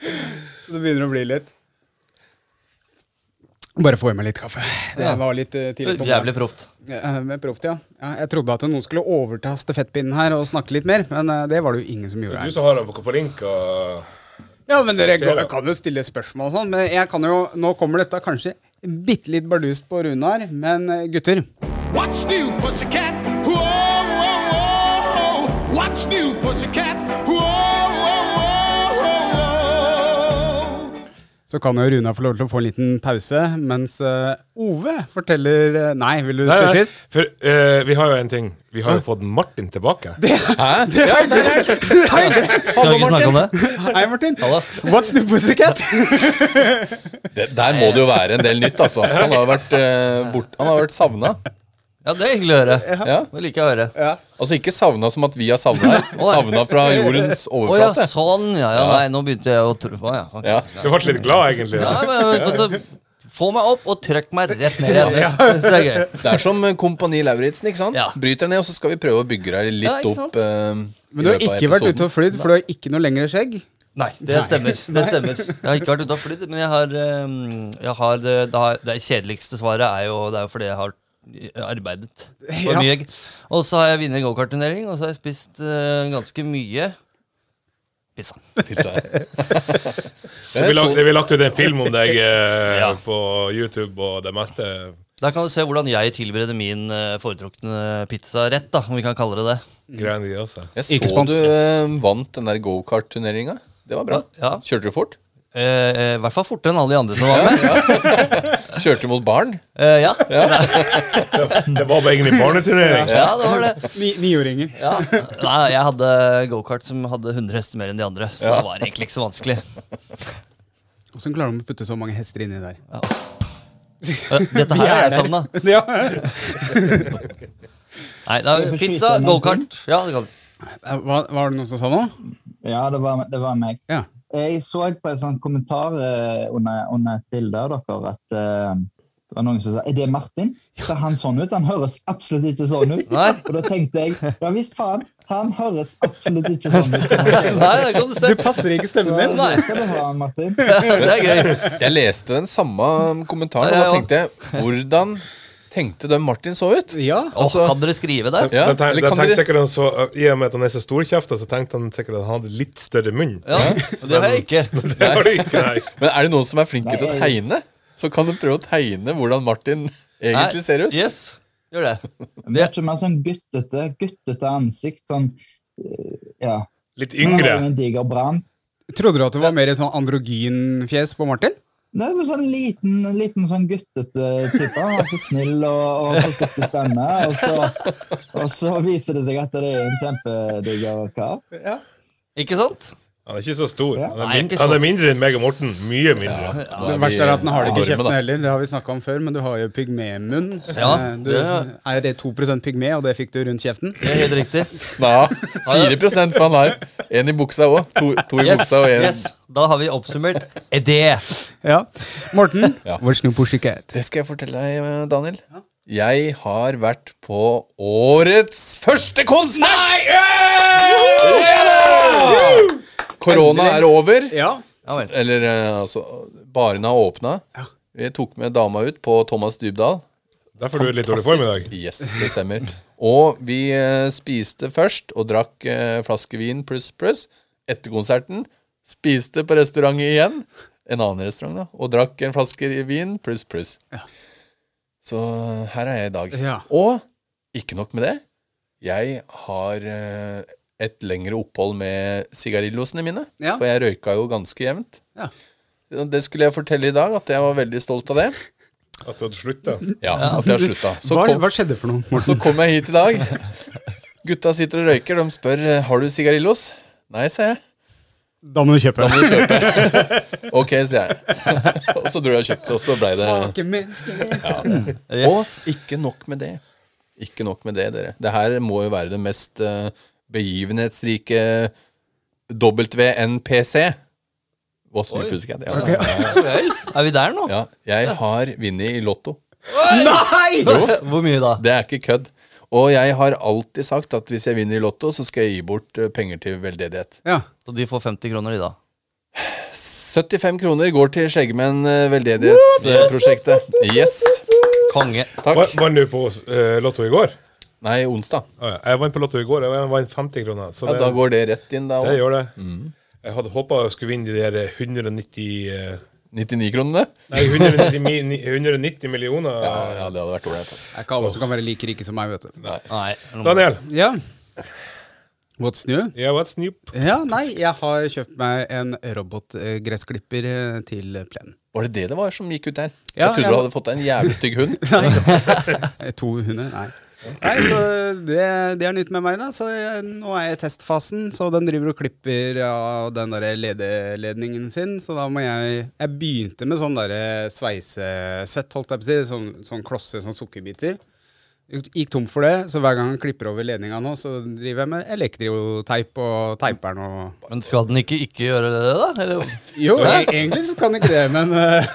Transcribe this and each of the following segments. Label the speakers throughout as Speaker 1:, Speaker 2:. Speaker 1: Så det begynner å bli litt. Bare få i meg litt kaffe. Det
Speaker 2: Ja.
Speaker 1: var litt eh, tidlig på morgenen.
Speaker 2: Jævlig proft.
Speaker 1: Eh, Med proft, ja. ja. Jeg trodde at noen skulle overta stafettpinnen her og snakke litt mer, men eh, det var det jo ingen som
Speaker 3: Det
Speaker 1: gjorde
Speaker 3: er
Speaker 1: her.
Speaker 3: du som har den på link og
Speaker 1: Ja, men dere
Speaker 3: Så ser jeg.
Speaker 1: kan jo stille spørsmål og sånn. Men jeg kan jo, nå kommer dette kanskje bitte litt bardust på Runar, men eh, gutter.
Speaker 4: What's new, pussycat? Whoa, whoa, whoa. What's new, pussycat? Whoa, whoa, whoa, whoa.
Speaker 1: Så kan jo Runar få lov til å få en liten pause, mens eh, Ove forteller eh, Nei, vil du
Speaker 3: Nei,
Speaker 1: til
Speaker 3: nei,
Speaker 1: sist?
Speaker 3: for eh, vi har jo en ting. Vi har jo fått Martin tilbake.
Speaker 2: Hæ? Ja, det er det. Skal vi ikke snakke om det?
Speaker 1: Hei, Martin.
Speaker 2: Hallo.
Speaker 1: What's new pussycat?
Speaker 2: det? Der
Speaker 5: Må det jo være en del nytt, altså. Han har vært, uh, bort, han har vært savna.
Speaker 2: Ja, det er hyggelig å høre.
Speaker 5: Ja.
Speaker 2: Det liker jeg å høre.
Speaker 5: Altså ikke savna som at vi har savna her. Savna fra jordens
Speaker 2: Å ja,
Speaker 5: overflate.
Speaker 2: sånn. Ja, ja, nei, nå begynte jeg å tro Å ja. ok.
Speaker 5: Ja.
Speaker 3: Du ble litt glad, egentlig.
Speaker 2: Ja, men, men, så, få meg opp og trykk meg rett ned igjen. Det synes jeg er gøy.
Speaker 5: Det er som eh, Kompani Lauritzen. ikke sant?
Speaker 2: Ja.
Speaker 5: Bryter ned, og så skal vi prøve å bygge deg
Speaker 2: Ja,
Speaker 5: litt
Speaker 2: ikke sant?
Speaker 5: opp. eh, i
Speaker 1: Men du har
Speaker 5: løpet av
Speaker 1: ikke vært
Speaker 5: episoden.
Speaker 1: ute og flydd, for du har ikke noe lengre skjegg.
Speaker 2: Nei, det stemmer. Det stemmer. Jeg har ikke vært ute og flydd, men jeg har, um, jeg har det, det har- det kjedeligste svaret er jo, det er jo fordi jeg har arbeidet for
Speaker 1: Ja.
Speaker 2: mye. jeg. Og så har jeg vunnet gokartturnering, og så har jeg spist eh, ganske mye pizza.
Speaker 5: Pizza.
Speaker 3: Det blir lagt,
Speaker 5: Så-
Speaker 3: det blir lagt ut en film om deg eh,
Speaker 2: Ja.
Speaker 3: på YouTube og det meste.
Speaker 2: Der kan du se hvordan jeg tilbereder min eh, foretrukne pizzarett, da, om vi kan kalle det det.
Speaker 3: Greiene de også.
Speaker 5: Jeg
Speaker 1: Ikke
Speaker 5: så
Speaker 1: spons.
Speaker 5: du eh, vant den der gokart-turneringa. Det var bra.
Speaker 2: Ja.
Speaker 5: Kjørte du fort?
Speaker 2: Eh, eh, I hvert fall fortere enn alle de andre som var med.
Speaker 5: Kjørte du mot barn?
Speaker 2: Eh, ja. Ja.
Speaker 3: Det var bare egentlig barneturnering.
Speaker 2: det var det.
Speaker 1: Ni- Niåringer.
Speaker 2: Ja. Nei, jeg hadde gokart som hadde 100 hester mer enn de andre, så det var egentlig ikke så vanskelig.
Speaker 1: Hvordan klarer de å putte så mange hester inni der?
Speaker 2: Eh, Dette her er jeg savna.
Speaker 1: Ja.
Speaker 2: Nei, det er
Speaker 6: Skal vi få
Speaker 2: pizza,
Speaker 6: skyte en
Speaker 2: gokart Ja, det kan
Speaker 1: Hva, var det noen som sa noe?
Speaker 6: Ja, det var, det var meg.
Speaker 1: Ja.
Speaker 6: Jeg så på en sånn kommentar eh, under, under et bilde av dere at eh, det var noen som sa Er det Martin? Ser han sånn ut? Han høres absolutt ikke sånn ut.
Speaker 2: Nei.
Speaker 6: Og da tenkte jeg ja visst faen, han høres absolutt ikke sånn ut.
Speaker 2: Nei, det kan du se.
Speaker 1: Du passer ikke stemmen
Speaker 6: Så
Speaker 1: din.
Speaker 2: Nei.
Speaker 6: det skal du ha, Martin.
Speaker 2: Det er gøy.
Speaker 5: Jeg leste den samme kommentaren,
Speaker 2: Ja,
Speaker 5: og da
Speaker 2: ja,
Speaker 5: tenkte jeg Hvordan tenkte den Martin så ut?
Speaker 1: Ja.
Speaker 2: Åh,
Speaker 5: Altså-
Speaker 2: kan dere skrive det?
Speaker 5: Ja,
Speaker 3: Da tenk-
Speaker 5: eller
Speaker 3: da
Speaker 5: kan
Speaker 3: tenkte
Speaker 5: dere-
Speaker 3: sikkert han så, I og med at han er så storkjefta, så tenkte han sikkert at han hadde litt større munn.
Speaker 2: Ja, det har jeg ikke.
Speaker 3: Det var det ikke, nei.
Speaker 5: Men er det noen som er flinke til å
Speaker 6: Nei.
Speaker 5: tegne, så kan du prøve å tegne hvordan Martin egentlig
Speaker 2: Nei,
Speaker 5: ser ut.
Speaker 2: Yes, gjør det.
Speaker 6: Det er ikke mer sånn guttete, guttete ansikt. Sånn, eh, ja.
Speaker 3: Litt
Speaker 6: Men han
Speaker 3: yngre.
Speaker 6: har jo En diger brann.
Speaker 1: Trodde du at det var mer sånn androgynfjes på Martin?
Speaker 6: Det er jo sånn liten, liten sånn guttete type. Han er så snill og, og forsiktig stemme. Og så, og så viser det seg at det er en kjempediger kar.
Speaker 2: Ikke sant?
Speaker 3: Ja, Han er ikke så stor.
Speaker 6: Ja.
Speaker 3: Han er,
Speaker 2: Nei,
Speaker 3: min,
Speaker 2: ikke så-
Speaker 3: han er mindre enn meg og Morten. Mye mindre.
Speaker 5: Da
Speaker 1: Det
Speaker 5: er vi-
Speaker 1: verste er at den har det ikke i
Speaker 5: arme, da.
Speaker 1: kjeften heller. Det har vi snakka om før, men du har jo pygmemunn.
Speaker 2: Ja,
Speaker 1: Eh, du
Speaker 2: det-
Speaker 1: er det 2 pygme, og det fikk du rundt kjeften.
Speaker 2: Det er helt riktig.
Speaker 5: Ja, 4 for han har en i buksa òg. To, to i
Speaker 2: Yes,
Speaker 5: buksa og en
Speaker 2: yes. Da har vi oppsummert E det.
Speaker 1: Ja. Morten,
Speaker 5: Ja.
Speaker 1: vår snopporsikket.
Speaker 5: Det skal jeg fortelle deg, eh, Daniel. Jeg har vært på årets første konsert! Nei! Korona er over.
Speaker 1: Ja.
Speaker 2: Ja vel.
Speaker 5: Eller eh, altså Barene har åpna. Vi tok med dama ut på Thomas Dybdahl.
Speaker 3: Derfor er du i litt dårlig form i dag.
Speaker 5: Yes, det stemmer. Og vi eh, spiste først og drakk eh, flaske vin pluss pluss etter konserten. Spiste på restaurant igjen, en annen restaurant, da, og drakk en flaske vin pluss pluss. Så her er jeg i dag.
Speaker 1: Ja.
Speaker 5: Og ikke nok med det, jeg har eh, et lengre opphold med sigarillosene mine,
Speaker 1: Ja.
Speaker 5: for jeg røyka jo ganske jevnt.
Speaker 1: Ja.
Speaker 5: Det skulle jeg fortelle i dag, at jeg var veldig stolt av det.
Speaker 3: At du hadde slutta.
Speaker 5: Ja, At jeg har slutta. Så
Speaker 1: Hva,
Speaker 5: kom-
Speaker 1: hva skjedde for noe,
Speaker 5: så
Speaker 1: Morten?
Speaker 5: kom jeg hit i dag. Gutta sitter og røyker. De spør eh, har du sigarillos. Nei, sa jeg.
Speaker 1: Da må du kjøpe.
Speaker 5: Da må du kjøpe. Ok, sier jeg. Og så dro jeg og kjøpte, og så blei det
Speaker 1: Svake mennesker.
Speaker 2: Mm. Yes.
Speaker 5: Og ikke nok med det. Ikke nok med det, dere. Det her må jo være det mest eh, begivenhetsrike WNPC. What's new
Speaker 2: Oi.
Speaker 5: pussycat? Ja,
Speaker 2: Er vi der nå?
Speaker 5: ja, jeg har vunnet i Lotto.
Speaker 1: Nei!
Speaker 2: Hvor mye da?
Speaker 5: Det er ikke kødd. Og jeg har alltid sagt at hvis jeg vinner i Lotto, så skal jeg gi bort eh, penger til veldedighet.
Speaker 1: Ja.
Speaker 2: Så de får 50 kroner, de, da.
Speaker 5: 75 kroner går til Skjeggmenn eh, veldedighetsprosjektet. Yes!
Speaker 2: Konge.
Speaker 5: Takk.
Speaker 3: Vant- Vant du på eh, Lotto i går?
Speaker 5: Nei, onsdag.
Speaker 3: Å ja, Jeg vant på Lotto i går. Jeg vant 50 kroner. Så
Speaker 5: Ja,
Speaker 3: det,
Speaker 5: da går det rett inn, da.
Speaker 3: det
Speaker 5: også.
Speaker 3: gjør det.
Speaker 5: Mm.
Speaker 3: Jeg hadde håpa jeg skulle vinne de der 190 eh,
Speaker 5: 99 kronene.
Speaker 3: Nei, 190, mi- ni- 190 millioner.
Speaker 5: Ja, ja, det hadde vært ålreit. Altså.
Speaker 1: Det er ikke alle som kan være like rike som meg, vet du.
Speaker 2: Nei.
Speaker 3: Daniel,
Speaker 1: Ja. What's new?
Speaker 3: yeah, what's new?
Speaker 1: Ja, nei, jeg har kjøpt meg en robotgressklipper eh, til plenen.
Speaker 5: Var det det det var som gikk ut der?
Speaker 1: Ja,
Speaker 5: jeg trodde
Speaker 1: ja.
Speaker 5: du hadde fått deg en jævlig stygg hund.
Speaker 1: Eh, To hunder? Nei. Nei, så det, det er nytt med meg, da. Så jeg, nå er jeg i testfasen, så den driver og klipper av den der ledeledningen sin. Så da må jeg Jeg begynte med sånn derre sveisesett, holdt jeg på å si. Sånn, sånn klosser, sånn sukkerbiter. Gikk tom for det, så hver gang han klipper over ledninga nå, så driver jeg med elektroteip og teiper den og
Speaker 2: Men skal den ikke ikke gjøre det, da? Eller?
Speaker 1: Jo, e egentlig så kan ikke det, men eh,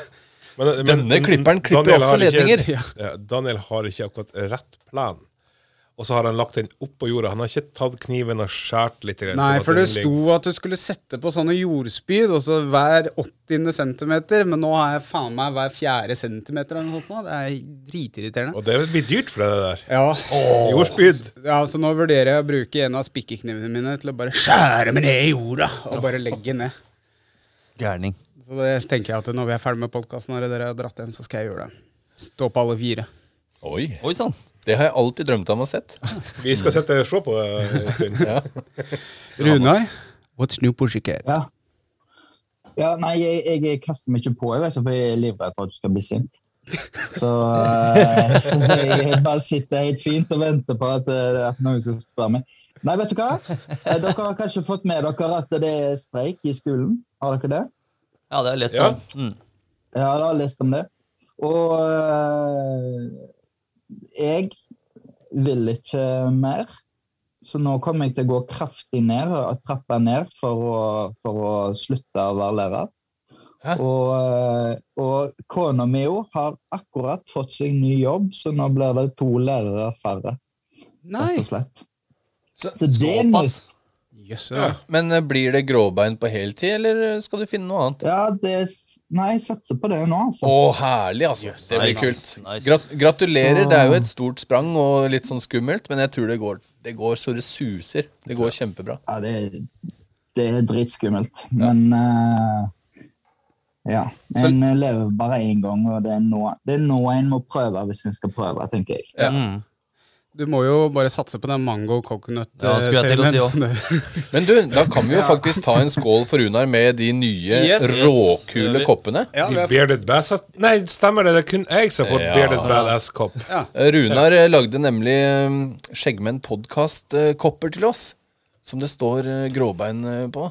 Speaker 3: Men- men-
Speaker 5: Denne klipperen klipper
Speaker 3: Daniel
Speaker 5: også
Speaker 3: har ikke-
Speaker 5: ledninger.
Speaker 3: Ja. Daniel har ikke akkurat rett plan. Og så har han lagt den oppå jorda. Han har ikke tatt kniven og skåret litt. grann, sånn
Speaker 1: Nei,
Speaker 3: at
Speaker 1: for
Speaker 3: den
Speaker 1: det sto
Speaker 3: ligger-
Speaker 1: at du skulle sette på sånne jordspyd, og så hver 80. centimeter, men nå har jeg faen meg hver fjerde centimeter eller noe sånt nå. Det er dritirriterende.
Speaker 3: Og det blir dyrt for deg, det der.
Speaker 1: Ja.
Speaker 3: Jordspyd.
Speaker 1: ja, så nå vurderer jeg å bruke en av spikkeknivene mine til å bare skjære meg ned i jorda, og bare legge ned.
Speaker 2: Gærning.
Speaker 1: Så det tenker jeg at når vi er ferdig med podkasten, når dere har dratt hjem, så skal jeg gjøre det. Stå på alle fire.
Speaker 5: Oi,
Speaker 2: Oi sånn. sann.
Speaker 5: Det har jeg alltid drømt om å ha sett.
Speaker 3: Vi skal sitte og se på det en stund.
Speaker 1: Runar, what's new pushiker?
Speaker 6: Ja. ja nei, jeg, jeg kaster meg ikke på, jeg vet, ikke, for jeg er livredd for at du skal bli sint. Så, eh, så jeg bare sitter helt fint og venter på at, eh, at noen skal spørre meg. Nei, vet du hva? Eh, Dere har kanskje fått med dere at det er streik i skolen? Har dere det?
Speaker 2: Ja, det har jeg lest
Speaker 3: Ja.
Speaker 2: om. Mm.
Speaker 6: Jeg har lest om det. Og eh, jeg vil ikke mer. Så nå kommer jeg til å gå kraftig ned og trappe ned for å, for å slutte å være lærer.
Speaker 5: Hæ?
Speaker 6: Og, eh, og kona mi jo har akkurat fått seg ny jobb, så nå blir det to lærere færre. rett
Speaker 1: Nei!
Speaker 6: og slett.
Speaker 5: Så-
Speaker 6: Så det er nytt.
Speaker 2: Såpass.
Speaker 1: Jøsse.
Speaker 3: Ja.
Speaker 5: Men eh, blir det gråbein på heltid, eller eh, skal du finne noe annet?
Speaker 6: Ja, det Nei, jeg satser på det nå,
Speaker 5: Å,
Speaker 6: altså.
Speaker 5: herlig, altså. Det blir
Speaker 2: Nice.
Speaker 5: kult.
Speaker 2: Nice.
Speaker 5: Grat gratulerer. Det er jo et stort sprang og litt sånn skummelt, men jeg tror det går, det går så det suser. Det går kjempebra.
Speaker 6: Ja, det, er- det er dritskummelt, men eh, Ja.
Speaker 1: Så-
Speaker 6: En eh, lever bare én gang, og det er, nå, det er nå en må prøve hvis en skal prøve, tenker jeg.
Speaker 5: Ja.
Speaker 2: Mm.
Speaker 1: Du må jo bare satse på den mango coconut. eh,
Speaker 2: Ja, skulle jeg til å si også.
Speaker 1: også.
Speaker 5: Men du, da kan vi jo faktisk ta en skål for Runar med de nye
Speaker 1: Yes.
Speaker 5: råkule koppene.
Speaker 1: Ja, vi
Speaker 3: De
Speaker 1: er
Speaker 3: bearded bass Nei, stemmer det. Det er kun jeg som har fått
Speaker 5: Ja.
Speaker 3: bearded badass-kopp.
Speaker 5: Runar eh, lagde nemlig mm, Skjeggmenn podkast-kopper til oss. Som det står eh, gråbein eh, på.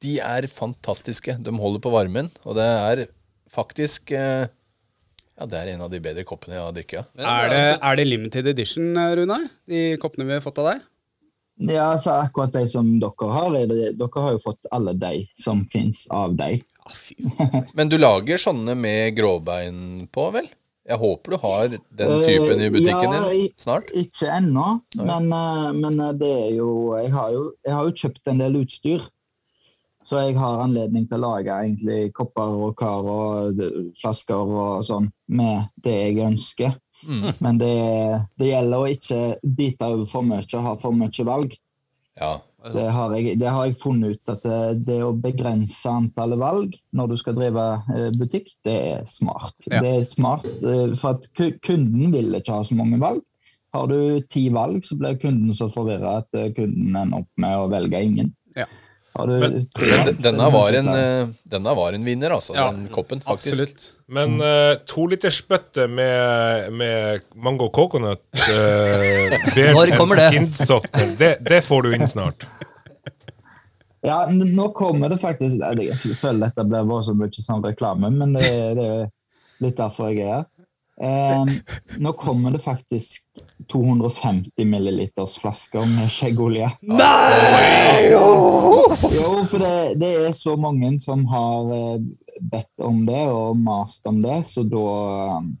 Speaker 5: De er fantastiske. De holder på varmen, og det er faktisk eh, Ja, det er en av de bedre koppene jeg har drikket. av.
Speaker 1: Er det, er det limited edition, eh, Runar? De koppene vi har fått av deg?
Speaker 6: Ja, så akkurat de som dere har, er det, dere har jo fått alle de som finnes av de.
Speaker 1: Ja, fy.
Speaker 5: Men du lager sånne med gråbein på, vel? Jeg håper du har den
Speaker 6: Eh,
Speaker 5: typen i butikken
Speaker 6: ja,
Speaker 5: din
Speaker 6: i-
Speaker 5: snart.
Speaker 6: Ikke ennå, men, eh, men eh, det er jo jeg, har jo jeg har jo kjøpt en del utstyr. Så jeg har anledning til å lage egentlig kopper og kar og d- flasker og sånn med det jeg ønsker.
Speaker 5: Mm.
Speaker 6: Men det, det gjelder å ikke bite over for mye og ha for mye valg.
Speaker 5: Ja.
Speaker 6: Det har, jeg, det har jeg funnet ut at det, det å begrense antallet valg når du skal drive eh, butikk, det er smart.
Speaker 1: Ja.
Speaker 6: Det er smart, eh, For at ku- kunden vil ikke ha så mange valg. Har du ti valg, så blir kunden så forvirra at eh, kunden ender opp med å velge ingen.
Speaker 1: Ja.
Speaker 6: Har du
Speaker 3: Men-
Speaker 6: tre
Speaker 5: Men
Speaker 6: valg,
Speaker 5: de-
Speaker 6: så
Speaker 5: denne
Speaker 6: er
Speaker 5: var
Speaker 6: det
Speaker 5: en,
Speaker 6: kanskje
Speaker 5: eh, denne var en vinner, altså.
Speaker 1: Ja,
Speaker 5: Den koppen, faktisk.
Speaker 1: Absolutt.
Speaker 3: Men
Speaker 6: Mm.
Speaker 3: eh, tolitersbøtte med, med mango coconut eh, beer
Speaker 2: Når
Speaker 3: and
Speaker 2: kommer det?
Speaker 3: skin softener, det, det får du inn snart.
Speaker 6: Ja, n- nå kommer det faktisk Nei, Jeg føler dette blir bare så mye sånn reklame, men det, det er jo litt derfor jeg er her. Em, nå kommer det faktisk 250 milliliters flasker med skjeggolje. Nei! Jo, for det, det er så mange som har eh, bedt om det og mast om det, så da em,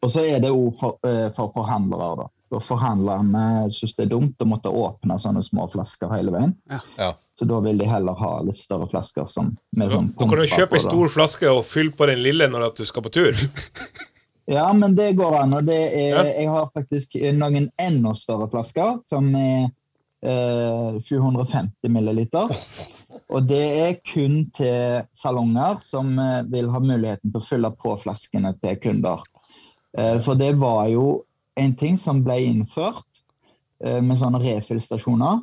Speaker 6: Og så er det òg for, eh, for forhandlere, da. Da Forhandlerne syns det er dumt å måtte åpne sånne små flasker hele veien.
Speaker 5: Ja.
Speaker 6: Så da vil de heller ha litt større flasker. Som, med
Speaker 3: Du
Speaker 6: sånn
Speaker 3: du kan jo
Speaker 6: pumper
Speaker 3: kjøpe
Speaker 6: på,
Speaker 3: ei
Speaker 6: da.
Speaker 3: stor flaske og fylle på den lille når at du skal på tur.
Speaker 6: Ja, men det går an. Og det er,
Speaker 3: Ja.
Speaker 6: jeg har faktisk noen enda større flasker, som er eh, 750 milliliter. Og det er kun til salonger som eh, vil ha muligheten til å fylle på flaskene til kunder. Eh, for det var jo en ting som ble innført eh, med sånne refillstasjoner.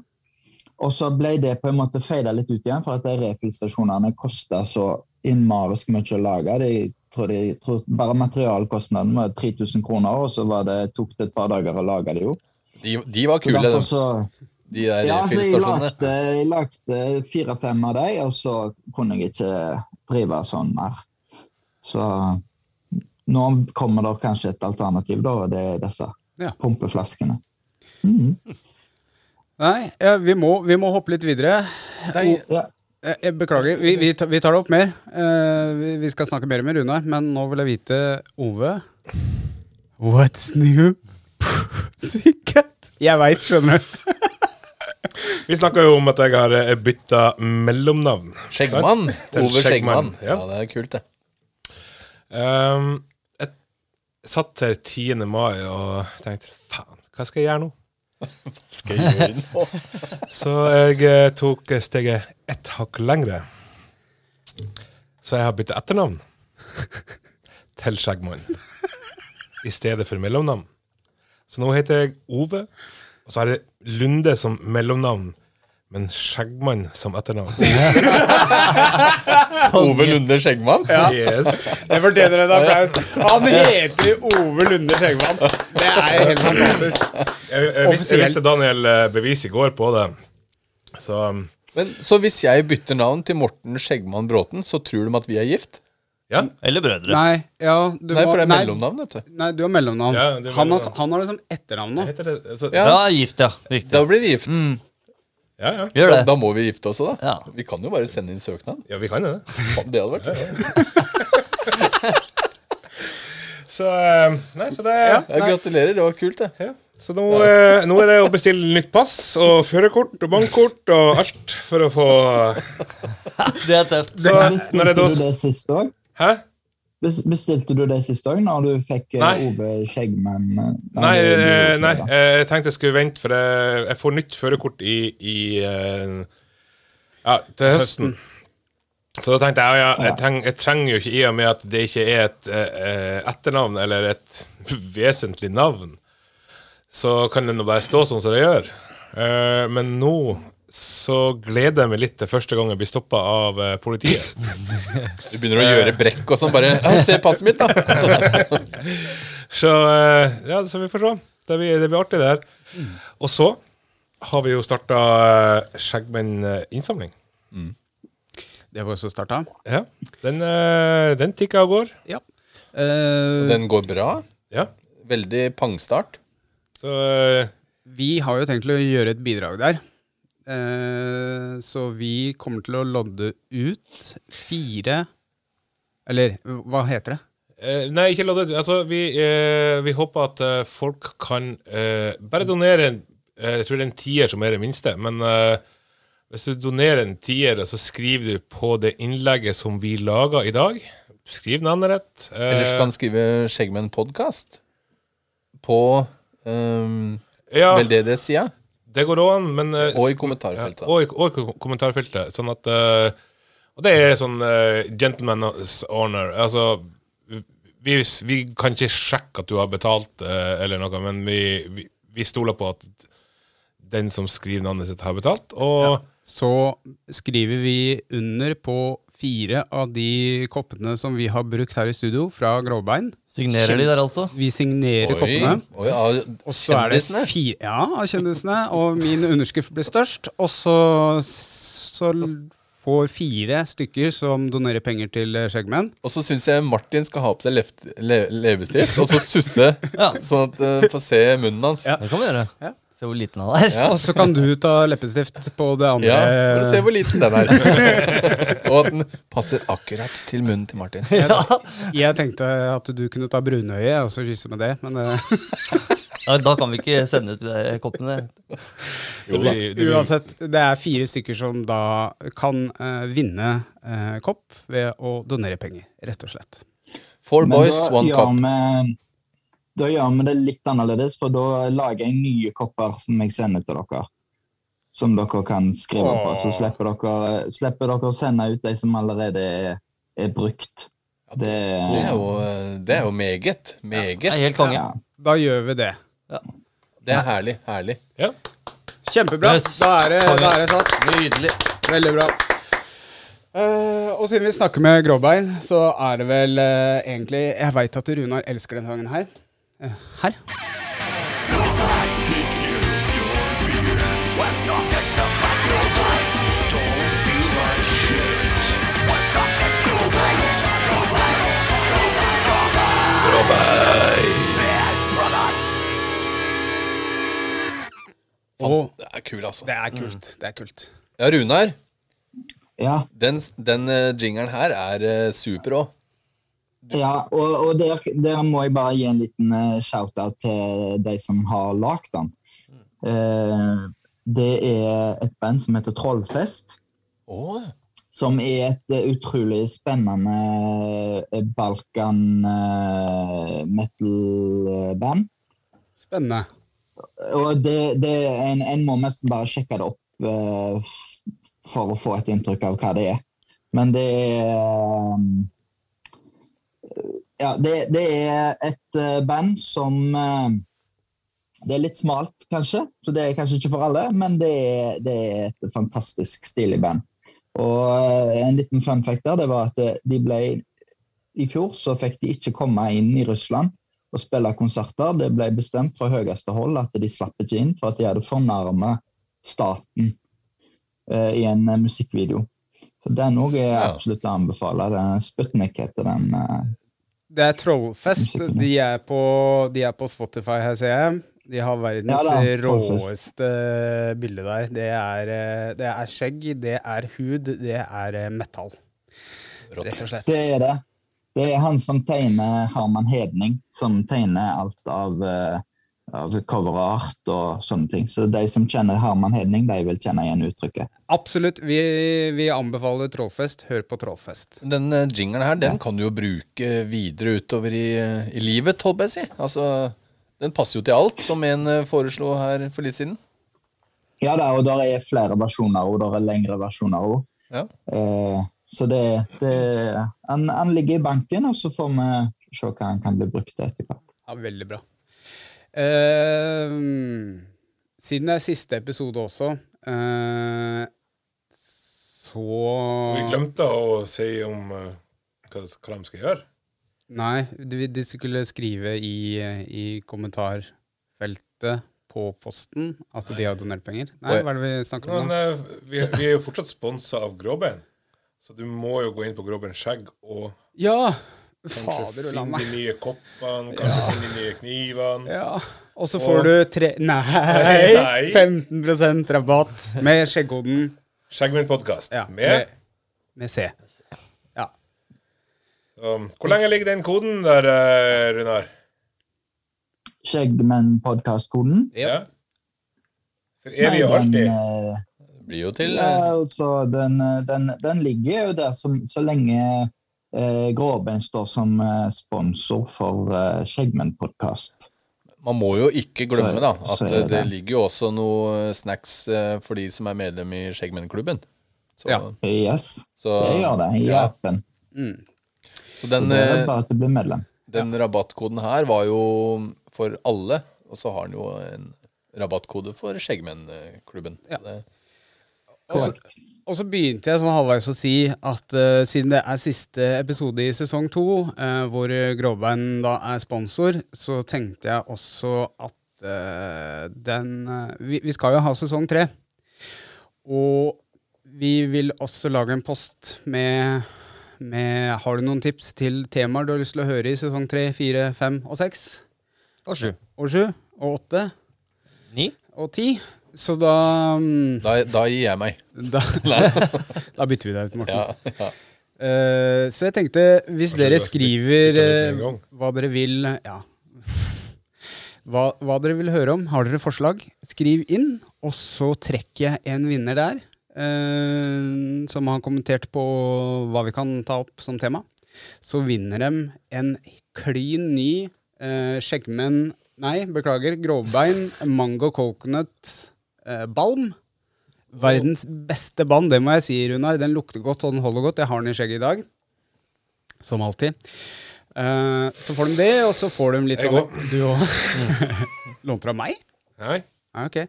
Speaker 6: Og så ble det på en måte feida litt ut igjen, for at de refillstasjonene kosta så innmarisk mye å lage. De, tror de, tror bare materialkostnaden var 3000 kroner, og så var det, tok det et par dager å lage det jo.
Speaker 5: De, de var
Speaker 6: Så
Speaker 5: kule,
Speaker 6: derfor
Speaker 5: de,
Speaker 6: så,
Speaker 5: de der eh,
Speaker 6: ja, så jeg
Speaker 5: refillstasjonene.
Speaker 6: lagde, jeg lagde fire-fem av dem, og så kunne jeg ikke drive sånn mer. Så nå kommer det kanskje et alternativ, da, og det er disse
Speaker 1: Ja.
Speaker 6: pumpeflaskene. Mhm.
Speaker 1: Nei, ja, vi, må, vi må hoppe litt videre.
Speaker 5: Nei.
Speaker 6: Ja.
Speaker 1: Eh, Jeg beklager, vi, vi, ta- vi tar det opp mer. Eh, vi, vi skal snakke mer med Runar, men nå vil jeg vite, Ove What's new? Pussycat? Jeg veit, skjønner du.
Speaker 3: Vi snakka jo om at jeg har bytta mellomnavn.
Speaker 5: Skjeggmann.
Speaker 3: Til
Speaker 5: Ove Skjeggmann.
Speaker 3: Skjeggmann,
Speaker 5: Ja.
Speaker 3: ja.
Speaker 5: det er kult, det.
Speaker 3: Um, jeg satt her 10. mai og tenkte faen, hva skal jeg gjøre nå?
Speaker 5: Skal jeg gjøre nå?
Speaker 3: Så jeg eh, tok steget ett hakk lengre. Så jeg har bytta etternavn til Skjeggmann i stedet for mellomnavn. Så nå heter jeg Ove, og så har jeg Lunde som mellomnavn, men Skjeggmann som etternavn.
Speaker 5: Ove Lunde Skjeggmann?
Speaker 3: Yes.
Speaker 1: Det fortjener en applaus. Han heter jo Ove Lunde Skjeggvann. Det er helt fantastisk.
Speaker 3: Jeg, jeg, visste, jeg
Speaker 1: Offisielt.
Speaker 3: visste Daniel eh, Bevis i går på det. Så um,
Speaker 5: Men, så hvis jeg bytter navn til Morten Skjeggmann Bråten, så tror de at vi er gift?
Speaker 3: ja.
Speaker 2: Eller brødre.
Speaker 1: Nei, ja, du
Speaker 5: Nei, for det er
Speaker 1: nei,
Speaker 5: mellomnavn, vet du.
Speaker 1: Nei, du har mellomnavn.
Speaker 3: Ja, det er
Speaker 1: han, har,
Speaker 3: mellomnavn.
Speaker 1: han har det som etternavn nå.
Speaker 3: Heter det, så,
Speaker 5: Ja.
Speaker 3: ja.
Speaker 2: Ja, gift, ja.
Speaker 5: Da
Speaker 2: Riktig.
Speaker 5: blir vi gift.
Speaker 3: Ja, ja.
Speaker 2: Gjør
Speaker 5: Da,
Speaker 2: det.
Speaker 5: da må vi gifte oss også, da.
Speaker 2: Ja.
Speaker 5: Vi kan jo bare sende inn søknad.
Speaker 3: vi kan jo det.
Speaker 5: Faen, Det hadde vært
Speaker 3: Så, um, nei, så, det, ja.
Speaker 5: ja, Gratulerer, det var kult, det.
Speaker 3: så nå, eh, nå er det å bestille nytt pass og førerkort og bankkort og alt for å få
Speaker 2: Det er tøft.
Speaker 3: Så når
Speaker 6: Bestilte du
Speaker 3: jeg da
Speaker 6: det sist òg?
Speaker 3: Hæ?
Speaker 6: Bestilte du det siste òg, når du fikk eh,
Speaker 3: Nei.
Speaker 6: Ove Skjeggmann? eh,
Speaker 3: Nei,
Speaker 6: det-
Speaker 3: eh,
Speaker 6: det-
Speaker 3: nei eh, jeg tenkte jeg skulle vente, for jeg, jeg får nytt førerkort i, i eh, Ja, til høsten. Så da tenkte jeg ja, ja, jeg, treng, jeg trenger jo ikke, i og med at det ikke er et eh, eh, etternavn eller et vesentlig navn, så kan det nå bare stå sånn som det gjør. Eh, men nå så gleder jeg meg litt til første gang jeg blir stoppa av eh, politiet.
Speaker 5: Du begynner å gjøre brekk og sånn. Bare ja, 'Se passet mitt', da.
Speaker 3: Så eh, ja, så vi får se. Det blir, det blir artig, det her. eh, Og så har vi jo starta Skjeggmenn-innsamling.
Speaker 1: Det var også starta.
Speaker 3: Ja. Den, eh, den tikka og går.
Speaker 1: Ja. Eh,
Speaker 5: Den går bra.
Speaker 3: Ja.
Speaker 5: Veldig pangstart.
Speaker 3: Så eh,
Speaker 1: vi har jo tenkt til å gjøre et bidrag der. Eh, så vi kommer til å lodde ut fire Eller hva heter det?
Speaker 3: Eh, nei, ikke la det altså, vi, eh, vi håper at eh, folk kan eh, bare donere en, eh, Jeg tror det er en tier som er det minste, men eh, hvis du donerer en tier, så skriver du på det innlegget som vi laga i dag. Skriv navnet rett. eh,
Speaker 5: Ellers kan skrive Skjeggmenn podkast på um,
Speaker 3: Eh, ja,
Speaker 5: veldedighetssida.
Speaker 3: det går òg an, men eh,
Speaker 5: Og i
Speaker 3: sk-
Speaker 5: kommentarfeltet, da.
Speaker 3: Ja, og, i, og i kom- kommentarfeltet. Sånn at eh, Og det er sånn eh, gentleman's honor. Altså vi, vi kan ikke sjekke at du har betalt eh, eller noe, men vi, vi, vi stoler på at den som skriver navnet sitt, har betalt. Og
Speaker 1: Så skriver vi under på fire av de koppene som vi har brukt her i studio, fra Gråbein.
Speaker 2: Signerer de der, altså?
Speaker 1: Vi signerer
Speaker 5: Oi,
Speaker 1: koppene.
Speaker 5: oi, ja,
Speaker 1: Og så er det
Speaker 5: kjendisene.
Speaker 1: fire Ja, av kjendisene. Og min underskrift blir størst. Og så, så l- får fire stykker som donerer penger til eh, Skjeggmenn.
Speaker 5: Og så syns jeg Martin skal ha på seg left, le, leppestift og så susse,
Speaker 2: Ja.
Speaker 5: sånn at du får se munnen hans. Ja,
Speaker 2: Det kan vi gjøre.
Speaker 1: Ja.
Speaker 2: Se hvor liten han er.
Speaker 5: Ja.
Speaker 1: Og så kan du ta leppestift på det andre.
Speaker 5: Bare se hvor liten den er. og at den passer akkurat til munnen til Martin.
Speaker 1: Jeg tenkte at du kunne ta brunøye og så kysse med det, men eh,
Speaker 2: Ja, da kan vi ikke sende ut de der koppene.
Speaker 3: det blir, det blir,
Speaker 1: uansett, det er fire stykker som da kan eh, vinne eh, kopp ved å donere penger, rett og slett.
Speaker 5: Four boys,
Speaker 6: da
Speaker 5: one
Speaker 6: gjør
Speaker 5: cup.
Speaker 6: vi- Da gjør vi det litt annerledes, for da lager jeg nye kopper som jeg sender til dere. Som dere kan skrive på. Så slipper dere, slipper dere å sende ut de som allerede er, er brukt.
Speaker 5: Det er
Speaker 6: Det,
Speaker 5: jo, eh, det er jo meget. Meget.
Speaker 2: Det er helt konge.
Speaker 6: ja.
Speaker 1: Da gjør vi det.
Speaker 5: Det er herlig. Herlig.
Speaker 3: ja.
Speaker 1: Kjempebra.
Speaker 2: Yes.
Speaker 1: Da er det, da er det satt.
Speaker 2: Nydelig.
Speaker 1: Veldig bra. Eh, og siden vi snakker med gråbein, så er det vel eh, egentlig Jeg veit at Runar elsker denne sangen her. Eh, her. Og
Speaker 5: Det er kul, altså.
Speaker 1: det er kult. Det er kult.
Speaker 5: Ja, Runar,
Speaker 6: ja.
Speaker 5: den, den eh, jingeren her er eh, super òg.
Speaker 6: Ja, og, og der, der må jeg bare gi en liten eh, shout-out til de som har lagd den. Eh, det er et band som heter Trollfest, som er et eh, utrolig spennende eh, balkan-metal-band.
Speaker 1: Spennende.
Speaker 6: Og det, det er en, en må nesten bare sjekke det opp eh, for å få et inntrykk av hva det er. Men det er um, Ja, det, det er et eh, band som eh, Det er litt smalt, kanskje, så det er kanskje ikke for alle, men det er, det er et fantastisk stilig band. Og eh, en liten fun fact der, det var at eh, de ble I fjor så fikk de ikke komme inn i Russland å spille konserter. Det ble bestemt fra høyeste hold at de slapp ikke inn for at de hadde fornærmet staten eh, i en eh, musikkvideo. Så den òg er
Speaker 5: Ja.
Speaker 6: absolutt å anbefale. Den Sputnik heter den. eh.
Speaker 1: Det er Trollfest. De er på, de er på Spotify her, ser jeg. De har verdens
Speaker 6: Ja da, Trollfest.
Speaker 1: råeste bilde der. Det er, eh, det er skjegg, det er hud, det er eh, metall. Rett og slett.
Speaker 6: Det er det. Det er han som tegner Harman Hedning, som tegner alt av, eh, av cover og art og sånne ting. Så de som kjenner Harman Hedning, de vil kjenne igjen uttrykket.
Speaker 1: Absolutt. Vi, vi anbefaler Trollfest. Hør på Trollfest.
Speaker 5: Den eh, jingeren her den kan du jo bruke videre utover i, eh, i livet, holdt jeg på å si. Altså, den passer jo til alt, som en eh, foreslo her for litt siden.
Speaker 6: Ja da, og der er flere versjoner og der er lengre versjoner òg.
Speaker 5: Ja.
Speaker 6: Eh, så det, det han, han ligger i banken, og så får vi se hva han kan bli brukt til etterpå.
Speaker 1: Ja, veldig bra. Ehm, siden det er siste episode også, eh,
Speaker 3: Vi
Speaker 1: så
Speaker 3: glemte å si om eh, hva, hva de skal gjøre.
Speaker 1: Nei, de, de skulle skrive i, i kommentarfeltet på posten at de har donert penger? Nei,
Speaker 5: Oi.
Speaker 1: hva er det vi snakker om
Speaker 3: Men
Speaker 1: nå?
Speaker 3: eh, vi, vi er jo fortsatt sponsa av Gråbein, så du må jo gå inn på Gråbein skjegg og
Speaker 1: Ja!
Speaker 3: kanskje
Speaker 1: Fader og
Speaker 3: finne de
Speaker 1: landet.
Speaker 3: nye koppene, kanskje finne de nye knivene.
Speaker 1: Ja. Og så får du tre Nei!
Speaker 3: Nei.
Speaker 1: 15 rabatt med skjeggkoden
Speaker 3: Skjeggmenn podcast
Speaker 1: ja,
Speaker 3: med
Speaker 1: med C. Ja.
Speaker 3: um, Hvor lenge ligger den koden der, eh, Runar?
Speaker 6: Skjeggmenn-podkast-koden.
Speaker 3: Ja. For evig og alltid.
Speaker 6: eh,
Speaker 5: Det blir jo til
Speaker 6: ja,
Speaker 5: eh,
Speaker 6: altså, den, eh, den, den ligger jo der som, så lenge eh, Gråbein står som eh, sponsor for eh, Skjeggmenn-podkast.
Speaker 5: Man må jo ikke glemme da
Speaker 6: Så-
Speaker 5: at
Speaker 6: så er
Speaker 5: eh, det
Speaker 6: det.
Speaker 5: ligger jo også noe snacks eh, for de som er medlem i Skjeggmennklubben. Så,
Speaker 1: Ja.
Speaker 6: Yes,
Speaker 5: så,
Speaker 6: det gjør det i
Speaker 5: ja.
Speaker 6: appen.
Speaker 5: så den,
Speaker 6: Det er
Speaker 5: eh,
Speaker 6: bare til å bli medlem.
Speaker 5: den rabattkoden her var jo for alle, og så har den jo en rabattkode for Skjeggmennklubben. Så det-
Speaker 1: Og så- Og så begynte jeg sånn halvveis å si at eh, siden det er siste episode i sesong to, eh, hvor eh, Gråbein da er sponsor, så tenkte jeg også at eh, den eh, vi, vi skal jo ha sesong tre. Og vi vil også lage en post med, med Har du noen tips til temaer du har lyst til å høre i sesong tre, fire, fem og seks?
Speaker 2: Og sju.
Speaker 1: Og sju? Og åtte?
Speaker 2: Ni.
Speaker 1: Og ti? Så da mm,
Speaker 5: Da, da gir jeg meg.
Speaker 1: Da, da bytter vi deg ut, Morten.
Speaker 5: Ja, ja.
Speaker 1: Eh, så jeg tenkte, hvis
Speaker 3: Kanskje
Speaker 1: dere
Speaker 3: vi har
Speaker 1: skriver
Speaker 3: byttet litt med en
Speaker 1: eh,
Speaker 3: gang.
Speaker 1: hva dere vil ja. hva, hva dere vil høre om, har dere forslag, skriv inn, og så trekker jeg en vinner der, eh, som har kommentert på hva vi kan ta opp som tema. Så vinner de en klin ny uh, skjeggmenn, nei, beklager, grovbein, mango coconut eh, balm. Verdens beste band, det må jeg si, Runar. Den lukter godt, og den holder godt. Jeg har den i skjegget i dag. Som alltid. Eh, så får de det, og så får de litt
Speaker 3: Jeg
Speaker 1: sånn Du òg? Lånte du av meg?
Speaker 3: Nei?
Speaker 1: Ja, ok.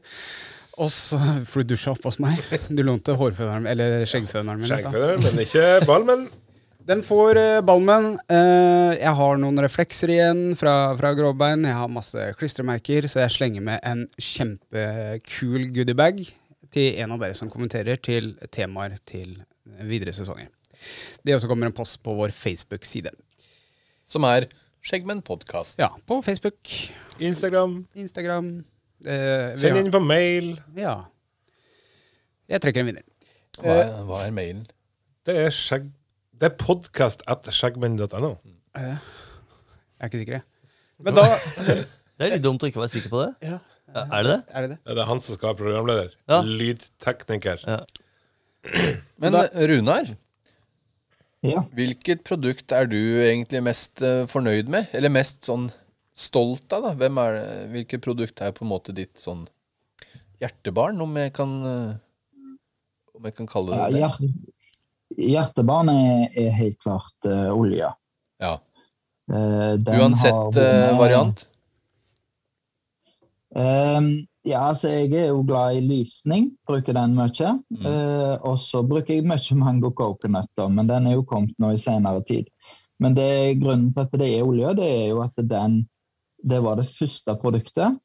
Speaker 1: Og så For du dusja oppe hos meg. Du lånte hårføneren Eller skjeggføneren min. altså. i stad.
Speaker 3: Skjeggføder, men ikke balmen.
Speaker 1: Den får eh, Balmen. Eh, jeg har noen reflekser igjen fra, fra gråbein. Jeg har masse klistremerker, så jeg slenger med en kjempekul goodiebag til en av dere som kommenterer til temaer til videre sesonger. Det også kommer en post på vår Facebook-side.
Speaker 5: Som er Skjeggmennpodkast.
Speaker 1: Ja, på Facebook,
Speaker 3: Instagram.
Speaker 1: Instagram eh, vi
Speaker 3: Send
Speaker 1: har-
Speaker 3: inn på mail.
Speaker 1: Ja. Jeg trekker en vinner.
Speaker 5: Hva, er- hva er mailen?
Speaker 3: Det er skjegg... Det er podcast at skjeggmenn.no.
Speaker 1: Jeg er ikke sikker, jeg. Men da
Speaker 2: Det er litt dumt å ikke være sikker på det.
Speaker 1: ja,
Speaker 2: Ja, er det det?
Speaker 1: Er det det?
Speaker 3: Det er han som skal være programleder.
Speaker 2: Ja.
Speaker 3: Lydtekniker.
Speaker 2: Ja.
Speaker 5: Men
Speaker 1: Da-
Speaker 5: Runar,
Speaker 6: Ja.
Speaker 5: hvilket produkt er du egentlig mest eh, fornøyd med? Eller mest sånn stolt av, da? Hvem er det? Hvilket produkt er på en måte ditt sånn hjertebarn, om jeg kan eh, Om jeg kan kalle det det?
Speaker 6: Ja, hjer- hjertebarn er, er helt klart eh, olja.
Speaker 5: Ja.
Speaker 6: Eh, den har
Speaker 5: Uansett eh,
Speaker 6: vunnet-
Speaker 5: variant?
Speaker 6: Ehm, ja, altså jeg er jo glad i lysning, bruker den mye. Eh, og så bruker jeg mye mango coconut, da, men den er jo kommet nå i senere tid. Men det, grunnen til at det er olje, det er jo at den det var det første produktet.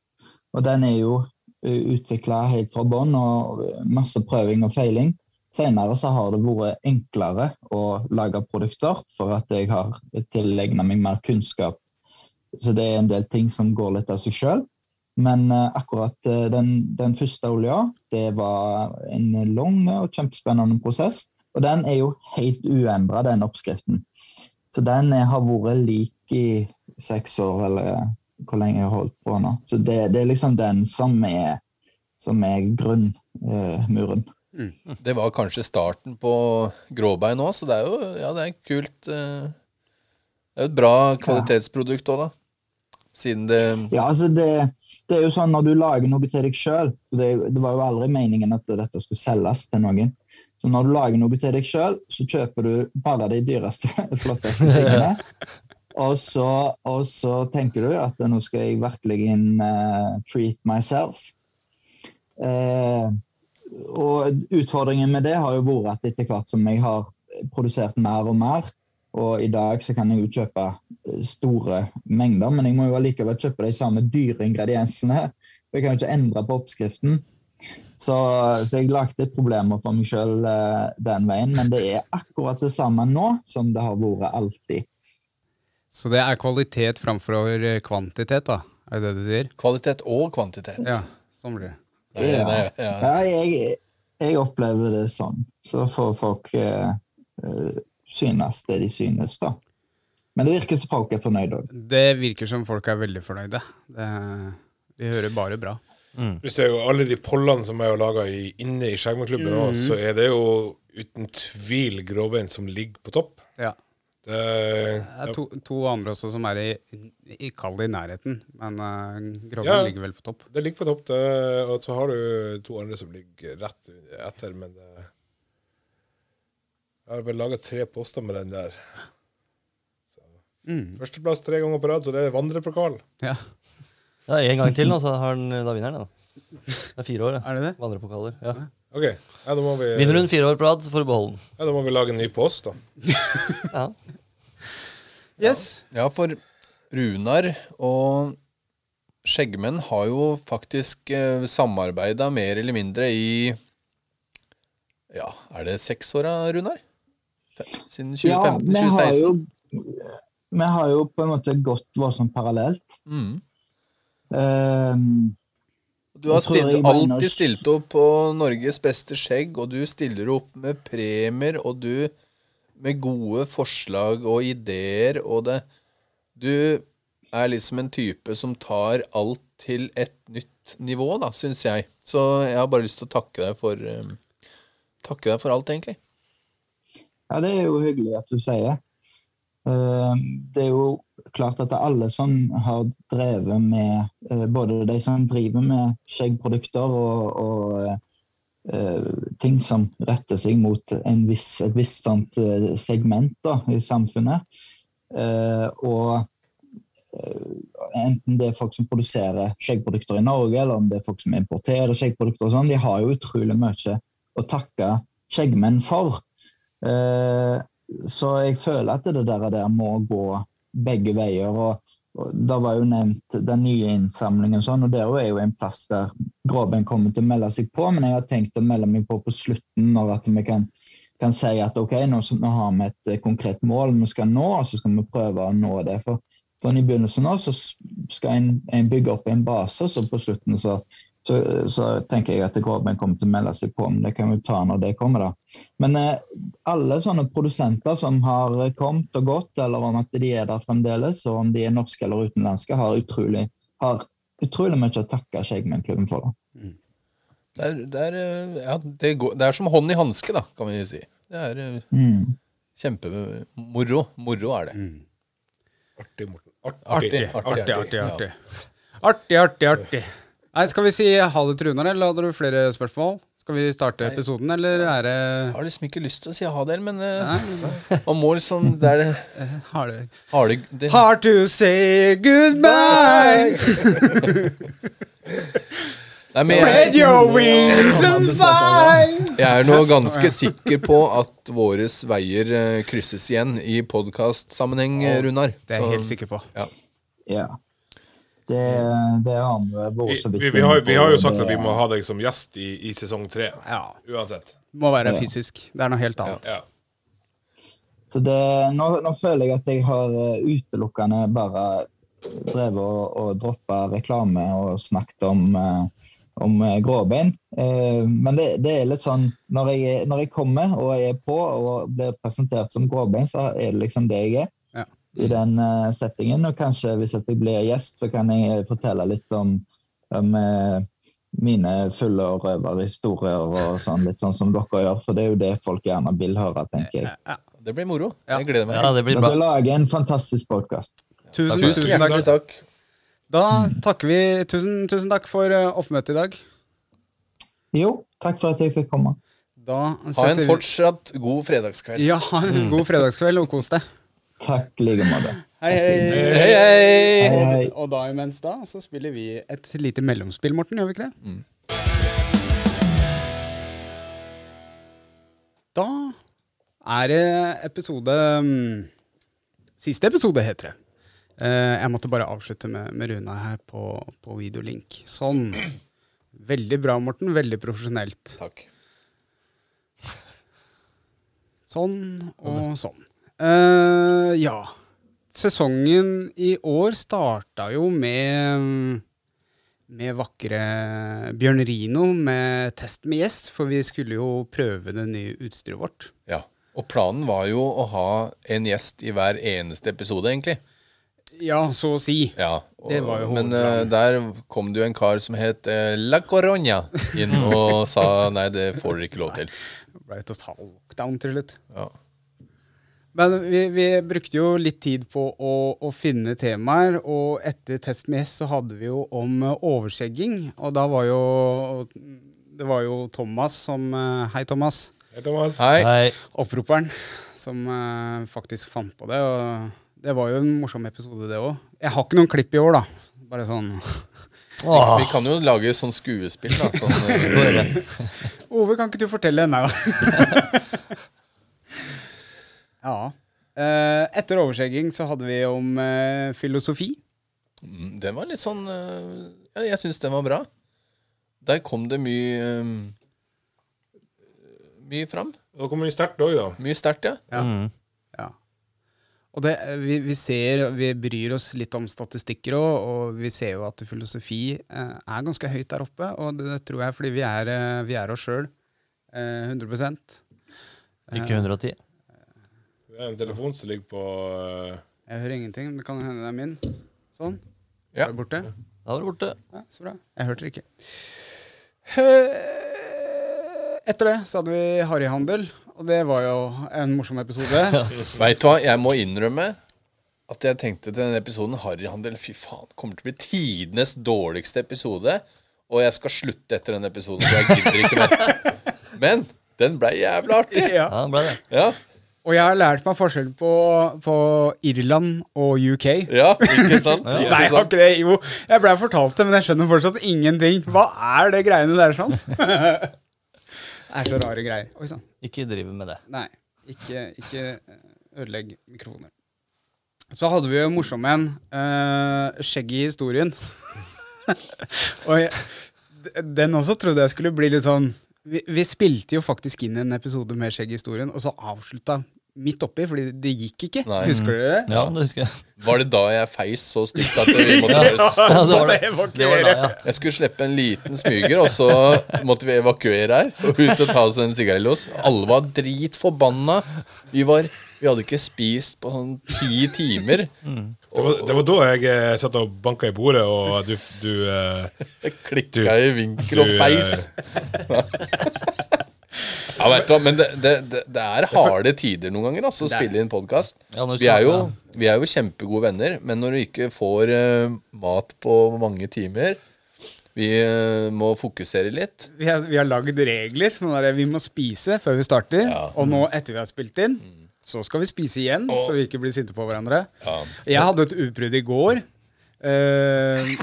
Speaker 6: Og den er jo utvikla helt fra bånn, og masse prøving og feiling. Senere så har det vært enklere å lage produkter, for at jeg har tilegna meg mer kunnskap. Så det er en del ting som går litt av seg sjøl. Men eh, akkurat eh, den, den første olja, det var en lang og kjempespennende prosess. Og den er jo helt uendra, den oppskriften. Så den eh, har vært lik i seks år, eller eh, hvor lenge jeg har holdt på nå. Så det, det er liksom den som er, som er grunnmuren.
Speaker 5: Det var kanskje starten på gråbein òg, så det er jo ja, det er kult eh, Det er jo et bra kvalitetsprodukt òg, da. Siden det
Speaker 6: Ja, altså det, det er jo sånn når du lager noe til deg sjøl det, det var jo aldri meningen at dette skulle selges til noen. Så når du lager noe til deg sjøl, så kjøper du bare de dyreste, flotteste tingene. Og så, og så tenker du at nå skal jeg virkelig inn eh, treat myself. Eh, og utfordringen med det har jo vært at etter hvert som jeg har produsert mer og mer, og i dag så kan jeg jo kjøpe store mengder, men jeg må jo allikevel kjøpe de samme dyre ingrediensene for Jeg kan jo ikke endre på oppskriften. Så, så jeg lagde et problem for meg sjøl den veien, men det er akkurat det samme nå som det har vært alltid.
Speaker 1: Så det er kvalitet framfor eh, kvantitet, da? Er det det du sier?
Speaker 5: Kvalitet og kvantitet.
Speaker 1: Ja, sånn blir det.
Speaker 5: Det er det, ja.
Speaker 6: Ja, jeg, jeg opplever det sånn. Så får folk eh, eh, synes det de synes, da. Men det virker som folk er fornøyd òg.
Speaker 1: Det virker som folk er veldig fornøyde. Det, de hører bare bra. Mm.
Speaker 3: Du ser jo alle de pollene som jeg har laga inne i Skjermklubben
Speaker 1: Mhm.
Speaker 3: nå, så er det jo uten tvil gråbein som ligger på topp.
Speaker 1: Ja.
Speaker 3: Det,
Speaker 1: Det er to, to andre også som er i, i kall det i nærheten, men uh,
Speaker 3: Ja.
Speaker 1: ligger vel på topp.
Speaker 3: det ligger på topp, det, og så har du to andre som ligger rett etter, men det Jeg har vel laga tre poster med den der.
Speaker 1: Mm.
Speaker 3: Førsteplass tre ganger på rad, så det er vandrepokal.
Speaker 1: Ja,
Speaker 2: Ja, En gang til, nå, så har han, da vinner han. da. Det er fire år,
Speaker 1: er det det?
Speaker 2: Vandrepokaler. Ja.
Speaker 3: OK, ja, da, må vi,
Speaker 2: Vinner hun fire år på rad, så får du beholde den.
Speaker 3: ja, da må vi lage en ny post, da.
Speaker 2: Ja.
Speaker 1: Yes.
Speaker 5: Ja, for Runar og Skjeggmenn har jo faktisk eh, samarbeida mer eller mindre i Ja, er det seks år da, Runar? Fe- Siden
Speaker 6: Ja,
Speaker 5: 2015?
Speaker 6: vi har
Speaker 5: 2016?
Speaker 6: jo vi har jo på en måte gått voldsomt parallelt.
Speaker 5: Mm.
Speaker 6: Ehm,
Speaker 5: Du har
Speaker 6: Jeg tror jeg
Speaker 5: stilt,
Speaker 6: mener-
Speaker 5: alltid stilt opp på Norges beste skjegg, og du stiller opp med premier, og du med gode forslag og ideer, og det Du er liksom en type som tar alt til et nytt nivå, da, syns jeg. Så jeg har bare lyst til å takke deg for eh, Takke deg for alt, egentlig.
Speaker 6: ja, det er jo hyggelig at du sier. Ehm, det er jo klart at det er alle som har drevet med eh, Både de som driver med skjeggprodukter og, og eh, eh, ting som retter seg mot en viss, et visst sånt eh, segment da, i samfunnet. Eh, og eh, enten det er folk som produserer skjeggprodukter i Norge, eller om det er folk som importerer skjeggprodukter og sånn, de har jo utrolig mye å takke skjeggmenn for. Eh, så jeg føler at det der, der må gå begge veier. og og Da var jo nevnt den nye innsamlingen, og sånn, og der er jo en plass der Gråbein kommer til å melde seg på. Men jeg har tenkt å melde meg på på slutten, når at vi kan, kan si at ok, nå, s- nå har vi et eh, konkret mål vi skal nå, og så skal vi prøve å nå det. For, for I begynnelsen nå så s- skal en, en bygge opp en base, og så på slutten så, så, så tenker jeg at Gråbein kommer til å melde seg på. Men det kan vi ta når det kommer, da. Men eh, alle sånne produsenter som har kommet og gått, eller om at de er der fremdeles, og om de er norske eller utenlandske, har utrolig, har utrolig mye å takke Skjeggmennklubben for. da.
Speaker 5: Det er, det er, eh, ja, det, går, det er som hånd i hanske, da, kan vi si. Det er eh,
Speaker 6: Mm.
Speaker 5: kjempemoro. Moro er det.
Speaker 3: Artig, Morten.
Speaker 5: Artig,
Speaker 1: Mm. Artig, artig,
Speaker 5: Ja.
Speaker 1: artig. Artig, artig, artig. Nei, Skal vi si ha det til Runar, eller hadde du flere spørsmål? Skal vi starte episoden, eller er det
Speaker 5: Jeg har liksom ikke lyst til å si ha det, men eh, man må liksom Det er det
Speaker 1: Har det
Speaker 5: Har du det,
Speaker 1: Hard to say goodbye.
Speaker 5: Nei, men
Speaker 1: Spread
Speaker 5: jeg,
Speaker 1: your wings and fly.
Speaker 5: jeg er nå ganske sikker på at våre veier eh, krysses igjen i podkastsammenheng, eh, Runar.
Speaker 1: Det er jeg
Speaker 5: Så-
Speaker 1: helt sikker på.
Speaker 5: Ja.
Speaker 6: Ja. Det, det har vi
Speaker 3: Vi,
Speaker 6: vært så vidt
Speaker 3: vi, vi, har, vi har jo sagt
Speaker 6: Det-
Speaker 3: at vi må ha deg som gjest i, i sesong tre.
Speaker 1: Ja.
Speaker 3: Uansett.
Speaker 1: Må være fysisk. Det er noe helt annet.
Speaker 3: Ja.
Speaker 6: Så det, nå, nå føler jeg at jeg har eh, utelukkende bare drevet og, og droppa reklame og snakket om, eh, om eh, gråbein. Eh, men det, det er litt sånn når jeg, er- når jeg kommer og er på og blir presentert som gråbein, så er det liksom det jeg er.
Speaker 1: Ja.
Speaker 6: I den eh, settingen. Og kanskje hvis at jeg blir gjest, så kan jeg eh, fortelle litt om, om eh, mine fulle og røverhistorier og sånn, litt sånn som dere gjør. For det er jo det folk gjerne vil høre, tenker jeg.
Speaker 5: Det blir moro.
Speaker 1: Ja.
Speaker 5: Jeg gleder meg.
Speaker 2: ja, det blir
Speaker 6: Dere
Speaker 2: bra.
Speaker 6: lager en fantastisk podkast.
Speaker 1: Tusen,
Speaker 2: Takk.
Speaker 1: tusen takk.
Speaker 5: takk.
Speaker 1: Da takker vi tusen, tusen takk for eh, oppmøtet i dag.
Speaker 6: Jo, takk for at jeg fikk komme.
Speaker 1: Da
Speaker 5: Ha en
Speaker 1: setter vi-
Speaker 5: fortsatt god fredagskveld.
Speaker 1: Ja, ha en god fredagskveld og kos deg.
Speaker 6: Takk i like måte.
Speaker 1: Hei, hei.
Speaker 5: Hei, hei!
Speaker 6: Hei, hei.
Speaker 1: Og da imens da, så spiller vi et lite mellomspill, Morten, gjør vi ikke det? Da er det episode mm, Siste episode, heter det. Eh, jeg måtte bare avslutte med, med Runar her på, på videolink. Sånn. Veldig bra, Morten. Veldig profesjonelt.
Speaker 5: Takk.
Speaker 1: Sånn og sånn. Eh, ja. Sesongen i år starta jo med med vakre Bjørn Rino med test med gjest, for vi skulle jo prøve det nye utstyret vårt.
Speaker 5: Ja. Og planen var jo å ha en gjest i hver eneste episode, egentlig.
Speaker 1: Ja, så å si.
Speaker 5: Ja, og,
Speaker 1: Det var jo
Speaker 5: Men
Speaker 1: hovedplanen.
Speaker 5: eh, der kom det jo en kar som het eh, La Coronia inn og sa nei, det får dere ikke lov til.
Speaker 1: Det ble jo total lockdown til slutt.
Speaker 5: Ja.
Speaker 1: Men vi, vi brukte jo litt tid på å, å finne temaer, og etter Test med gjest så hadde vi jo om eh, overskjegging, og da var jo Det var jo Thomas som eh, Hei, Thomas.
Speaker 3: Hei, Thomas.
Speaker 5: Hei.
Speaker 2: Nei,
Speaker 1: Opproperen som eh, faktisk fant på det. Og det var jo en morsom episode, det òg. Jeg har ikke noen klipp i år, da. Bare sånn Ah.
Speaker 2: Åh,
Speaker 5: Vi kan jo lage sånn skuespill, da. Sånn, eh,
Speaker 1: Ove, kan ikke du fortelle henne? ja. Eh, etter overskjegging så hadde vi om eh, filosofi.
Speaker 5: mm, den var litt sånn eh, Ja, jeg syns den var bra. Der kom det mye eh, Mye fram.
Speaker 3: Nå kommer vi sterkt òg, da.
Speaker 5: Mye sterkt, ja.
Speaker 1: Ja. Og det, eh, vi, vi ser, vi bryr oss litt om statistikker òg, og vi ser jo at filosofi eh, er ganske høyt der oppe. Og det, det tror jeg fordi vi er, eh, vi er oss sjøl. Eh, 100
Speaker 2: ikke 110.
Speaker 3: Det er en telefon som ligger på eh,
Speaker 1: Jeg hører ingenting, men det kan hende det er min. Sånn.
Speaker 5: Ja.
Speaker 1: Er det borte?
Speaker 2: Da var det borte.
Speaker 1: Ja, så bra. Jeg hørte det ikke. Eh, Etter det så hadde vi harryhandel, og det var jo en morsom episode.
Speaker 5: Veit du hva, jeg må innrømme at jeg tenkte til denne episoden Harryhandel, fy faen, kommer til å bli tidenes dårligste episode. Og jeg skal slutte etter den episoden, for jeg gidder ikke mer. Men den blei jævla artig.
Speaker 1: ja.
Speaker 2: Ja, ble det.
Speaker 5: Ja,
Speaker 1: Og jeg har lært meg forskjell på, på Irland og UK.
Speaker 5: ja ikke sant?
Speaker 1: Nei, jeg har ikke det. Jo, jeg blei fortalt det, men jeg skjønner fortsatt ingenting. Hva er det greiene der sånn? det er så rare greier. Oi sånn. sann.
Speaker 2: Ikke drive med det.
Speaker 1: Nei, ikke, ikke eh, ødelegg mikrofoner. Så hadde vi jo morsom en. eh, skjegg i historien. og jeg, d- den også trodde jeg skulle bli litt sånn vi, vi spilte jo faktisk inn en episode med skjegg i historien, og så avslutta midt oppi, fordi det gikk ikke.
Speaker 5: Nei.
Speaker 1: Husker dere det?
Speaker 2: Ja, det husker jeg.
Speaker 5: Var det da jeg feis så stygt at vi måtte
Speaker 2: Ja,
Speaker 5: evakuere?
Speaker 2: det var det.
Speaker 1: Det var ikke
Speaker 2: Det var da, ja.
Speaker 5: Jeg skulle slippe en liten smyger, og så måtte vi evakuere her. Og ut og ta oss en sigarillos. Alle var dritforbanna. Vi, var, vi hadde ikke spist på sånn ti timer.
Speaker 3: Det var, det var da jeg eh, satt og banka i bordet, og du, du eh,
Speaker 5: Jeg klikka i vinkel og
Speaker 3: du,
Speaker 5: feis. Ja, vet du hva, men det, det, det, det er harde tider noen ganger altså, å spille inn podkast.
Speaker 2: Ja, når du
Speaker 5: Vi, er
Speaker 2: skal-
Speaker 5: jo-
Speaker 2: ja.
Speaker 5: vi er jo kjempegode venner, men når du ikke får eh, mat på mange timer Vi eh, må fokusere litt.
Speaker 1: Vi har, vi har lagd regler. Sånn der, vi må spise før vi starter. Og nå, etter vi har spilt inn, så skal vi spise igjen, så vi ikke blir sinte på hverandre. Jeg hadde et utbrudd i går. eh,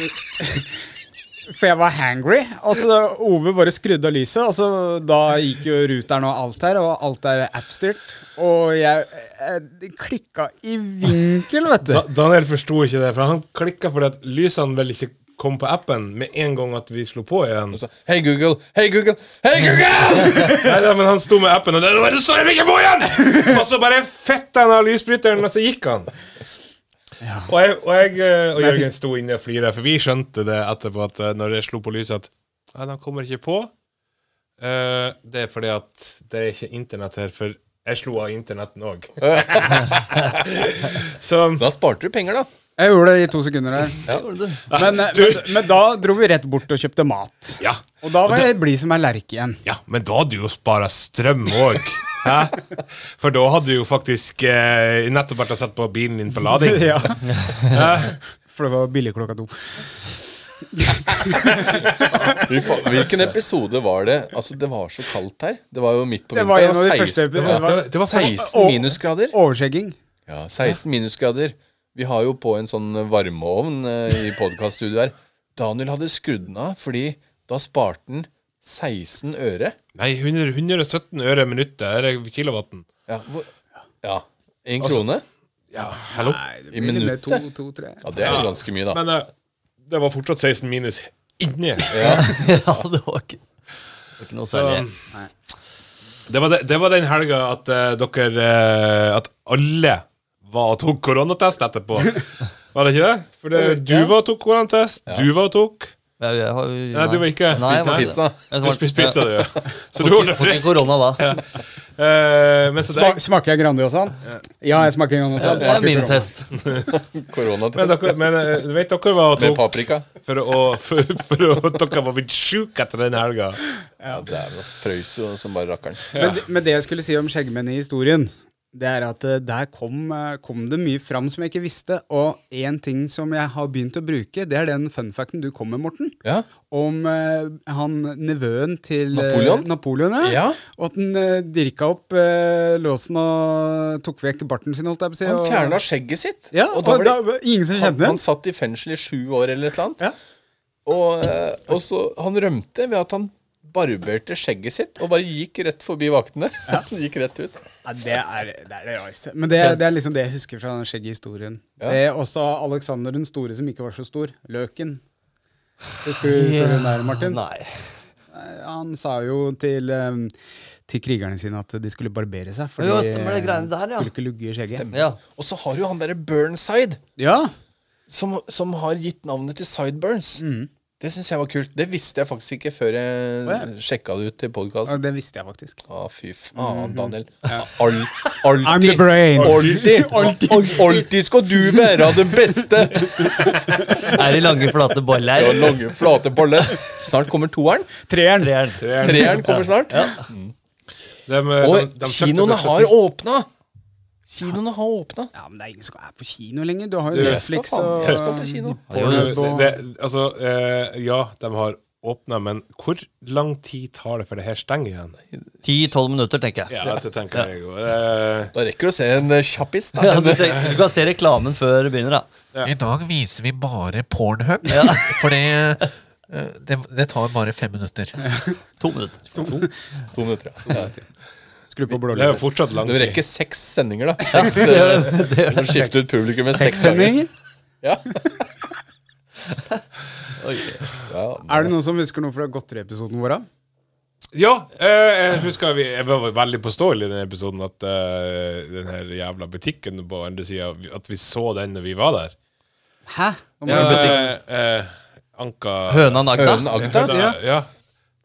Speaker 1: for jeg var hangry. Og så Ove bare skrudde av lyset, og så da gikk jo ruteren og alt her, og alt er appstyrt. Og jeg, jeg klikka i vinkel, vet du.
Speaker 3: da, Daniel forsto ikke det, for han klikka fordi at lysene vel ikke kom på appen med en gang at vi slo på igjen.
Speaker 5: Så, Hei, Google! Hei, Google! Hei, Google!
Speaker 3: Nei, nei, men han sto med appen, og der var det står jeg ikke på igjen! Og så bare fetta han av lysbryteren, og så gikk han. Og jeg og, jeg, eh, og Jørgen sto inne og flira, for vi skjønte det etterpå at eh, når jeg slo på lyset, at ja, han kommer ikke på. Eh, det er fordi at det er ikke internett her, for jeg slo av internetten òg. så
Speaker 5: Da sparte du penger, da.
Speaker 1: Jeg gjorde det i to sekunder her. Men, eh, men, men da dro vi rett bort og kjøpte mat.
Speaker 3: ja.
Speaker 1: Og da var jeg blid som ei lerke igjen.
Speaker 3: Ja, men da hadde du jo spara strøm òg. For da hadde du jo faktisk eh, nettopp vært og satt på bilen din på lading.
Speaker 1: Ja. For det var billig klokka to.
Speaker 5: Fy faen, Hvilken episode var det? Altså, Det var så kaldt her. Det var jo midt på
Speaker 1: Det var en
Speaker 5: vinteren.
Speaker 1: av de
Speaker 5: 16
Speaker 1: første epi-
Speaker 5: det var-
Speaker 1: det var-
Speaker 5: det var 16
Speaker 1: Og-
Speaker 5: minusgrader.
Speaker 1: Overskjegging.
Speaker 5: Ja, 16 minusgrader. Vi har jo på en sånn varmeovn eh, i podkaststudioet her. Daniel hadde skrudd den av, fordi da sparte han 16 øre.
Speaker 3: Nei, 100, 117 øre minuttet er det kilowatten.
Speaker 5: Ja, hvor, ja. En krone?
Speaker 3: Ja, hallo?
Speaker 1: Nei, det
Speaker 5: I
Speaker 1: blir vel
Speaker 5: minuttet?
Speaker 1: to, to, tre.
Speaker 5: Ja, det er jo ganske mye, da.
Speaker 3: Men eh, det var fortsatt 16 minus eh, inni.
Speaker 2: ja, det var ikke, det var ikke noe
Speaker 3: Så,
Speaker 2: særlig.
Speaker 3: det, var de, det var den helga at eh, dere eh, At alle var og tok koronatest etterpå. Var det ikke det? For det, du
Speaker 5: Ja.
Speaker 3: var og tok koronatest. Du var og tok.
Speaker 2: Jeg, jeg har, jo-
Speaker 3: Nei, du var ikke.
Speaker 2: Nei, jeg
Speaker 3: Spiste
Speaker 2: var-
Speaker 5: pizza.
Speaker 2: jeg
Speaker 3: Du
Speaker 2: var-
Speaker 3: spiste pizza,
Speaker 2: jeg-
Speaker 3: du. Så
Speaker 2: Får
Speaker 3: du
Speaker 2: ikke-
Speaker 3: holdt deg
Speaker 2: får ikke
Speaker 3: frisk.
Speaker 2: korona da.
Speaker 3: Eh, men, så det,
Speaker 1: Sma- Smaker jeg Grandiosaen? Ja, jeg smaker Grandiosaen.
Speaker 2: Det er min test.
Speaker 3: men,
Speaker 5: Koronatest
Speaker 3: dere, men eh, vet dere hva og
Speaker 5: med
Speaker 3: tok
Speaker 5: paprika.
Speaker 3: for å, for, for å Dere var blitt sjuke etter den helga.
Speaker 5: Ja, Dæven, altså. Frøys jo som bare rakkeren.
Speaker 1: Men, det- men det jeg skulle si om skjeggmenn i historien, det er at eh, der kom, eh, kom det mye fram som jeg ikke visste. Og én ting som jeg har begynt å bruke, det er den funfacten du kom med, Morten.
Speaker 5: Ja.
Speaker 1: Om eh, han nevøen til eh,
Speaker 5: Napoleon?
Speaker 1: Napoleon ja.
Speaker 5: Ja.
Speaker 1: Og at han eh, dirka opp eh, låsen og tok vekk barten sin, holdt jeg på å si.
Speaker 5: Han
Speaker 1: og-
Speaker 5: fjerna skjegget sitt.
Speaker 1: ja,
Speaker 5: og da var det
Speaker 1: ingen som
Speaker 5: han,
Speaker 1: kjente
Speaker 5: han
Speaker 1: den.
Speaker 5: satt i fengsel i sju år eller et eller annet.
Speaker 1: Ja.
Speaker 5: Og, eh, og så han rømte ved at han barberte skjegget sitt og bare gikk rett forbi vaktene. gikk rett ut.
Speaker 1: Ja, det, er, det er det rareste. Men det, det er liksom det jeg husker fra den skjegghistorien.
Speaker 5: Ja.
Speaker 1: Det er også Alexander den store som ikke var så stor. Løken. Husker du historien der, Martin?
Speaker 2: Nei.
Speaker 1: Han sa jo til, eh, til krigerne sine at de skulle barbere seg. For
Speaker 2: Jo,
Speaker 1: de
Speaker 2: stemmer det greiene der, ja.
Speaker 1: skulle ikke lugge i skjegget.
Speaker 2: Ja.
Speaker 5: Og så har du han derre Burnside,
Speaker 1: Ja,
Speaker 5: som, som har gitt navnet til Sideburns. Det syns jeg var kult. Det visste jeg faktisk ikke før jeg
Speaker 1: Å,
Speaker 5: sjekka det ut til
Speaker 1: og
Speaker 5: podkasten.
Speaker 1: det visste jeg faktisk.
Speaker 5: Å, fy faen, Daniel. Al alltid.
Speaker 1: I'm the brain.
Speaker 5: Alltid. Alltid. Alltid skal du være det beste.
Speaker 2: Er det lange, flate
Speaker 5: Ja,
Speaker 2: boller?
Speaker 5: lange, flate boller. Snart kommer toeren.
Speaker 1: Treeren.
Speaker 2: Treeren.
Speaker 5: Treeren kommer snart.
Speaker 3: De, eh,
Speaker 5: Og
Speaker 3: de- de kjøpte
Speaker 5: kinoene
Speaker 3: det-
Speaker 5: har åpna! Kinoene har åpna.
Speaker 1: Ja, men det er ingen som er på kino lenger. Du har
Speaker 3: Du,
Speaker 1: jo
Speaker 3: jeg
Speaker 1: Netflix
Speaker 5: Faen,
Speaker 1: og
Speaker 5: jeg skal på kino.
Speaker 2: Jo,
Speaker 3: Det,
Speaker 2: det-
Speaker 3: det, altså, eh, ja, de har åpna, men hvor lang tid tar det før det her stenger igjen?
Speaker 2: 10-12 minutter, tenker jeg.
Speaker 3: Ja, det tenker jeg òg. Eh,
Speaker 5: Da rekker du å se en eh, kjappis. Da.
Speaker 2: Ja, du, ser- du kan se reklamen før det begynner, da.
Speaker 7: I dag viser vi bare Pornhub, for det, eh, det, det tar bare fem minutter.
Speaker 2: To minutter.
Speaker 5: To minutter, ja.
Speaker 1: Skru på
Speaker 3: det er jo
Speaker 1: blålyset.
Speaker 3: fortsatt lang
Speaker 5: Du
Speaker 3: tid.
Speaker 5: rekker seks sendinger, da. Seks, eh, du må skifte ut publikum med seks ganger.
Speaker 1: Sendinger?
Speaker 5: Ja.
Speaker 2: Oi.
Speaker 5: Ja.
Speaker 1: Er det noen som husker noe fra Godteri-episoden vår? da?
Speaker 3: Ja, eh, jeg husker vi jeg var veldig påståelig i den episoden at eh, den her jævla butikken på andre sida At vi så den når vi var der.
Speaker 1: Hæ? Nå må
Speaker 3: Ja,
Speaker 1: jeg-
Speaker 3: eh, eh, Anka
Speaker 2: Høna
Speaker 5: Hønen
Speaker 2: Nagda.
Speaker 5: Agda.
Speaker 3: ja. ja.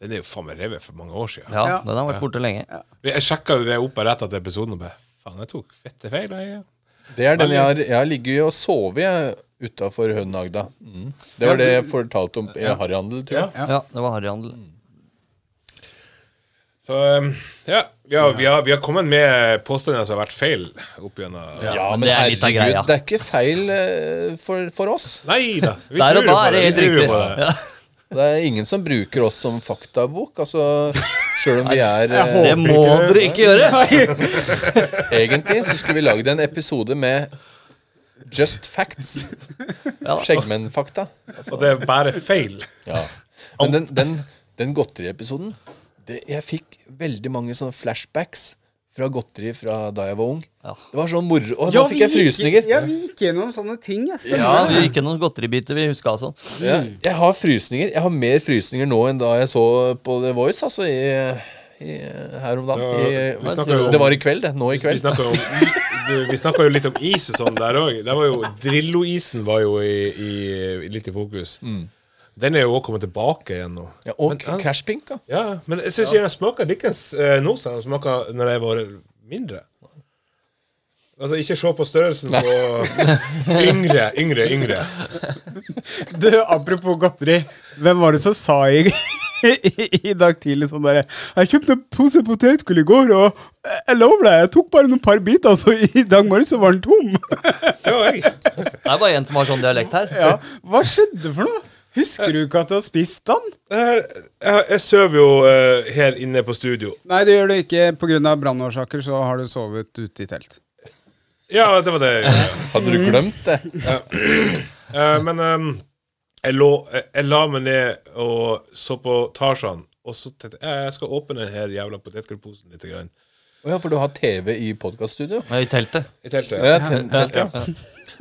Speaker 3: Den er jo faen meg revet for mange år siden.
Speaker 2: Ja, den har vært borte lenge.
Speaker 3: Jeg sjekka jo det opp her rett etter episoden og bare Faen, jeg tok fette feil. Jeg.
Speaker 5: Det er den jeg har, jeg har ligget og sovet utafor Hønen Agda. Mm. Det var det jeg fortalte om i harryhandel, tror jeg.
Speaker 2: Ja, det var harryhandel.
Speaker 3: Så um, ja, vi har, vi, har, vi har kommet med påstander som har vært feil opp gjennom
Speaker 5: Ja,
Speaker 2: men det er litt av
Speaker 5: herregud,
Speaker 2: greia.
Speaker 5: Det er ikke feil eh, for, for oss.
Speaker 3: Nei da! Vi
Speaker 2: Der og
Speaker 3: tror jo
Speaker 2: da
Speaker 3: på
Speaker 2: er det helt
Speaker 3: vi tror
Speaker 2: riktig.
Speaker 3: jo på det.
Speaker 2: Ja.
Speaker 5: Det er ingen som bruker oss som faktabok, altså Sjøl om vi er eh,
Speaker 2: Det må dere ikke gjøre!
Speaker 5: Egentlig så skulle vi lagd en episode med Just facts.
Speaker 2: Ja.
Speaker 5: Skjeggmennfakta.
Speaker 3: Og det er bare feil.
Speaker 5: Ja. Men den, den, den godteriepisoden det- Jeg fikk veldig mange sånne flashbacks fra godteri fra da jeg var ung.
Speaker 2: Ja.
Speaker 5: Det var sånn moro. Å, nå
Speaker 1: vi
Speaker 5: fikk jeg
Speaker 1: gikk-
Speaker 5: frysninger.
Speaker 1: Ja, vi gikk gjennom sånne ting. Ja, stemmer
Speaker 2: Ja,
Speaker 1: det.
Speaker 2: det gikk noen godteribiter vi huska sånn.
Speaker 5: Ja, jeg har frysninger. Jeg har mer frysninger nå enn da jeg så på The Voice, altså i, i her om dagen.
Speaker 3: Ja,
Speaker 5: I,
Speaker 3: vi snakker jo om-
Speaker 5: det var i kveld, det. Nå i
Speaker 3: Vi
Speaker 5: kveld.
Speaker 3: snakka jo, du, vi snakket jo litt om is og sånn der òg. Drillo-isen var jo i, i, litt i fokus. Den er jo også kommet tilbake igjen nå.
Speaker 5: Ja, og
Speaker 3: Men, ja.
Speaker 5: Crash Pink, da.
Speaker 3: Ja, Men jeg syns ikke den smaker likens eh, nå som den smaker når jeg var mindre. Altså, ikke se på størrelsen på yngre, yngre, yngre.
Speaker 1: Du, apropos godteri. Hvem var det som sa i, i, i dag tidlig sånn derre 'Jeg kjøpte en pose potetgull i går, og jeg- jeg lover deg, jeg tok bare noen par biter, så i dag morges så var den tom'.
Speaker 3: Det var jeg.
Speaker 2: Det er bare en som har sånn dialekt her.
Speaker 1: Ja, Hva skjedde for noe? Husker du ikke at du har spist den?
Speaker 3: Jeg, jeg, jeg sover jo eh, her inne på studio.
Speaker 1: Nei, det gjør du ikke. Pga. brannårsaker så har du sovet ute i telt.
Speaker 3: Ja, det var det. jeg gjorde.
Speaker 5: Hadde du glemt det?
Speaker 3: Eh, men ehm, jeg, lå, jeg, jeg la meg ned og så på Tarzan, og så tenkte jeg jeg skal åpne denne jævla potetgullposen litt. Grann.
Speaker 5: Å ja, for du har TV i podkaststudio?
Speaker 2: Men I teltet.
Speaker 3: I teltet.
Speaker 5: Ja, te- telt, ja.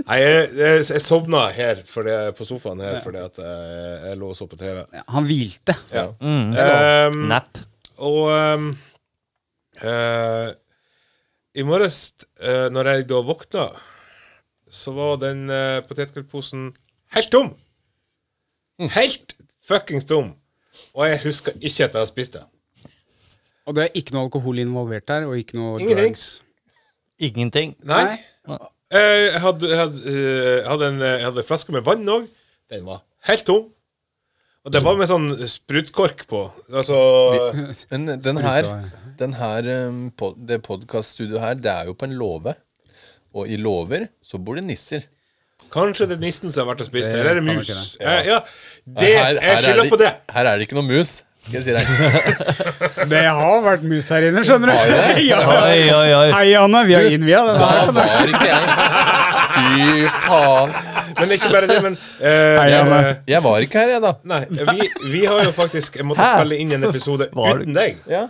Speaker 3: Nei, jeg, jeg, jeg sovna her fordi, på sofaen her fordi at jeg, jeg lå og så på TV.
Speaker 1: Ja, han hvilte.
Speaker 3: Ja. Ehm,
Speaker 2: Nap.
Speaker 3: og ehm, eh, i morges, eh, når jeg da våkna, så var den uh, potetgullposen helt tom. Mm. Helt fuckings tom. Og jeg husker ikke at jeg har spist det.
Speaker 1: Og det er ikke noe alkohol involvert her, og ikke noe
Speaker 3: Ingenting.
Speaker 1: drugs.
Speaker 2: Ingenting.
Speaker 3: Nei.
Speaker 1: Nei.
Speaker 3: Eh, Jeg hadde, jeg hadde, eh, jeg hadde, en, eh, jeg hadde en flaske med vann òg. Den var helt tom. Og det var med sånn sprutkork på. Altså
Speaker 5: Men den her, den her um, pod, det podkaststudioet her, det er jo på en låve. Og i låver så bor det nisser.
Speaker 3: Kanskje det er nissen som har vært og spist det,
Speaker 1: Det
Speaker 3: eller er det
Speaker 1: kan
Speaker 3: mus?
Speaker 1: være
Speaker 3: Ja, ja. Det,
Speaker 5: Her- her er
Speaker 3: jeg skylder på det.
Speaker 5: Her er det ikke noe mus, skal jeg si deg.
Speaker 1: Det har vært mus her inne, skjønner du. ja.
Speaker 2: Oi, oi, oi.
Speaker 1: Hei, Anne. Vi har innvia den
Speaker 5: Da
Speaker 1: her. på deg.
Speaker 5: var ikke jeg Fy faen.
Speaker 3: Men ikke bare det, men eh,
Speaker 1: Hei, Anne.
Speaker 3: eh,
Speaker 5: Jeg var ikke her, jeg, da.
Speaker 3: Nei, vi, vi har jo faktisk måttet spille inn en episode
Speaker 2: Var det-
Speaker 3: uten deg.
Speaker 5: Ja.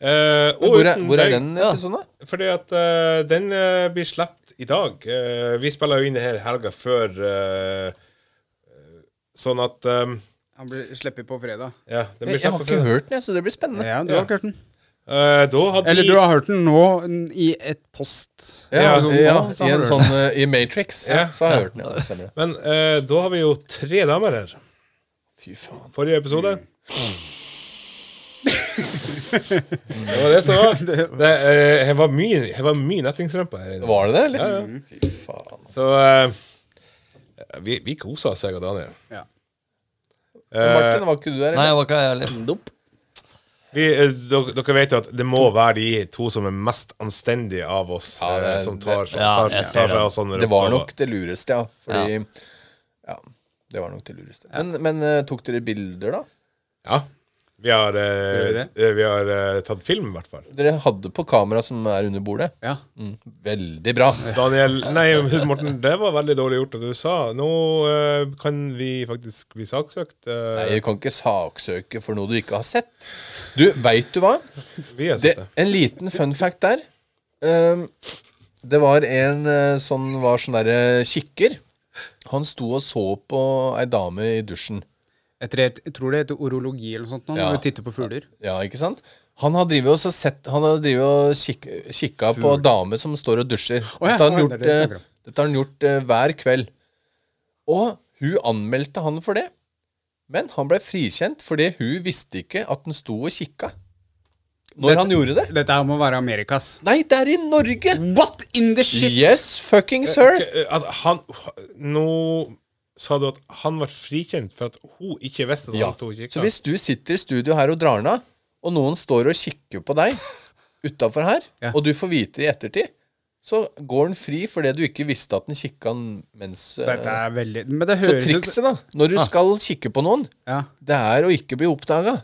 Speaker 3: Eh, og
Speaker 5: Hvor, er,
Speaker 3: uten
Speaker 5: hvor er
Speaker 3: deg,
Speaker 5: den episoden, da?
Speaker 3: Fordi at eh, den eh, blir sluppet i dag. Eh, vi spiller jo inn her helga før eh, Sånn at eh,
Speaker 1: Han blir slipper på fredag.
Speaker 3: Ja, den blir
Speaker 5: Jeg, jeg har
Speaker 3: sluppet
Speaker 5: ikke
Speaker 3: før.
Speaker 5: hørt den, jeg, så det blir spennende.
Speaker 1: Ja, du har ikke hørt den.
Speaker 3: Eh, da hadde
Speaker 1: Eller
Speaker 3: vi-
Speaker 1: du har hørt den nå n- i et post.
Speaker 5: Ja,
Speaker 3: Ja,
Speaker 5: ja,
Speaker 1: sånn, nå, så
Speaker 5: I
Speaker 1: har
Speaker 5: en
Speaker 1: du
Speaker 5: sånn eh, I Matrix,
Speaker 3: Ja.
Speaker 5: så har jeg hørt den. Ja, det stemmer. det.
Speaker 3: Men eh, da har vi jo tre damer her.
Speaker 5: Fy faen. Mm.
Speaker 3: Forrige episode. det var det som var. Det, eh, jeg var mye, jeg var mye nettingsrømpe her inne.
Speaker 5: Var det det, eller?
Speaker 3: Ja, ja.
Speaker 5: Fy faen.
Speaker 3: Så eh, vi, vi kosa oss, jeg og Daniel.
Speaker 1: Ja.
Speaker 3: Eh,
Speaker 5: Martin, var ikke du
Speaker 2: Nei,
Speaker 5: der? eller?
Speaker 2: jeg var ikke ærlig. Dump.
Speaker 3: vi, eh, dere, dere vet jo at det må være de to som er mest anstendige av oss,
Speaker 5: Ja, det-
Speaker 3: eh, som tar, som
Speaker 2: Ja,
Speaker 3: tar,
Speaker 2: jeg
Speaker 3: tar,
Speaker 2: ser det.
Speaker 3: fra oss sånne
Speaker 5: Det var
Speaker 3: oppgaver.
Speaker 5: nok det lureste, ja. Fordi Ja, det var nok det lureste. Men, men eh, tok dere bilder, da?
Speaker 3: Ja. Vi har, eh,
Speaker 1: Gjorde
Speaker 3: eh, vi har eh, tatt film, i hvert fall.
Speaker 5: Dere hadde på kamera som er under bordet.
Speaker 1: Ja.
Speaker 5: Mm, veldig bra.
Speaker 3: Daniel, nei, Morten, det var veldig dårlig gjort det du sa. Nå eh, kan vi faktisk bli saksøkt.
Speaker 5: Nei,
Speaker 3: eh,
Speaker 5: jeg kan ikke saksøke for noe du ikke har sett. Du, veit du hva?
Speaker 3: vi har
Speaker 5: Det,
Speaker 3: sett det.
Speaker 5: en liten fun fact der. Ehm, det var en eh, som var sånn derre kikker. Han sto og så på ei dame i dusjen.
Speaker 1: Jeg tror, jeg tror det heter orologi eller noe sånt nå,
Speaker 5: Ja.
Speaker 1: når du titter på fugler.
Speaker 5: Ja, ikke sant? Han har drivet og, så sett, han har drivet og kikk, kikka på dame som står og dusjer.
Speaker 1: Å ja,
Speaker 5: Dette
Speaker 1: å,
Speaker 5: har han gjort,
Speaker 1: det er det jeg snakker
Speaker 5: eh,
Speaker 1: om.
Speaker 5: dette har han gjort eh, hver kveld. Og hun anmeldte han for det. Men han ble frikjent fordi hun visste ikke at han sto og kikka. Når
Speaker 1: Dette-
Speaker 5: han gjorde det.
Speaker 1: Dette her må være Amerikas.
Speaker 5: Nei, det er i Norge!
Speaker 1: What in the shit?
Speaker 5: Yes, fucking sir!
Speaker 3: Ok, eh, At han, nå sa du at han ble frikjent for at hun ikke visste at
Speaker 5: Ja.
Speaker 3: han sto og
Speaker 5: Så
Speaker 3: kikka.
Speaker 5: hvis du sitter i studio her og drar den av, og noen står og kikker på deg utafor her,
Speaker 1: Ja.
Speaker 5: og du får vite i ettertid, så går den fri fordi du ikke visste at den kikka den mens
Speaker 1: Dette
Speaker 5: eh,
Speaker 1: er veldig Men det
Speaker 5: Så
Speaker 1: høres Ah.
Speaker 5: trikset, da, når du skal kikke på noen,
Speaker 1: Ja.
Speaker 5: det er å ikke bli oppdaga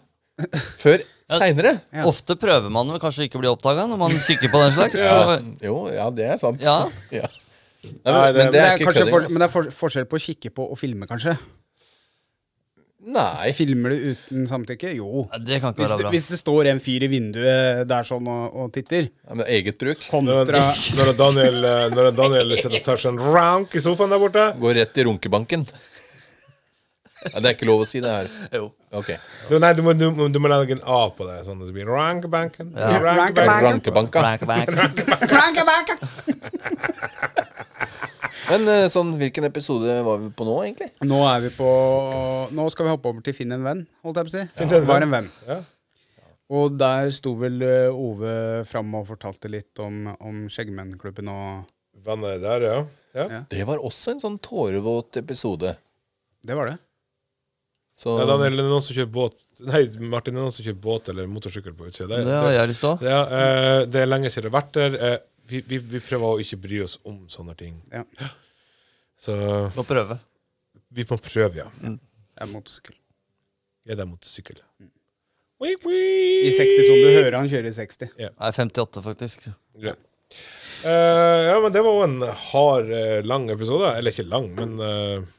Speaker 5: før seinere.
Speaker 1: Ja.
Speaker 2: Ofte prøver man vel kanskje ikke å bli oppdaga når man kikker på den slags.
Speaker 5: Ja.
Speaker 2: Så-
Speaker 5: Jo, ja, det er sant.
Speaker 2: Ja.
Speaker 5: Ja. Nei, men,
Speaker 3: Nei, det-
Speaker 5: men det
Speaker 1: Det
Speaker 5: er
Speaker 1: er
Speaker 5: ikke
Speaker 1: kanskje
Speaker 5: kødding.
Speaker 1: for,
Speaker 5: ass.
Speaker 1: men det er for, forskjell på å kikke på og filme, kanskje.
Speaker 5: Nei.
Speaker 1: Eh, Filmer du uten samtykke? Jo.
Speaker 2: Nei, Det kan ikke
Speaker 1: Hvis,
Speaker 2: være
Speaker 1: du,
Speaker 2: bra.
Speaker 1: hvis det står en fyr i vinduet der sånn og, og titter,
Speaker 5: Ja, men eget bruk.
Speaker 3: Når,
Speaker 1: kontra
Speaker 3: han, når, han Daniel, eh, når han Daniel sitter og tar seg en rank i sofaen der borte
Speaker 5: Går rett i runkebanken. Ja, det er ikke lov å si det her. Ok.
Speaker 3: du, Nei, du må, du, må- du må legge en A på det, sånn at det blir rank-banken.
Speaker 1: Rank-banken.
Speaker 5: Rankebanka.
Speaker 2: Back, back.
Speaker 5: Men eh, sånn, hvilken episode var vi på nå, egentlig?
Speaker 1: Nå er vi på Nå skal vi hoppe over til Finn en venn, holdt jeg på å si.
Speaker 3: Finn en
Speaker 1: Var
Speaker 3: venn.
Speaker 1: en venn.
Speaker 3: Ja.
Speaker 1: Og der sto vel eh, Ove fram og fortalte litt om, om Skjeggmennklubben og
Speaker 3: Vannet der, ja. Ja.
Speaker 1: Ja.
Speaker 5: Det var også en sånn tårevåt episode.
Speaker 1: Det var det.
Speaker 5: Så
Speaker 3: Ja, Daniel, det er noen som kjører båt Nei, Martin, det er noen som kjører båt eller motorsykkel på utsida.
Speaker 2: Det har jeg lyst til òg.
Speaker 3: Ja, eh, det er lenge siden det har vært der. Eh, vi, vi, vi prøver å ikke bry oss om sånne ting.
Speaker 1: Ja.
Speaker 3: Så
Speaker 2: Må prøve.
Speaker 3: vi må prøve, ja.
Speaker 1: Mm. Det er motorsykkel.
Speaker 3: Jeg er der mot sykkel.
Speaker 1: Mm. I 60 som du hører han kjører i 60.
Speaker 2: Nei, 58, faktisk.
Speaker 3: Ja. Eh, ja, men det var jo en hard, eh, lang episode. Eller ikke lang, men eh,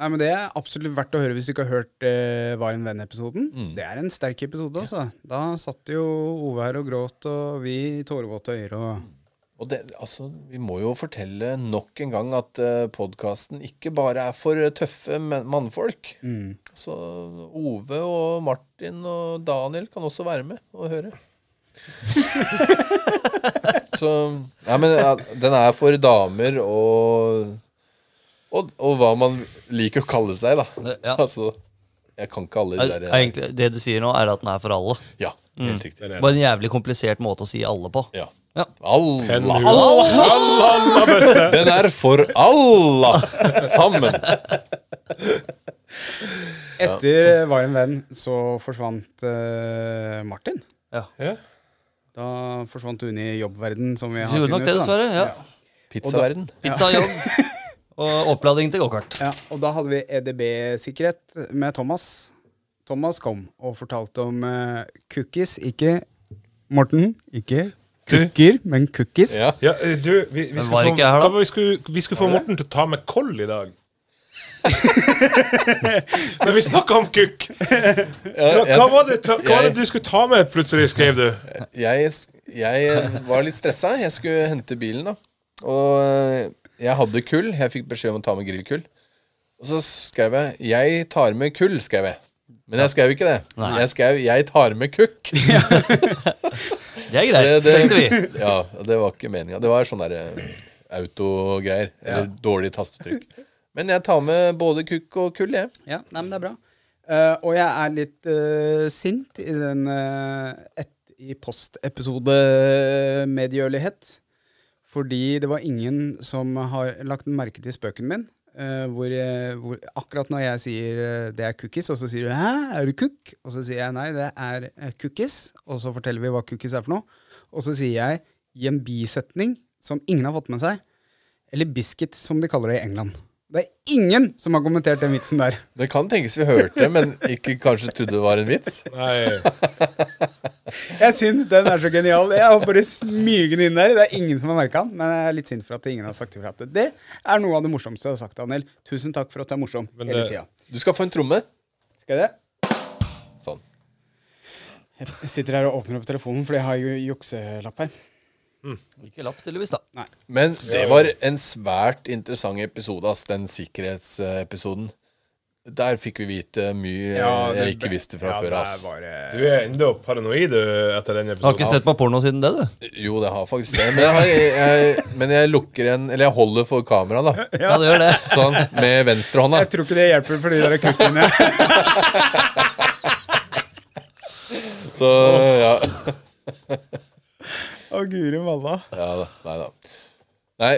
Speaker 1: Nei, men Det er absolutt verdt å høre hvis du ikke har hørt eh, Var en venn-episoden.
Speaker 2: Mm.
Speaker 1: Det er en sterk episode. altså. Da satt jo Ove her og gråt, og vi i tårevåte øyne. Og...
Speaker 5: Og det, altså, vi må jo fortelle nok en gang at uh, podkasten ikke bare er for eh, tøffe men- mannfolk. Så Ove og Martin og Daniel kan også være med og høre. Så Nei, men ja, den er for damer og, og Og hva man liker å kalle seg, da.
Speaker 2: Ja.
Speaker 5: Altså Jeg kan ikke alle de
Speaker 2: Er, er
Speaker 5: der eh,
Speaker 2: egentlig, det du sier nå, er at den er for alle.
Speaker 5: Ja, helt riktig.
Speaker 2: Mm. Bare en jævlig komplisert måte å si alle på.
Speaker 5: Ja.
Speaker 2: Ja.
Speaker 5: Allah.
Speaker 3: Hen, hun, Allah beste!
Speaker 5: Den er for alla sammen.
Speaker 1: Etter eh, Var en venn så forsvant eh, Martin.
Speaker 2: Ja.
Speaker 3: Ja.
Speaker 1: Da forsvant hun i jobbverden, som vi har
Speaker 2: Gjorde nok det,
Speaker 1: da.
Speaker 2: dessverre. Ja.
Speaker 5: Pizzaverden.
Speaker 2: Pizza, jobb og opplading til gokart.
Speaker 1: Ja, og da hadde vi EDB-sikkerhet med Thomas. Thomas kom og fortalte om eh, cookies, ikke Morten, ikke kukker, men cookies.
Speaker 5: Ja.
Speaker 3: Ja, eh, du, vi, vi,
Speaker 2: var
Speaker 3: skulle få,
Speaker 2: ikke her, da?
Speaker 3: hva var vi, skulle, vi skulle få Morten til å ta med koll i dag. Men vi snakka om kukk! Hva, hva, var det, ta, hva var det du skulle ta med, plutselig, skrev du?
Speaker 5: jeg, jeg var litt stressa. Jeg skulle hente bilen, da. Og eh, jeg hadde kull. Jeg fikk beskjed om å ta med grillkull. Og så skrev jeg 'Jeg tar med kull', skrev jeg. Men jeg skrev ikke det. Jeg skrev 'Jeg tar med kukk'.
Speaker 2: Det er greit, tenkte vi.
Speaker 5: Ja, det var ikke meninga. Det var sånn der eh, autogreier. Eller dårlig tastetrykk. Men jeg tar med både kukk og kull, jeg.
Speaker 1: Ja, nei, men det er bra. Eh, og jeg er litt eh, sint i den uh, et i post-episode-medgjørlighet. Fordi det var ingen som har lagt merke til spøken min. eh, hvor, jeg- hvor akkurat når jeg sier eh, det er cookies, og så sier du 'hæ, er du cook?' Og så sier jeg nei, det er eh, cookies, og så forteller vi hva cookies er for noe. Og så sier jeg i en bisetning som ingen har fått med seg, eller biscuit, som de kaller det i England. Det er ingen som har kommentert den vitsen der.
Speaker 5: Det kan tenkes vi hørte, men ikke kanskje trodde det var en vits.
Speaker 3: Nei,
Speaker 1: Jeg syns den er så genial. Jeg har bare smyger den inn der. Det er ingen som har merka den, men jeg er litt sint for at ingen har sagt ifra. at Det Det er noe av det morsomste jeg har sagt, Daniel. Tusen takk for at du er morsom
Speaker 3: Men
Speaker 1: hele
Speaker 3: det-
Speaker 1: tida.
Speaker 5: Du skal få en tromme.
Speaker 1: Skal jeg det?
Speaker 5: Sånn.
Speaker 1: Jeg sitter her og åpner opp telefonen, for jeg har jo jukselapp her.
Speaker 2: Ikke lapp, tydeligvis, da.
Speaker 5: Men det var en svært interessant episode, ass, den sikkerhetsepisoden. Der fikk vi vite mye jeg ikke visste fra før. ass.
Speaker 3: du er ennå paranoid du, etter den
Speaker 2: Du har ikke
Speaker 3: episoden.
Speaker 2: sett på porno siden det, du?
Speaker 5: Jo, det har faktisk det. Men jeg, har- jeg, jeg, men jeg lukker en Eller jeg holder for kameraet, da.
Speaker 2: Ja, det gjør det.
Speaker 5: Sånn, med venstrehånda.
Speaker 1: Jeg tror ikke det hjelper for de der kukkene.
Speaker 5: Så ja.
Speaker 1: Å, guri malla.
Speaker 5: ja da, nei da. Nei,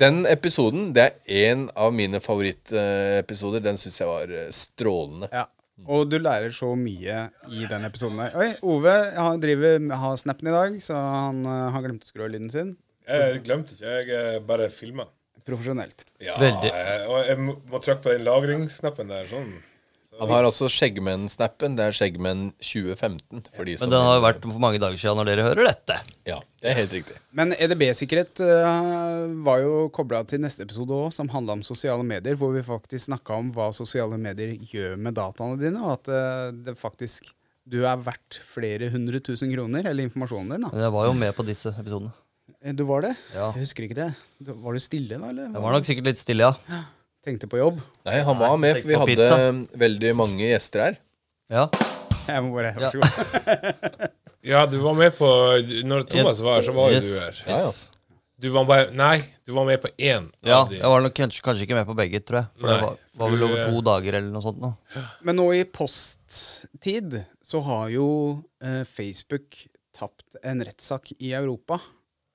Speaker 5: den episoden det er en av mine favorittepisoder. Den syns jeg var eh, strålende.
Speaker 1: Ja. Og du lærer så mye i den episoden der. Oi, Ove han driver, har snappen i dag, så han eh, har glemt å skru av lyden sin.
Speaker 3: Jeg glemte ikke, jeg eh, bare filma.
Speaker 1: Profesjonelt.
Speaker 3: Ja,
Speaker 2: Veldig.
Speaker 3: eh, og jeg må må trykke på den lagringsknappen der. sånn.
Speaker 5: Han har altså Skjeggmenn-snappen. Det er Skjeggmenn 2015. For de som
Speaker 2: Men den har jo vært for mange dager siden når dere hører dette.
Speaker 5: Ja, det er helt riktig.
Speaker 1: Men EDB-sikkerhet eh, var jo kobla til neste episode òg, som handla om sosiale medier, hvor vi faktisk snakka om hva sosiale medier gjør med dataene dine, og at eh, det faktisk du er verdt flere hundre tusen kroner, eller informasjonen din.
Speaker 2: Men jeg var jo med på disse episodene.
Speaker 1: da. Du var det?
Speaker 2: Ja.
Speaker 1: Jeg husker ikke det. Du, var du stille da, eller?
Speaker 2: Jeg var nok sikkert litt stille, ja.
Speaker 1: Tenkte på jobb?
Speaker 5: Nei, han var med,
Speaker 2: tenk
Speaker 5: for vi
Speaker 2: på
Speaker 5: hadde
Speaker 2: pizza.
Speaker 5: um, veldig mange gjester her.
Speaker 2: ja.
Speaker 1: Jeg må bare,
Speaker 2: Ja.
Speaker 1: vær så god.
Speaker 3: Ja, du var med på Når Thomas var her, så var jo
Speaker 2: Yes,
Speaker 3: du her.
Speaker 5: Ja, ja.
Speaker 2: yes.
Speaker 3: Du var bare Nei, du var med på én
Speaker 2: Ja,
Speaker 3: av de.
Speaker 2: jeg var nok kanskje, kanskje ikke med på begge, tror jeg. For
Speaker 3: Nei,
Speaker 2: det var, var vel
Speaker 3: du,
Speaker 2: over
Speaker 3: eh,
Speaker 2: to dager eller noe sånt. Nå.
Speaker 1: Men nå i posttid så har jo eh, Facebook tapt en rettssak i Europa.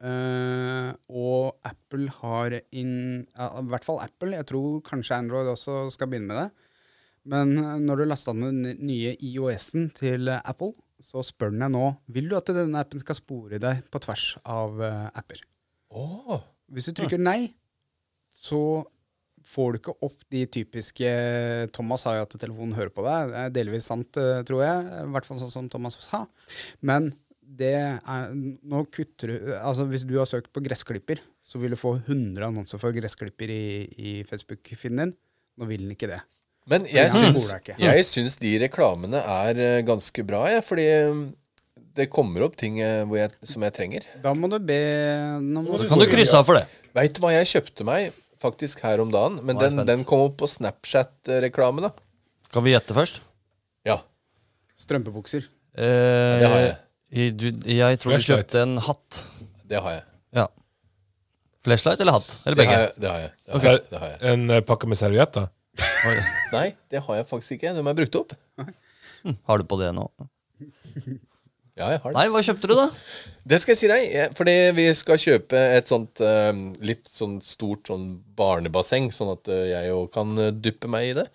Speaker 1: Eh, og Apple har inn ja, I hvert fall Apple, jeg tror kanskje Android også skal begynne med det. Men eh, når du lasta ned den nye IOS-en til eh, Apple, så spør den deg nå vil du at denne appen skal spore deg på tvers av eh, apper. Hvis du trykker nei, så får du ikke opp de typiske Thomas har jo at telefonen hører på deg. Det er delvis sant, eh, tror jeg. I hvert fall sånn som Thomas sa. Men det er Nå kutter du Altså, hvis du har søkt på gressklipper, så vil du få 100 annonser for gressklipper i, i Facebook-feeden din. Nå vil den ikke det.
Speaker 5: Men jeg
Speaker 1: For jeg
Speaker 5: syns,
Speaker 1: spoler ikke.
Speaker 5: jeg syns de reklamene er eh, ganske bra, jeg, fordi eh, det kommer opp ting eh, hvor jeg, som jeg trenger.
Speaker 1: Da må du be nå må
Speaker 2: Kan du krysse av for det?
Speaker 5: Veit du hva jeg kjøpte meg faktisk her om dagen? Men
Speaker 2: Nå er jeg
Speaker 5: den,
Speaker 2: spent.
Speaker 5: den kom opp på Snapchat-reklame, da.
Speaker 2: Kan vi gjette først?
Speaker 5: Ja,
Speaker 1: Strømpebukser.
Speaker 2: Eh,
Speaker 5: det har jeg.
Speaker 2: i- Du, jeg tror du
Speaker 3: Flashlight.
Speaker 2: kjøpte en hatt.
Speaker 5: Det har jeg.
Speaker 2: Ja. Flashlight eller hatt? Eller
Speaker 5: Det har
Speaker 2: begge?
Speaker 5: jeg. Det har jeg. Det har
Speaker 3: Så er
Speaker 5: jeg. Det har jeg.
Speaker 3: En eh, pakke med servietter?
Speaker 5: Nei, det har jeg faktisk ikke. De har jeg brukt opp.
Speaker 2: Har du på det nå?
Speaker 5: Ja, jeg har det.
Speaker 2: Nei, hva kjøpte du, da?
Speaker 5: Det skal jeg si deg, jeg- fordi vi skal kjøpe et sånt eh, litt sånn stort sånn barnebasseng, sånn at eh, jeg jo kan eh, dyppe meg i det.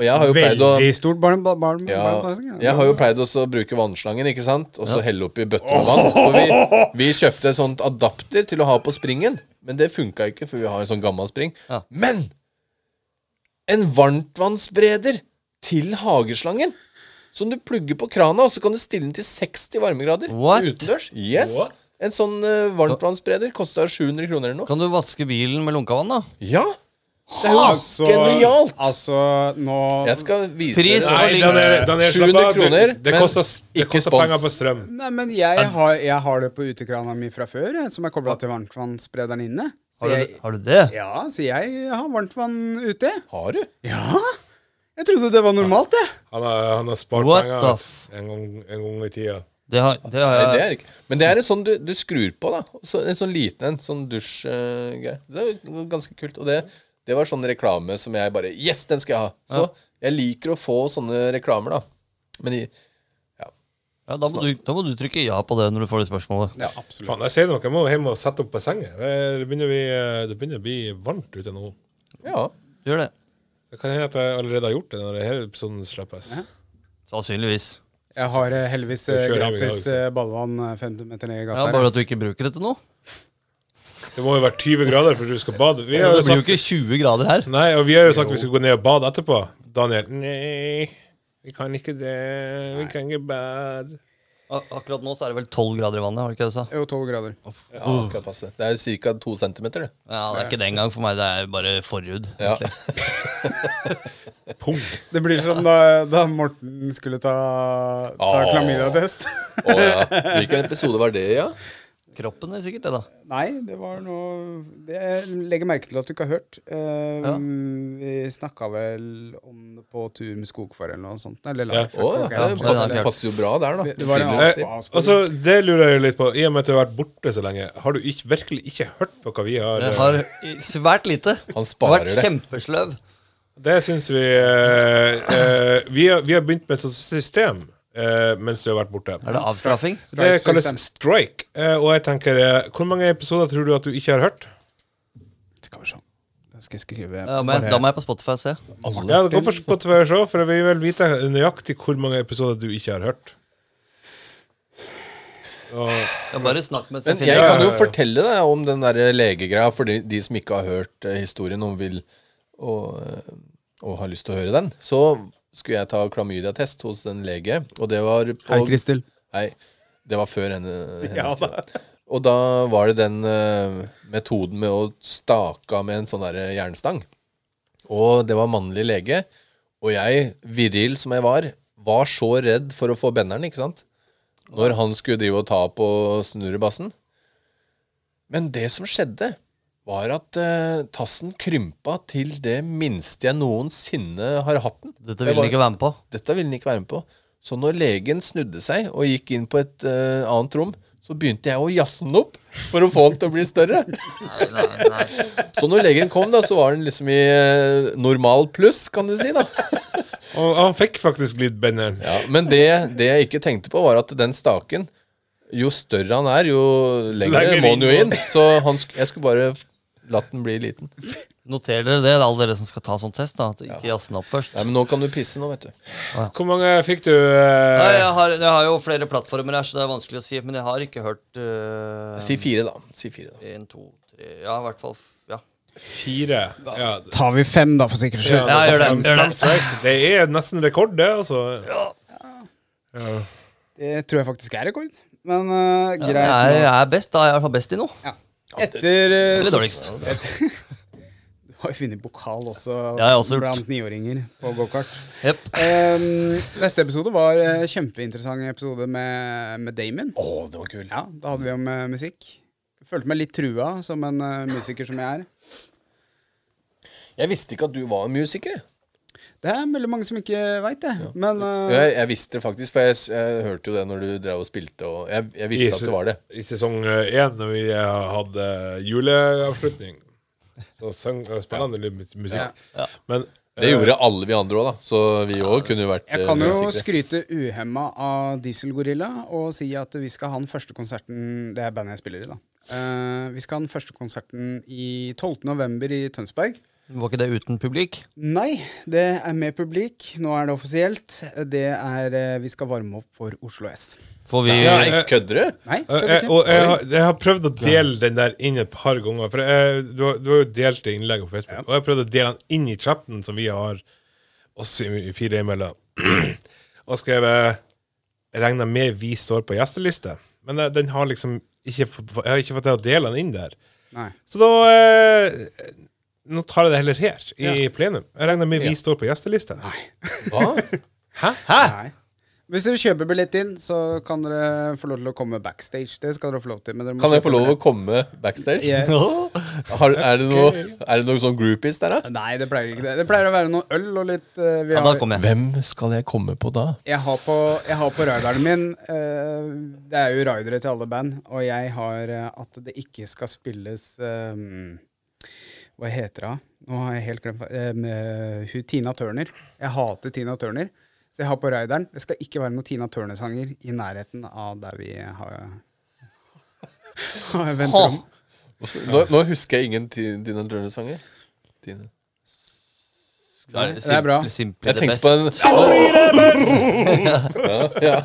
Speaker 5: Og jeg har jo pleid å
Speaker 1: Veldig stort barn... barn, barn,
Speaker 5: ja,
Speaker 1: barn-
Speaker 5: jeg har jo pleid også å bruke vannslangen, ikke sant? Og så helle oppi bøtter med vann. For vi, vi kjøpte et sånt adapter til å ha på springen, men det funka ikke, for vi har en sånn gammel spring.
Speaker 2: Ja.
Speaker 5: Men en varmtvannsbereder til hageslangen! Som du plugger på krana, og så kan du stille den til 60 varmegrader
Speaker 2: What?
Speaker 5: utendørs. Yes. En sånn uh, varmtvannsbereder kosta 700 kroner eller noe.
Speaker 2: Kan du vaske bilen med lunkevann, da?
Speaker 5: Ja! Det er jo
Speaker 1: Altså,
Speaker 5: genialt!
Speaker 1: altså, nå
Speaker 5: Jeg skal vise
Speaker 2: Pris
Speaker 5: dere
Speaker 2: og
Speaker 3: Nei, Daniel, Daniel, slapp
Speaker 5: 700
Speaker 3: av.
Speaker 5: kroner,
Speaker 3: Du, det
Speaker 5: men
Speaker 3: koster, s- det
Speaker 5: ikke
Speaker 3: koster
Speaker 5: spons.
Speaker 3: penger på strøm.
Speaker 1: Nei, men jeg har, jeg har det på utekrana mi fra før, jeg, som er kobla til varmtvannsprederen inne. Så
Speaker 2: Har
Speaker 1: jeg,
Speaker 2: du, har du det?
Speaker 1: ja, så jeg har varmtvann ute.
Speaker 5: Har du?
Speaker 1: Ja! Jeg trodde det var normalt, jeg.
Speaker 3: Han har, han har spart
Speaker 2: What the
Speaker 3: penger
Speaker 2: f-
Speaker 3: en gang, en gang i tida.
Speaker 2: Det har, det har
Speaker 5: Nei,
Speaker 2: jeg.
Speaker 5: det er ikke Men det er en sånn du, du skrur på, da. Så, en sånn liten en. Sånn dusjgreie. det er ganske kult. Og det, det var sånn reklame som jeg bare Yes, den skal jeg ha! Så jeg liker å få sånne reklamer, da. Men i,
Speaker 2: Ja, da, må du, da må du trykke ja på det når du får det spørsmålet.
Speaker 1: Ja, absolutt.
Speaker 3: Faen, jeg sier noe, jeg må hjem og sette opp bassenget. Eh, Det begynner, vi, eh, det begynner å bli varmt ute nå.
Speaker 5: ja.
Speaker 2: Gjør det.
Speaker 3: Det kan hende at jeg allerede har gjort det når hele episoden slippes.
Speaker 2: Sannsynligvis.
Speaker 1: Jeg har eh, heldigvis eh,
Speaker 3: Du kjører hjem i dag,
Speaker 1: gratis
Speaker 3: så.
Speaker 1: eh, badevann eh, 50 meter ned i
Speaker 2: Ja,
Speaker 1: gata. her.
Speaker 2: bare at du ikke bruker dette nå.
Speaker 3: Det må jo være 20 grader for at du skal bade. Vi har
Speaker 2: Det
Speaker 3: jo
Speaker 2: blir jo
Speaker 3: sagt,
Speaker 2: ikke 20 grader her.
Speaker 3: nei, og vi har jo sagt vi skal gå ned og bade etterpå. Daniel Nei, vi kan ikke det. Vi kan ikke bade.
Speaker 2: Ak- Akkurat nå så er det vel 12 grader i vannet, var det ikke det du sa?
Speaker 1: Det er Jo, 12 grader.
Speaker 5: ja akkurat passe. Det er jo ca. to centimeter, det.
Speaker 2: Ja, det er ikke det engang for meg, det er bare forhud.
Speaker 5: Ja.
Speaker 2: egentlig.
Speaker 3: Pung.
Speaker 1: Det blir som da, da Morten skulle ta, ta
Speaker 5: Åh.
Speaker 1: klamydia-test.
Speaker 5: Å ja. Hvilken episode var det, ja?
Speaker 2: Kroppen er sikkert det, da.
Speaker 1: Nei, det var noe det Jeg legger merke til at du ikke har hørt. Eh,
Speaker 2: Ja.
Speaker 1: Vi snakka vel om det på tur med skogfar eller noe sånt. Eller
Speaker 3: Ja.
Speaker 1: live.
Speaker 5: Å ja. Det passer, det passer jo bra der, da.
Speaker 1: Det- det var en
Speaker 5: Friluftsliv.
Speaker 1: annen-
Speaker 3: Altså, det lurer jeg jo litt på. I og med at du har vært borte så lenge, har du ikke, virkelig ikke hørt på hva vi har, eh,
Speaker 2: Jeg har i- svært lite.
Speaker 5: Han sparer
Speaker 2: Jeg har Vært
Speaker 5: det.
Speaker 2: kjempesløv.
Speaker 3: Det syns vi eh, eh, vi, har, vi har begynt med et sånt system eh, mens du har vært borte.
Speaker 2: Er det avstraffing?
Speaker 3: Det kalles
Speaker 1: Strike-system.
Speaker 3: strike. Eh, og jeg tenker eh, Hvor mange episoder tror du at du ikke har hørt?
Speaker 1: Skal vi se. Da skal jeg skrive
Speaker 2: Ja, men jeg- da må jeg på Spotify og se.
Speaker 3: Ja, Gå på Spotify og se, for vi vil vite nøyaktig hvor mange episoder du ikke har hørt.
Speaker 2: Jeg bare snakk med
Speaker 5: Men jeg kan jo fortelle deg om den der legegreia for de, de som ikke har hørt eh, historien og, vil, og, eh, og har lyst til å høre den. Så skulle jeg ta klamydia-test hos den lege, og det var på,
Speaker 1: Hei, Kristel.
Speaker 5: Nei, det var før henne, hennes tid. Og da var det den eh, metoden med å stake av med en sånn der jernstang. Og det var mannlig lege. Og jeg, viril som jeg var, var så redd for å få benderen, ikke sant? Når han skulle drive og ta på snurrebassen. Men det som skjedde, var at eh, tassen krympa til det minste jeg noensinne har hatt den.
Speaker 2: Dette vil han ikke være med på.
Speaker 5: Dette ville han ikke være med på. Så når legen snudde seg og gikk inn på et eh, annet rom, så begynte jeg å jazze den opp for å få den til å bli større. Så når legen kom, da, så var den liksom i eh, normal pluss, kan du si. da.
Speaker 3: Og han fikk faktisk litt benderen.
Speaker 5: Ja, men det, det jeg ikke tenkte på, var at den staken Jo større han er, jo lengre
Speaker 3: Lenger
Speaker 5: må han jo
Speaker 3: inn.
Speaker 5: inn. Så han, sk- jeg skulle bare latt den bli liten.
Speaker 2: Noter dere det, det er alle dere som skal ta sånn test. da At Ikke jazze den opp først.
Speaker 5: Nei, men nå kan du pisse nå, vet du.
Speaker 3: Hvor mange fikk du? eh,
Speaker 2: Nei, jeg, har, jeg har jo flere plattformer her, så det er vanskelig å si. Men jeg har ikke hørt øh,
Speaker 5: Si fire, da. Si fire, da.
Speaker 2: En, to, tre Ja, i hvert fall f- ja.
Speaker 3: Fire. Ja,
Speaker 1: Tar vi fem, da, for sikkerhets skyld.
Speaker 2: Ja, gjør det,
Speaker 3: fem-
Speaker 2: gjør det.
Speaker 3: fem strike. det er nesten rekord, det, altså.
Speaker 1: Det tror jeg faktisk er rekord. Men eh,
Speaker 2: Jeg,
Speaker 1: greit.
Speaker 2: er,
Speaker 1: nå.
Speaker 2: jeg er best, da. Jeg er i hvert fall best i noe.
Speaker 1: Etter eh,
Speaker 2: Eller
Speaker 1: sos-
Speaker 2: dårligst.
Speaker 1: et- har jo vunnet pokal også,
Speaker 2: Det har jeg også gjort.
Speaker 1: blant niåringer på gokart.
Speaker 2: Jep.
Speaker 1: Em, Ehm, neste episode var eh, kjempeinteressant episode med, med Damon.
Speaker 5: Å, det var kult.
Speaker 1: Ja, da hadde vi om eh, musikk. Følte meg litt trua som en eh, musiker som jeg er.
Speaker 5: Jeg visste ikke at du var en musiker. Jeg,
Speaker 1: Det er veldig mange som ikke veit det, men eh,
Speaker 5: jeg, jeg visste det faktisk, for jeg, s- jeg hørte jo det når du drev og spilte. Og jeg, jeg visste
Speaker 3: I se-
Speaker 5: at det var det.
Speaker 3: I sesong eh, én, når vi eh, hadde juleavslutning, så sang eh, spennende litt mus- musikk. Men
Speaker 5: Det gjorde alle vi andre òg, da. Så vi òg kunne jo vært
Speaker 1: Jeg
Speaker 5: eh,
Speaker 1: kan jo
Speaker 5: musikere.
Speaker 1: skryte uhemma av Dieselgorilla og si at vi skal ha den første konserten Det er bandet jeg spiller i, da. Eh, vi skal ha den første konserten i 12. november i Tønsberg.
Speaker 2: Var ikke det uten publikk?
Speaker 1: Nei, det er med publikk. Nå er det offisielt. Det er eh, Vi skal varme opp for Oslo S.
Speaker 2: Får vi
Speaker 5: Nei, kødder du?
Speaker 1: Nei,
Speaker 3: Eh,
Speaker 1: kødder
Speaker 3: jeg,
Speaker 1: ikke.
Speaker 3: og jeg, har- jeg har prøvd å dele den der inn et par ganger. For jeg, du, har, du har jo delt det innlegget på Facebook. Og jeg har prøvd å dele den inn i chatten som vi har, oss i- i fire imellom. og skrevet Regner med vi står på gjesteliste. Men eh, den har liksom ikke, få- jeg har ikke fått til å dele den inn der.
Speaker 1: Nei.
Speaker 3: Så da eh, Nå tar jeg det heller her, i plenum. Jeg regner med vi
Speaker 5: Ja.
Speaker 3: står på gjesteliste.
Speaker 5: Hva?
Speaker 1: Nei. Hvis dere kjøper billett inn, så kan dere få lov til å komme backstage. Det skal dere få lov til. Men dere må
Speaker 5: Kan jeg få
Speaker 1: kjøpe
Speaker 5: lov å
Speaker 1: billett.
Speaker 5: komme backstage?
Speaker 1: Yes.
Speaker 5: Har, er, det noe, er det noe sånn groupies der, da?
Speaker 1: Nei, det pleier ikke det. Det pleier å være noe øl og litt eh, vi
Speaker 2: Ja,
Speaker 1: har-
Speaker 2: da kommer jeg.
Speaker 5: Hvem skal jeg komme på da?
Speaker 1: Jeg har på, jeg har på rideren min eh, Det er jo ridere til alle band, og jeg har eh, at det ikke skal spilles eh, Hva heter hun? Nå har jeg helt glemt eh, med hun Tina Turner. Jeg hater Tina Turner, så jeg har på rideren. Det skal ikke være noen Tina Turner-sanger i nærheten av der vi har, har venterom.
Speaker 5: Nå, nå husker jeg ingen Ti- Tina Turner-sanger. Tina.
Speaker 2: Det er,
Speaker 1: er bra.
Speaker 2: simple- Simple
Speaker 5: Jeg
Speaker 2: det
Speaker 5: tenkte
Speaker 2: best.
Speaker 5: på en ja, ja.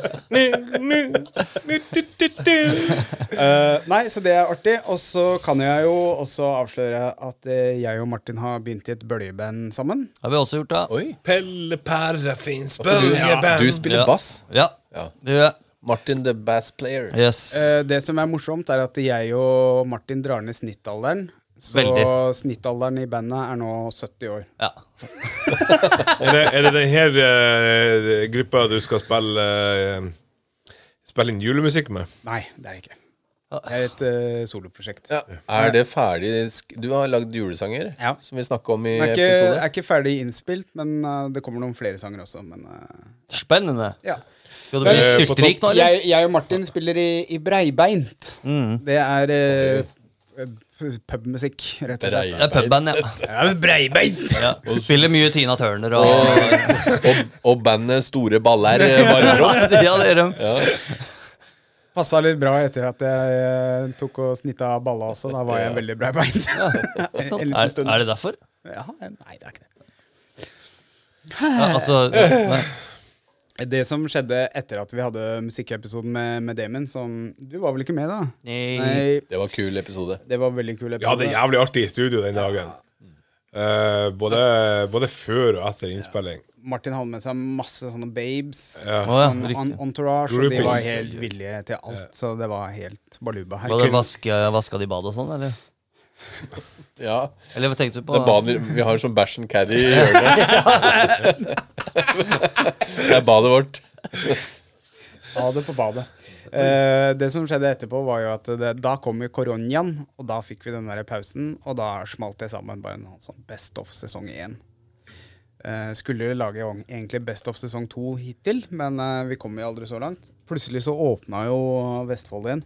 Speaker 1: Eh, nei, så det er artig. Og så kan jeg jo også avsløre at eh, jeg og Martin har begynt i et bøljeband sammen.
Speaker 2: Har vi også gjort det?
Speaker 5: Oi.
Speaker 3: Pelle Parafins
Speaker 5: Du, du spiller
Speaker 2: Ja.
Speaker 5: bass.
Speaker 2: Ja.
Speaker 5: Ja.
Speaker 2: Det gjør jeg.
Speaker 5: Martin the Bass Player.
Speaker 2: Yes.
Speaker 1: Eh, det som er morsomt, er at jeg og Martin drar ned snittalderen. Så
Speaker 2: Veldig.
Speaker 1: snittalderen i bandet er nå 70 år.
Speaker 2: Ja.
Speaker 3: Er det, er det den her eh, gruppa du skal spille eh, Spille inn julemusikk med?
Speaker 1: Nei, det er det ikke.
Speaker 2: Ah.
Speaker 1: Det er et eh, soloprosjekt.
Speaker 5: Ja. Er det ferdig sk- Du har lagd julesanger,
Speaker 1: Ja.
Speaker 5: som vi snakka om i
Speaker 1: Den er ikke,
Speaker 5: episode.
Speaker 1: er ikke ferdig innspilt, men eh, det kommer noen flere sanger også. Men, eh,
Speaker 2: Spennende.
Speaker 1: ja.
Speaker 2: Skal du bli
Speaker 3: Eh, på
Speaker 2: styrtrik nå, eller? Mm.
Speaker 1: jeg, jeg og Martin spiller i, i breibeint. Det er eh, p- pubmusikk, rett og slett.
Speaker 2: Det er pubband, ja.
Speaker 1: Breibeint!
Speaker 2: ja. Spiller mye Tina Turner og
Speaker 5: Og, og bandet Store Baller eh, varmer opp.
Speaker 2: Ja, det gjør de.
Speaker 1: Passa litt bra etter at jeg eh, tok og snitta balla også. Da var jeg veldig breibeint. en
Speaker 2: Sånn.
Speaker 1: en
Speaker 2: Er,
Speaker 1: liten stund.
Speaker 2: er det derfor?
Speaker 1: Ja, nei, det er ikke det.
Speaker 2: Ja, altså, ja.
Speaker 1: Det som skjedde etter at vi hadde musikkepisoden med, med Damon, som Du var vel ikke med, da?
Speaker 2: Nei.
Speaker 1: Nei.
Speaker 5: Det var en kul episode.
Speaker 1: Det var veldig kul
Speaker 3: Vi hadde
Speaker 1: episode.
Speaker 3: det jævlig artig i studio den dagen. Eh, både, både før og etter innspilling.
Speaker 1: Martin hadde med seg masse sånne babes.
Speaker 3: Ja.
Speaker 2: Å, ja,
Speaker 1: sånn en-
Speaker 2: riktig.
Speaker 1: entourage, og de
Speaker 3: Groupies.
Speaker 1: var helt villige til alt. Så det var helt baluba her.
Speaker 2: Var det vaske, vaska de badet og sånn, eller?
Speaker 5: Ja.
Speaker 2: Eller hva tenkte du på?
Speaker 5: Det er bader, vi har sånn bæsj and carry i hjørnet. Det er badet vårt.
Speaker 1: Ha det på badet. Eh, det som skjedde etterpå, var jo at det, da kom jo koronaen, og da fikk vi den der pausen, og da smalt det sammen. Bare en sånn Best of sesong én. Eh, skulle lage ong- egentlig Best of sesong to hittil, men eh, vi kom jo aldri så langt. Plutselig så åpna jo Vestfold igjen.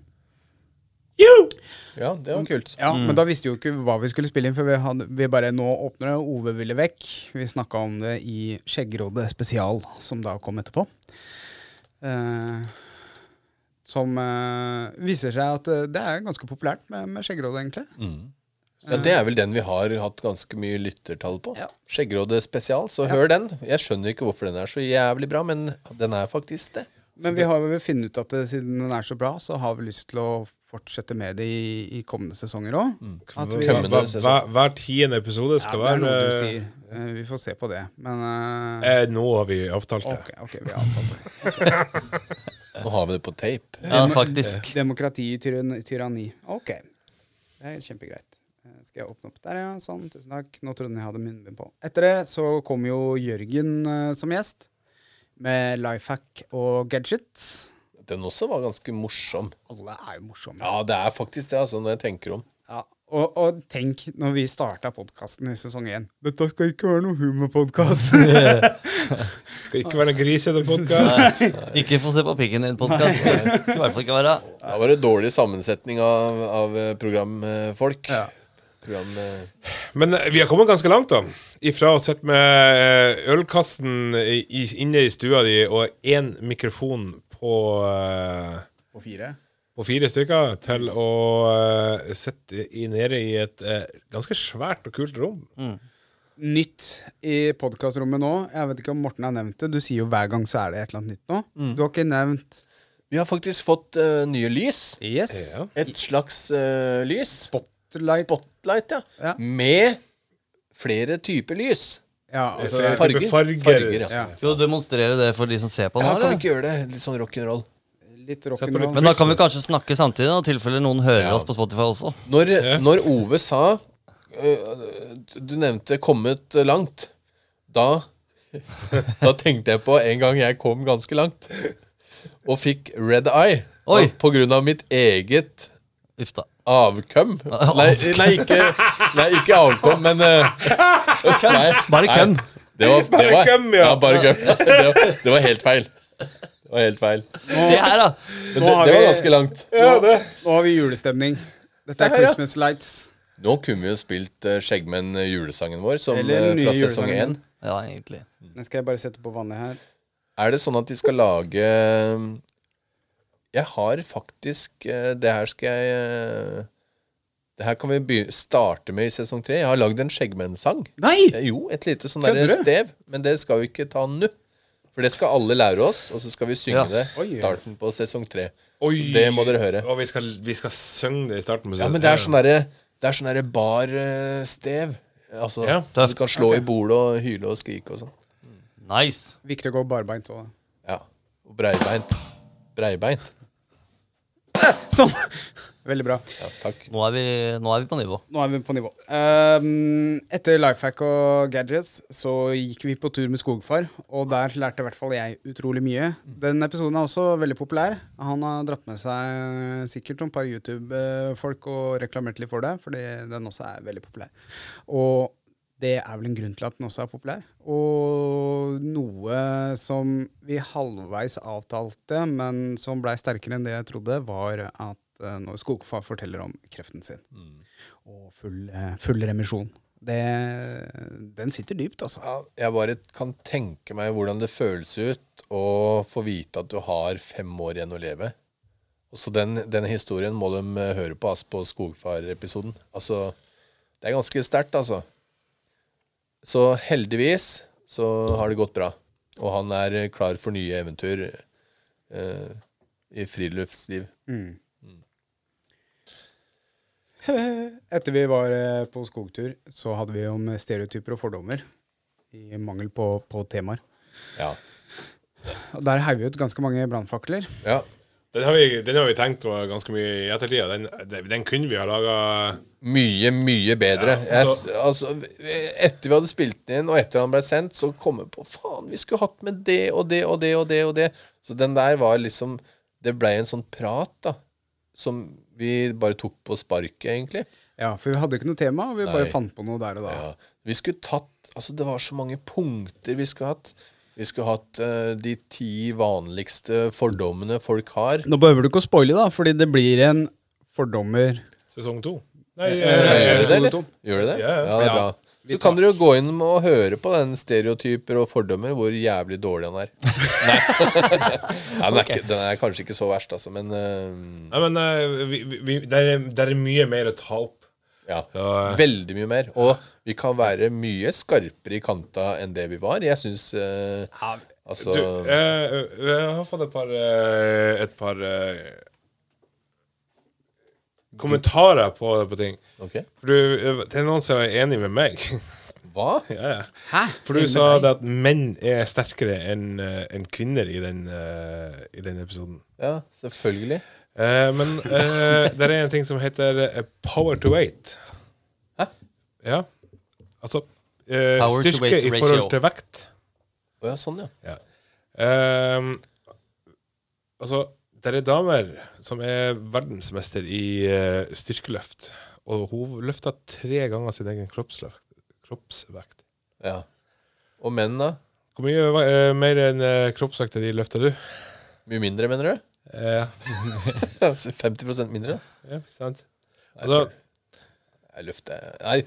Speaker 5: Ja, det var kult.
Speaker 1: Ja, Men da visste jo ikke hva vi skulle spille inn, for vi, hadde, vi bare nå åpner det, Ove ville vekk. Vi snakka om det i Skjeggerådet spesial, som da kom etterpå. Eh, som eh, viser seg at eh, det er ganske populært med, med Skjeggerådet, egentlig.
Speaker 5: Ja, det er vel den vi har hatt ganske mye lyttertall på.
Speaker 1: Ja.
Speaker 5: Skjeggerådet spesial, så hør den. Jeg skjønner ikke hvorfor den er så jævlig bra, men den er faktisk det.
Speaker 1: Men vi har vel funnet ut at eh, siden den er så bra, så har vi lyst til å fortsette med det i, i kommende sesonger òg. At vi,
Speaker 3: Hver,
Speaker 5: Kømmende
Speaker 3: hver, hver tiende episode
Speaker 1: Ja,
Speaker 3: skal
Speaker 1: det er
Speaker 3: være
Speaker 1: noe du sier. Eh, vi får se på det. Men eh,
Speaker 3: eh, Nå har vi avtalt det.
Speaker 1: OK, ok, vi har avtalt det.
Speaker 5: Nå har vi det på tape.
Speaker 2: Ja, faktisk.
Speaker 1: Demokrati i tyranni. Ok. Det er kjempegreit. Eh, Skal jeg åpne opp der, ja. Sånn, tusen takk. Nå trodde jeg jeg hadde munnbind på. Etter det så kom jo Jørgen eh, som gjest, med Lifehack og gadgets.
Speaker 5: Den også var ganske morsom.
Speaker 1: Alle er jo morsomme.
Speaker 5: Ja, det er faktisk det, altså, når jeg tenker om.
Speaker 1: Ja, og, og tenk, når vi starta podkasten i sesong én Dette skal ikke være noen humorpodkast!
Speaker 3: Skal ikke være noen grisete podkast.
Speaker 2: Ikke få se på pikken din podcast Det skal i hvert fall ikke være.
Speaker 5: Da var det dårlig sammensetning av, av eh, programfolk.
Speaker 1: Ja.
Speaker 5: Program, eh,
Speaker 3: Men eh, vi har kommet ganske langt, da. Ifra å sitte med eh, ølkassen i, i- inne i stua di og én mikrofon på eh,
Speaker 1: På fire.
Speaker 3: på fire stykker til å eh, sitte i, nede i et eh, ganske svært og kult rom.
Speaker 5: Mm.
Speaker 1: Nytt i podkastrommet nå. Jeg vet ikke om Morten har nevnt det. Du sier jo hver gang så er det et eller annet nytt nå. Du har ikke nevnt
Speaker 5: vi har faktisk fått eh, nye lys.
Speaker 1: Yes.
Speaker 3: Ja.
Speaker 5: Et slags eh, lys.
Speaker 1: Spotlight.
Speaker 5: Spotlight, ja.
Speaker 1: Ja.
Speaker 5: Med flere typer lys.
Speaker 1: Ja, altså,
Speaker 3: Flere typer
Speaker 5: Farger.
Speaker 3: farger.
Speaker 5: Farger, ja.
Speaker 1: ja.
Speaker 2: Skal du demonstrere det for de som ser på nå?
Speaker 5: Ja, kan vi
Speaker 2: eller?
Speaker 5: ikke gjøre det? Litt sånn rock'n'roll.
Speaker 1: Litt
Speaker 3: Sett på litt
Speaker 1: rock'n'roll.
Speaker 2: Men da kan vi kanskje snakke samtidig, da, i tilfelle noen hører oss på Spotify også.
Speaker 5: Når, når Ove sa øh, Du nevnte 'kommet langt'. Da, da tenkte jeg på en gang jeg kom ganske langt og fikk red eye
Speaker 2: Oi.
Speaker 5: på grunn av mitt eget
Speaker 2: Uff da.
Speaker 5: avkøm. Nei, nei, ikke, nei ikke avkom, men øh, nei,
Speaker 2: Bare køm.
Speaker 5: Nei, Det var, det var,
Speaker 3: køm, ja.
Speaker 5: bare køm. Det var, det var helt feil. Det var helt feil.
Speaker 2: Se her, da.
Speaker 5: Men det,
Speaker 1: har
Speaker 5: det var
Speaker 1: vi-
Speaker 5: ganske langt.
Speaker 1: Nå har vi julestemning. Dette er
Speaker 5: her, ja.
Speaker 1: Christmas Lights.
Speaker 5: Nå kunne vi jo spilt eh, Skjeggmenn eh, julesangen vår som,
Speaker 1: Eller den
Speaker 5: eh, fra
Speaker 1: nye
Speaker 5: sesong
Speaker 1: julesangen.
Speaker 5: én.
Speaker 2: Ja, egentlig.
Speaker 1: Nå skal jeg bare sette på vannet her.
Speaker 5: Er det sånn at de skal lage Jeg har faktisk eh, Det her skal jeg eh, Det her kan vi begy- starte med i sesong tre. Jeg har lagd en Skjeggmenn-sang.
Speaker 1: Nei!
Speaker 5: Eh, Jo, et lite sånn
Speaker 1: Kødder
Speaker 5: der
Speaker 1: du?
Speaker 5: stev. Men det skal vi ikke ta nå. For det skal alle lære oss, og så skal vi synge
Speaker 2: Ja.
Speaker 5: det
Speaker 1: Oi.
Speaker 5: starten på sesong tre.
Speaker 3: Oi.
Speaker 5: Det må dere høre.
Speaker 3: Og vi skal, vi skal synge det i starten. på
Speaker 5: Ja, men det er sånn derre Det er sånn derre barstev. Altså,
Speaker 3: Ja.
Speaker 5: du kan slå i bordet og hyle og skrike og sånn.
Speaker 2: Nice.
Speaker 1: Viktig å gå barbeint òg.
Speaker 5: Ja. Og breibeint. Breibeint.
Speaker 1: Sånn! Veldig bra.
Speaker 5: Ja, takk.
Speaker 2: Nå er vi, nå er vi på nivå.
Speaker 1: Nå er vi på nivå. Ehm, etter Lifehack og Gadgets så gikk vi på tur med Skogfar, og der lærte i hvert fall jeg utrolig mye. Den episoden er også veldig populær. Han har dratt med seg sikkert noen par YouTube-folk og reklamert litt for det, fordi den også er veldig populær. Og det er vel en grunn til at den også er populær. Og noe som vi halvveis avtalte, men som blei sterkere enn det jeg trodde, var at eh, når Skogfar forteller om kreften sin og full, eh, full remisjon. Det, den sitter dypt, altså.
Speaker 5: Ja, jeg bare kan tenke meg hvordan det føles ut å få vite at du har fem år igjen å leve. Og så den, den historien må de eh, høre på ass, på Skogfar-episoden. Altså, det er ganske sterkt, altså. Så heldigvis så har det gått bra. Og han er eh, klar for nye eventyr eh, i friluftsliv.
Speaker 1: Etter vi var eh, på skogtur, så hadde vi om stereotyper og fordommer. I mangel på, på temaer.
Speaker 5: Ja.
Speaker 1: Og der heiv vi ut ganske mange brannfakler.
Speaker 5: ja.
Speaker 3: Den har, vi, den har vi tenkt på ganske mye i ettertid. og Den, den, den kunne vi ha laga
Speaker 5: Mye, mye bedre.
Speaker 3: Ja,
Speaker 5: jeg,
Speaker 3: så-
Speaker 5: altså, etter vi hadde spilt den inn, og etter han ble sendt, så kom jeg på faen, vi skulle hatt med det og det og det og det. og det Så den der var liksom Det blei en sånn prat, da, som vi bare tok på sparket, egentlig.
Speaker 1: Ja, For vi hadde ikke noe tema, og vi
Speaker 5: Nei.
Speaker 1: bare fant på noe der og da.
Speaker 5: Ja. Vi skulle tatt Altså, det var så mange punkter vi skulle hatt. Vi skulle hatt eh, de ti vanligste fordommene folk har.
Speaker 1: Nå behøver du ikke å spoile, da, fordi det blir en fordommer
Speaker 3: sesong to. Nei,
Speaker 5: Gjør
Speaker 3: eh,
Speaker 5: det det, eller?
Speaker 1: Solotom.
Speaker 5: Gjør det det?
Speaker 3: Ja,
Speaker 5: Ja,
Speaker 3: ja.
Speaker 5: det er bra. Så kan dere jo gå inn og høre på den stereotyper og fordommer, hvor jævlig dårlig han er. Nei, ja, den, er ikke, den er kanskje ikke så verst, altså, men øhm,
Speaker 3: nei, men eh, vi, vi, vi- der, er, der er mye mer å ta opp.
Speaker 5: ja.
Speaker 3: Ja, eh.
Speaker 5: Veldig mye mer. Og vi kan være mye skarpere i kanta enn det vi var. Jeg syns Altså
Speaker 3: Du, eh, jeg har fått et par eh, Et par eh, kommentarer på, på ting.
Speaker 5: Ok.
Speaker 3: For du, eh, det er noen som er enig med meg.
Speaker 5: Hva?
Speaker 3: ja, ja.
Speaker 1: Hæ?
Speaker 3: For du sa det at menn er sterkere enn eh, enn kvinner i den, eh, i den episoden.
Speaker 5: Ja, selvfølgelig.
Speaker 3: Eh, men eh, det er en ting som heter eh, power to weight. Ja. Altså eh,
Speaker 2: Power to
Speaker 3: styrke
Speaker 2: weight
Speaker 3: i forhold
Speaker 2: ratio.
Speaker 3: til vekt.
Speaker 5: Å ja, sånn, ja.
Speaker 3: Ja. Ehm, altså, det er damer som er verdensmester i eh, styrkeløft, og hun løfta tre ganger sin egen kroppsvekt. kroppsvekt.
Speaker 5: ja. Og menn, da?
Speaker 3: Hvor mye eh, mer enn eh, kroppsvekt er de løfta du?
Speaker 5: Mye mindre, mener du?
Speaker 3: Eh,
Speaker 5: 50 mindre? da.
Speaker 3: ja, ikke sant?
Speaker 5: Nei,
Speaker 3: Altså,
Speaker 5: Jeg løfter Nei.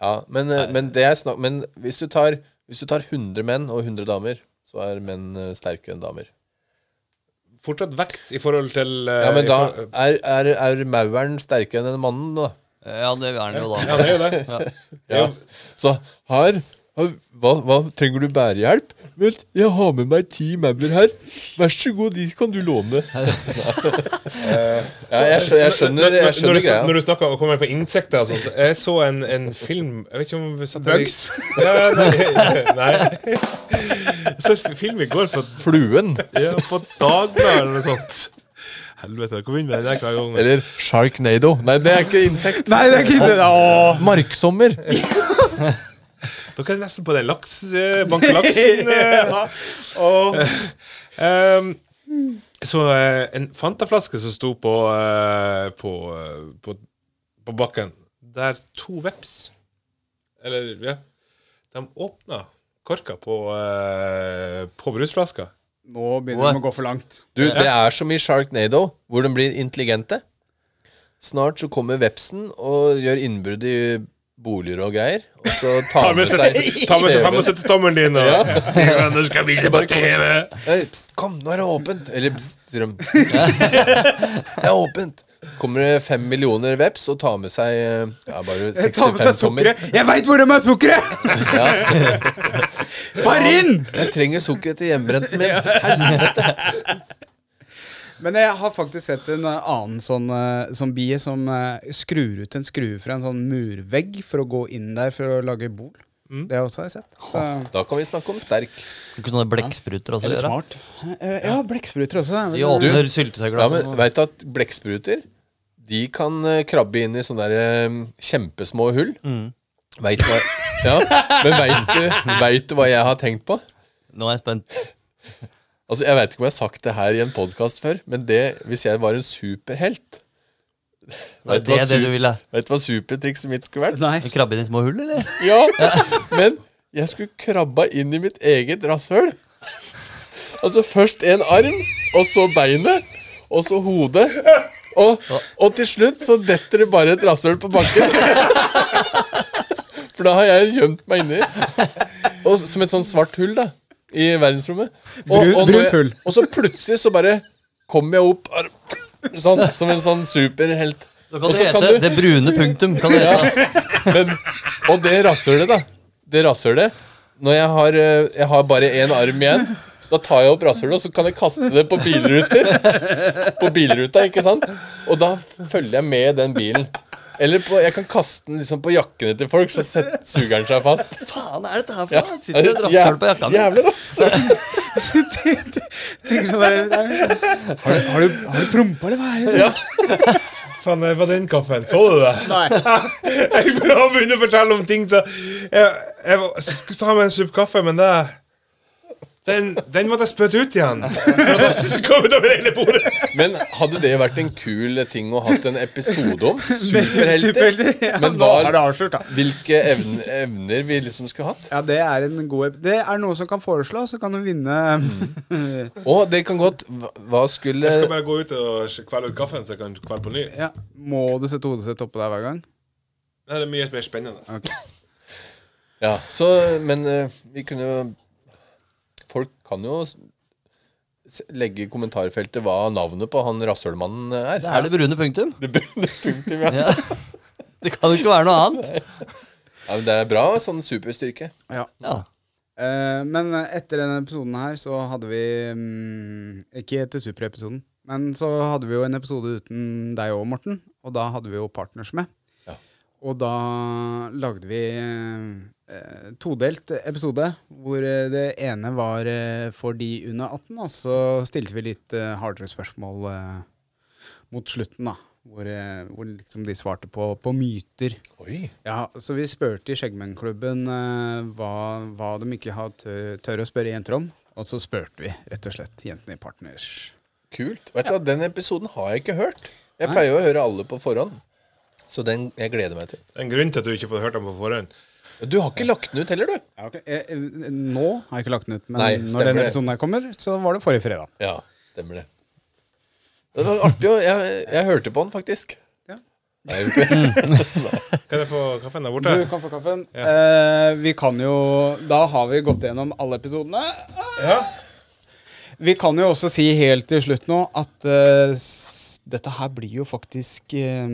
Speaker 5: Ja, men, eh, men det er snakk Men hvis du, tar, hvis du tar 100 menn og 100 damer, så er menn eh, sterkere enn damer.
Speaker 3: fortsatt vekt i forhold til eh,
Speaker 5: Ja, men
Speaker 3: i
Speaker 5: da
Speaker 3: forhold-
Speaker 5: er, er, er mauren sterkere enn mannen, da.
Speaker 2: Ja, det er den jo,
Speaker 3: Ja,
Speaker 2: da.
Speaker 3: det er jo det.
Speaker 2: Ja.
Speaker 3: Det er jo-
Speaker 5: Så her, her hva, hva trenger du bærehjelp? Vel, jeg har med meg ti maurer her. Vær så god, de kan du låne. ja, jeg skjønner, jeg skjønner,
Speaker 3: Når- når-
Speaker 5: jeg skjønner
Speaker 3: når, du, snak- Når
Speaker 5: greia.
Speaker 3: du snakker om å komme på insekter og sånt Jeg så en, en film Jeg vet ikke om vi satt her i-
Speaker 5: Bugs?
Speaker 3: Ja, nei, nei. Jeg så en film i går på,
Speaker 5: Fluen,
Speaker 3: ja, på Dagbladet eller noe sånt. Helvete, jeg kom inn med den der hver gang.
Speaker 5: eller sharknado. Nei, det er ikke insekt.
Speaker 1: Nei, det er ikke det! Åh.
Speaker 5: Marksommer.
Speaker 3: Dere er nesten på den laks, eh, banke laksen. eh. Ehm, så eh, en Fanta-flaske som sto på, eh, på, eh, på, på bakken, der to veps Eller, ja De åpna korka på, eh, på brusflaska.
Speaker 1: Nå begynner de
Speaker 2: What?
Speaker 1: å gå for langt.
Speaker 5: Du, det er som i Sharknado, hvor de blir intelligente. Snart så kommer vepsen og gjør innbrudd i boliger og greier. Og så tar med seg
Speaker 3: Ta med seg
Speaker 5: TV-en.
Speaker 3: 75-tommeren din og ja. Nå skal vi se på TV!
Speaker 5: Hei, pst, kom, nå er det åpent! Eller pst, sier de. Det er åpent. Kommer det fem millioner veps og tar med seg eh, ja, bare
Speaker 1: Jeg tar med seg
Speaker 5: 65 tommer.
Speaker 1: sukkeret! Jeg veit hvor de har sukkeret! Far inn!
Speaker 5: Jeg trenger sukkeret til hjemmebrenten min.
Speaker 1: Men jeg har faktisk sett en eh, annen sånn, eh, sånn bie som eh, skrur ut en skrue fra en sånn murvegg for å gå inn der for å lage bol. Det også har jeg sett. Så,
Speaker 5: Da kan vi snakke om sterk.
Speaker 2: Kan ikke sånne blekkspruter også
Speaker 1: eller
Speaker 2: gjøre?
Speaker 1: smart. Eh, Ja, blekkspruter også.
Speaker 2: De
Speaker 1: men-
Speaker 2: åpner
Speaker 5: Ja, men
Speaker 2: syltetøyglassene.
Speaker 5: Veit du at blekkspruter De kan eh, krabbe inn i sånne der, eh, kjempesmå hull? Veit du hva Ja, Men veit du, vet du hva jeg har tenkt på?
Speaker 2: Nå er jeg spent.
Speaker 5: Altså, Jeg veit ikke om jeg har sagt det her i en podkast før, men det, hvis jeg var en superhelt
Speaker 2: Er
Speaker 5: Vet du
Speaker 2: det
Speaker 5: hva
Speaker 2: det du
Speaker 5: su-
Speaker 2: ville?
Speaker 5: Vet du hva supertrikset mitt skulle vært?
Speaker 1: Nei.
Speaker 2: Krabbe inn i små hull, eller?
Speaker 5: Ja, men jeg skulle krabba inn i mitt eget rasshøl. Altså først en arm, og så beinet, og så hodet. Og, og til slutt så detter det bare et rasshøl på bakken. For da har jeg gjemt meg inni. Og som et sånn svart hull, da. I verdensrommet. Og,
Speaker 1: Brun-
Speaker 5: og når
Speaker 1: brunt
Speaker 5: jeg-
Speaker 1: hull.
Speaker 5: Og så plutselig så bare kommer jeg opp ar- sånn, som en sånn superhelt.
Speaker 2: Da
Speaker 5: Og
Speaker 2: kan det
Speaker 5: så kan
Speaker 2: hete
Speaker 5: du-
Speaker 2: Det brune punktum. Kan det hete.
Speaker 5: men, og det rasshølet, da. Det rasshølet. Når jeg har, eh, jeg har bare én arm igjen, da tar jeg opp rasshølet, og så kan jeg kaste det på bilruter. På bilruta, ikke sant? Og da følger jeg med den bilen. Eller på, jeg kan kaste den liksom på jakkene til folk, så set- suger den seg fast.
Speaker 2: faen er dette her for
Speaker 5: Ja.
Speaker 2: noe? Sitter det et rasshøl på jakka mi?
Speaker 5: Jævlig rasshøl.
Speaker 1: Tenker sånn der, det er sånn. Har du, har du, har du prompa, eller hva er det? som-
Speaker 5: Ja.
Speaker 3: Faen, det var den kaffen. Så du det? Nei. jeg prøver å begynne å fortelle om ting så Jeg, jeg var- skulle ta meg en supp kaffe, men det den, den måtte jeg spytte ut igjen. For at den skulle komme utover hele bordet.
Speaker 5: Men hadde det vært en kul ting å hatt en episode om? Superhelter?
Speaker 1: Superhelter. Ja,
Speaker 5: Men
Speaker 1: nå
Speaker 5: var-
Speaker 1: er det avslørt, da.
Speaker 5: Hvilke evner, evner vi liksom skulle hatt?
Speaker 1: Ja, det er en god ep- Det er noe som kan foreslås, så kan du vinne
Speaker 5: Og dere kan godt Hva hva skulle
Speaker 3: Jeg skal bare gå ut og kvele ut kaffen, så jeg kan kvele på ny.
Speaker 1: ja. Må du sette hodet sitt oppå der hver gang?
Speaker 3: Nei, det er mye mer spennende.
Speaker 5: Ja, så, men eh, vi kunne jo Folk kan jo s- s- legge i kommentarfeltet hva navnet på han rasshølmannen eh, er.
Speaker 2: Det er det brune punktum.
Speaker 5: Det burde- punktum, ja.
Speaker 2: Ja. Det kan jo ikke være noe annet.
Speaker 5: ja, men det er bra sånn superstyrke.
Speaker 1: Ja.
Speaker 2: Ja.
Speaker 1: Eh, men etter denne episoden her så hadde vi mm, Ikke etter superepisoden, men så hadde vi jo en episode uten deg òg, Morten. Og da hadde vi jo partners med.
Speaker 5: Ja.
Speaker 1: Og da lagde vi eh, todelt episode, hvor eh, det ene var eh, for de under 18, og så stilte vi litt eh, hardere spørsmål eh, mot slutten, da. Hvor, eh, hvor liksom de svarte på, på myter.
Speaker 5: Oi.
Speaker 1: Ja, Så vi spurte i Skjeggmennklubben eh, hva, hva de ikke har tør, tør å spørre jenter om. Og så spurte vi rett og slett jentene i Partners.
Speaker 5: Kult. Vet du, hva, Den episoden har jeg ikke hørt. Jeg pleier jo å høre alle på forhånd. Så den jeg gleder meg til.
Speaker 3: En grunn til at du ikke får hørt den på forhånd.
Speaker 5: Du har ikke lagt den ut heller, du.
Speaker 1: Ja, ok. Eh, eh, Nå har jeg ikke lagt den ut, men
Speaker 5: Nei, stemmer
Speaker 1: når denne
Speaker 5: det.
Speaker 1: episoden her kommer, så var det forrige fredag.
Speaker 5: Ja, stemmer det. Det var artig. å- Jeg, jeg hørte på den, faktisk.
Speaker 1: Ja.
Speaker 5: Nei, jeg gjorde ikke det.
Speaker 3: Kan jeg få kaffen der borte?
Speaker 1: Du kan få kaffen. Eh, vi kan jo Da har vi gått gjennom alle episodene.
Speaker 3: Ja.
Speaker 1: Vi kan jo også si helt til slutt nå at eh, s- dette her blir jo faktisk eh,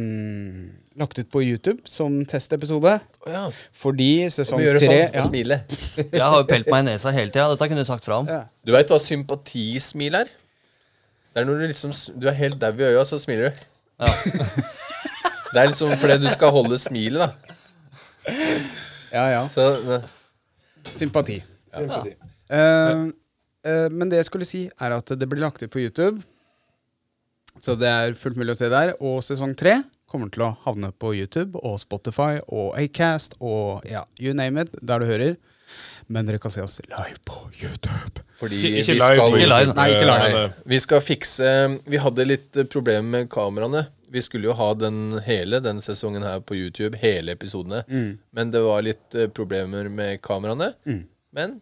Speaker 1: lagt ut på YouTube som testepisode.
Speaker 5: Å, ja.
Speaker 1: Fordi
Speaker 5: Vi
Speaker 1: sesong
Speaker 5: gjør
Speaker 1: tre
Speaker 5: det sånn.
Speaker 1: ja.
Speaker 5: Og smile.
Speaker 2: Jeg har jo pelt meg i nesa hele tida. Dette kunne du sagt fra om.
Speaker 1: Ja.
Speaker 5: Du veit hva sympatismil er? Det er når du liksom s- Du er helt dau i øya, så smiler du. Det er liksom fordi du skal holde smilet, da.
Speaker 1: ja, ja.
Speaker 5: Så
Speaker 1: Sympati. Eh, eh, men det jeg skulle si, er at det blir lagt ut på YouTube. Så det er fullt mulig å se der. Og sesong tre kommer til å havne på YouTube og Spotify og Acast og ja, you name it, der du hører. Men dere kan se oss live på YouTube.
Speaker 5: fordi
Speaker 3: Ikke, ikke
Speaker 5: vi
Speaker 3: live.
Speaker 5: skal
Speaker 3: på
Speaker 2: Ikke live.
Speaker 3: YouTube.
Speaker 1: Nei, ikke live.
Speaker 3: Eh,
Speaker 5: Vi skal fikse Vi hadde litt eh, problemer med kameraene. Vi skulle jo ha den hele den sesongen her på YouTube, hele episodene.
Speaker 1: Mm.
Speaker 5: Men det var litt eh, problemer med kameraene. Men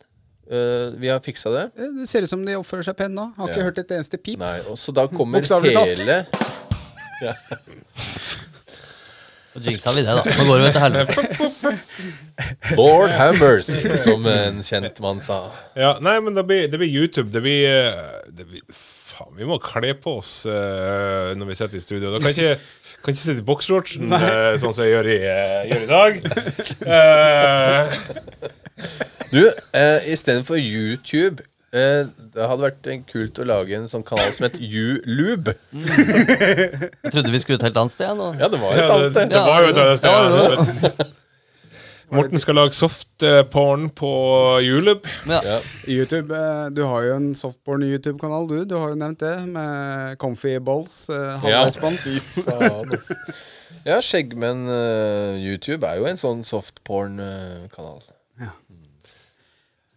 Speaker 5: eh, vi har fiksa det.
Speaker 1: Eh, Det ser ut som de oppfører seg pent nå. Har ikke
Speaker 5: Ja.
Speaker 1: hørt et eneste pip.
Speaker 5: Nei, og så da kommer
Speaker 1: Bokstavelig talt.
Speaker 5: hele
Speaker 2: Og jinxa vi det, da. Nå går det jo til helvete.
Speaker 5: Lord Hammers, som en kjent mann sa.
Speaker 3: Ja, nei, men det blir, det blir YouTube. Det blir, eh, det blir Faen, vi må kle på oss eh, når vi sitter i studio. Da kan ikke, kan ikke sitte i boksshortsen eh, sånn som jeg gjør i, eh, gjør i dag. Eh,
Speaker 5: Du, eh, istedenfor YouTube eh, det hadde vært eh, kult å lage en sånn kanal som het YouLube.
Speaker 2: Jeg trodde vi skulle ut et helt annet sted. Nå.
Speaker 5: Ja, det var
Speaker 3: ja,
Speaker 5: et
Speaker 3: det,
Speaker 5: annet sted.
Speaker 3: det var jo et annet
Speaker 2: Ja, det
Speaker 3: sted. Morten skal lage softporn på juleb.
Speaker 2: Ja.
Speaker 1: YouTube, eh, Du har jo en softborn-YouTube-kanal, du. Du har jo nevnt det med Comfy Balls. eh, Halvrespons.
Speaker 5: Fy faen, ass. Ja, Skjeggmenn eh, YouTube er jo en sånn eh, softporn-kanal.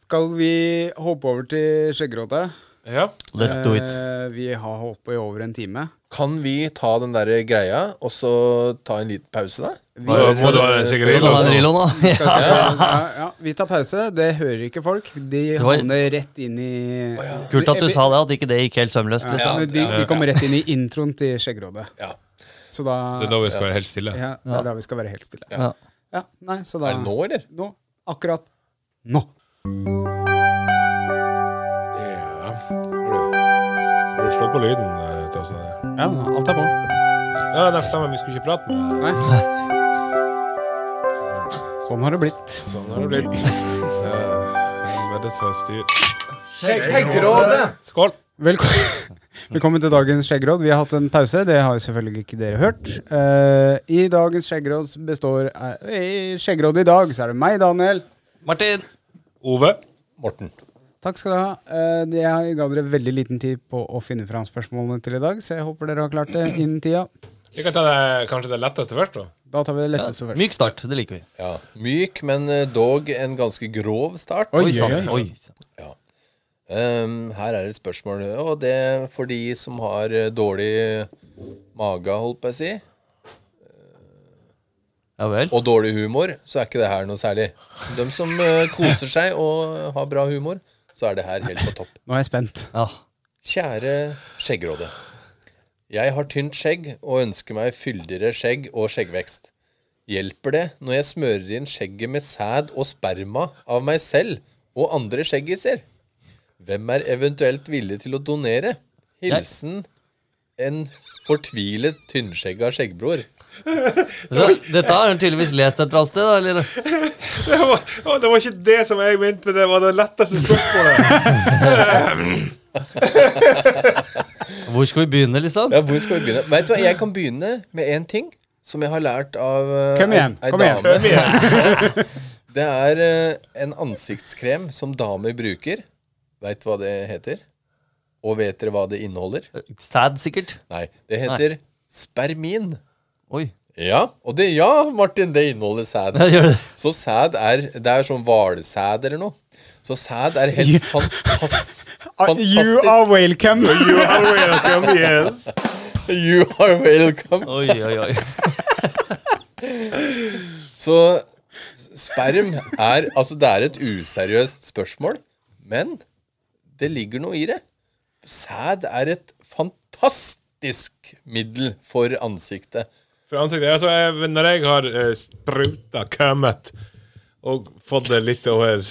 Speaker 1: Skal vi hoppe over til skjeggerådet?
Speaker 3: Ja.
Speaker 2: Let's do it.
Speaker 1: Eh, vi har holdt på i over en time.
Speaker 5: kan vi ta den der greia, og så ta en liten pause, da?
Speaker 3: Må må det være en
Speaker 2: Skal du
Speaker 3: sigarett?
Speaker 2: ha en
Speaker 3: også?
Speaker 2: Drillo nå? Ja.
Speaker 1: Ja, ja, vi tar pause. Det hører ikke folk. De
Speaker 2: var-
Speaker 1: havner rett inn i
Speaker 2: Kult at du sa det, at ikke det gikk helt sømløst.
Speaker 1: Ja,
Speaker 2: Liksom.
Speaker 1: men de, de kommer rett inn i introen til Skjeggrådet.
Speaker 5: Ja.
Speaker 1: Så da
Speaker 3: Det er da vi skal være helt stille.
Speaker 1: ja, Det er da vi skal være helt stille.
Speaker 2: Ja.
Speaker 1: Ja, nei, så da
Speaker 5: Er det nå, eller?
Speaker 1: Nå. Akkurat nå.
Speaker 3: Ja. Har du- har du slått på lyden? eh, til oss der?
Speaker 1: Ja, alt er på.
Speaker 3: Ja, nei, stemmer, vi skulle ikke prate med deg.
Speaker 1: Sånn har det blitt.
Speaker 3: Sånn har det blitt. Helvete, så styr. Skål!
Speaker 1: Velkommen, Velkommen til dagens skjeggråd. Vi har hatt en pause, det har jo selvfølgelig ikke dere hørt. Eh, I dagens skjeggråd består eh, I skjeggrådet i dag så er det meg, Daniel.
Speaker 2: Martin!
Speaker 3: Ove.
Speaker 5: Morten.
Speaker 1: Takk skal dere ha. Eh, det- Jeg ga dere veldig liten tid på å finne fram spørsmålene til i dag, så jeg håper dere har klart det innen tida.
Speaker 3: Vi kan ta det, kanskje det letteste først, da.
Speaker 1: Da tar vi det
Speaker 2: Ja.
Speaker 1: letteste først.
Speaker 2: Myk start. Det liker vi.
Speaker 5: Ja. Myk, men eh, dog en ganske grov start.
Speaker 2: Oi sann.
Speaker 1: oi,
Speaker 2: Oi. sann.
Speaker 5: Ehm, her er et spørsmål, og det er for de som har eh, dårlig mage, holdt på å si,
Speaker 2: Ja vel.
Speaker 5: og dårlig humor, så er ikke det her noe særlig. De som eh, koser seg og har bra humor, så er det her helt på topp.
Speaker 1: Nå er jeg spent.
Speaker 2: Ja.
Speaker 5: Kjære skjeggråde. Jeg har tynt skjegg og ønsker meg fyldigere skjegg og skjeggvekst. Hjelper det når jeg smører inn skjegget med sæd og sperma av meg selv og andre skjeggiser? Hvem er eventuelt villig til å donere? Hilsen en fortvilet tynnskjegga skjeggbror.
Speaker 2: Så, dette har hun tydeligvis lest et eller annet sted, da? Eller?
Speaker 3: Det var, å, det var ikke det som jeg mente, men det var det letteste spørsmålet.
Speaker 2: Hvor skal vi begynne, liksom?
Speaker 5: Ja, hvor skal vi begynne? Vet du hva, Jeg kan begynne med én ting som jeg har lært av eh,
Speaker 1: Kom igjen,
Speaker 5: ei- ei
Speaker 1: kom igjen.
Speaker 5: dame.
Speaker 3: Kom igjen.
Speaker 5: Det er eh, en ansiktskrem som damer bruker. Veit du hva
Speaker 2: Eh,
Speaker 5: det heter? Og vet dere hva det inneholder?
Speaker 2: Sad, sikkert.
Speaker 5: Nei, det heter spermin.
Speaker 2: Oi.
Speaker 5: Ja, og det, ja, Martin, det inneholder sæd.
Speaker 2: Ja, gjør det.
Speaker 5: Så sæd er Det er sånn hvalsæd eller noe. Så sæd er helt fantas-
Speaker 1: You
Speaker 5: fantastisk.
Speaker 1: are welcome!
Speaker 3: You are welcome, yes.
Speaker 5: You are welcome.
Speaker 2: Oi, oi, oi.
Speaker 5: Så sperm er Altså, det er et useriøst spørsmål, men det ligger noe i det. Sæd er et fantastisk middel for ansiktet.
Speaker 3: For ansiktet, altså, jeg, Når jeg har eh, spruta kømmet og fått det litt over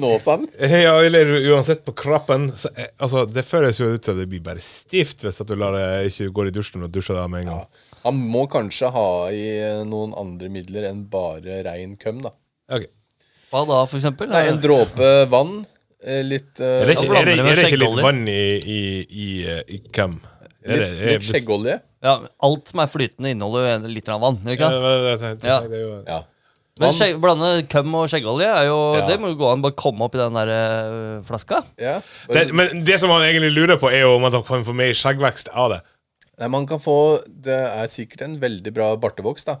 Speaker 5: Nåsan.
Speaker 3: ja, Eller uansett på kroppen så, eh, altså, Det føles jo ut som det blir bare stivt hvis at du lar det ikke går i dusjen og dusjer det av med en gang.
Speaker 5: Han må kanskje ha i noen andre midler enn bare rein køm, da.
Speaker 3: Ok.
Speaker 2: Hva da, for eksempel?
Speaker 5: Nei, en dråpe vann. eh, Litt, eh,
Speaker 3: Er det ikke,
Speaker 2: blander
Speaker 3: er det,
Speaker 2: det med
Speaker 3: er det ikke litt
Speaker 2: skjeggolje.
Speaker 3: vann i, i, i, eh, i køm? Er det-
Speaker 5: litt,
Speaker 3: er
Speaker 5: litt
Speaker 3: det-
Speaker 5: skjeggolje.
Speaker 2: Ja, alt som er flytende, inneholder jo litt av vann. gjør det
Speaker 3: Ja,
Speaker 2: Ikke? det?
Speaker 3: det var det jeg tenkte.
Speaker 2: Ja.
Speaker 3: Det er jo-
Speaker 5: Ja.
Speaker 2: Men
Speaker 5: Vann.
Speaker 2: skjegg, blande køm og skjeggolje, er jo,
Speaker 5: Ja.
Speaker 2: det må jo gå an bare komme opp i den der eh, flaska.
Speaker 5: ja. Bare,
Speaker 3: Det, men det som han egentlig lurer på, er jo om han kan få mer skjeggvekst av det.
Speaker 5: nei, man kan få Det er sikkert en veldig bra bartevoks, da.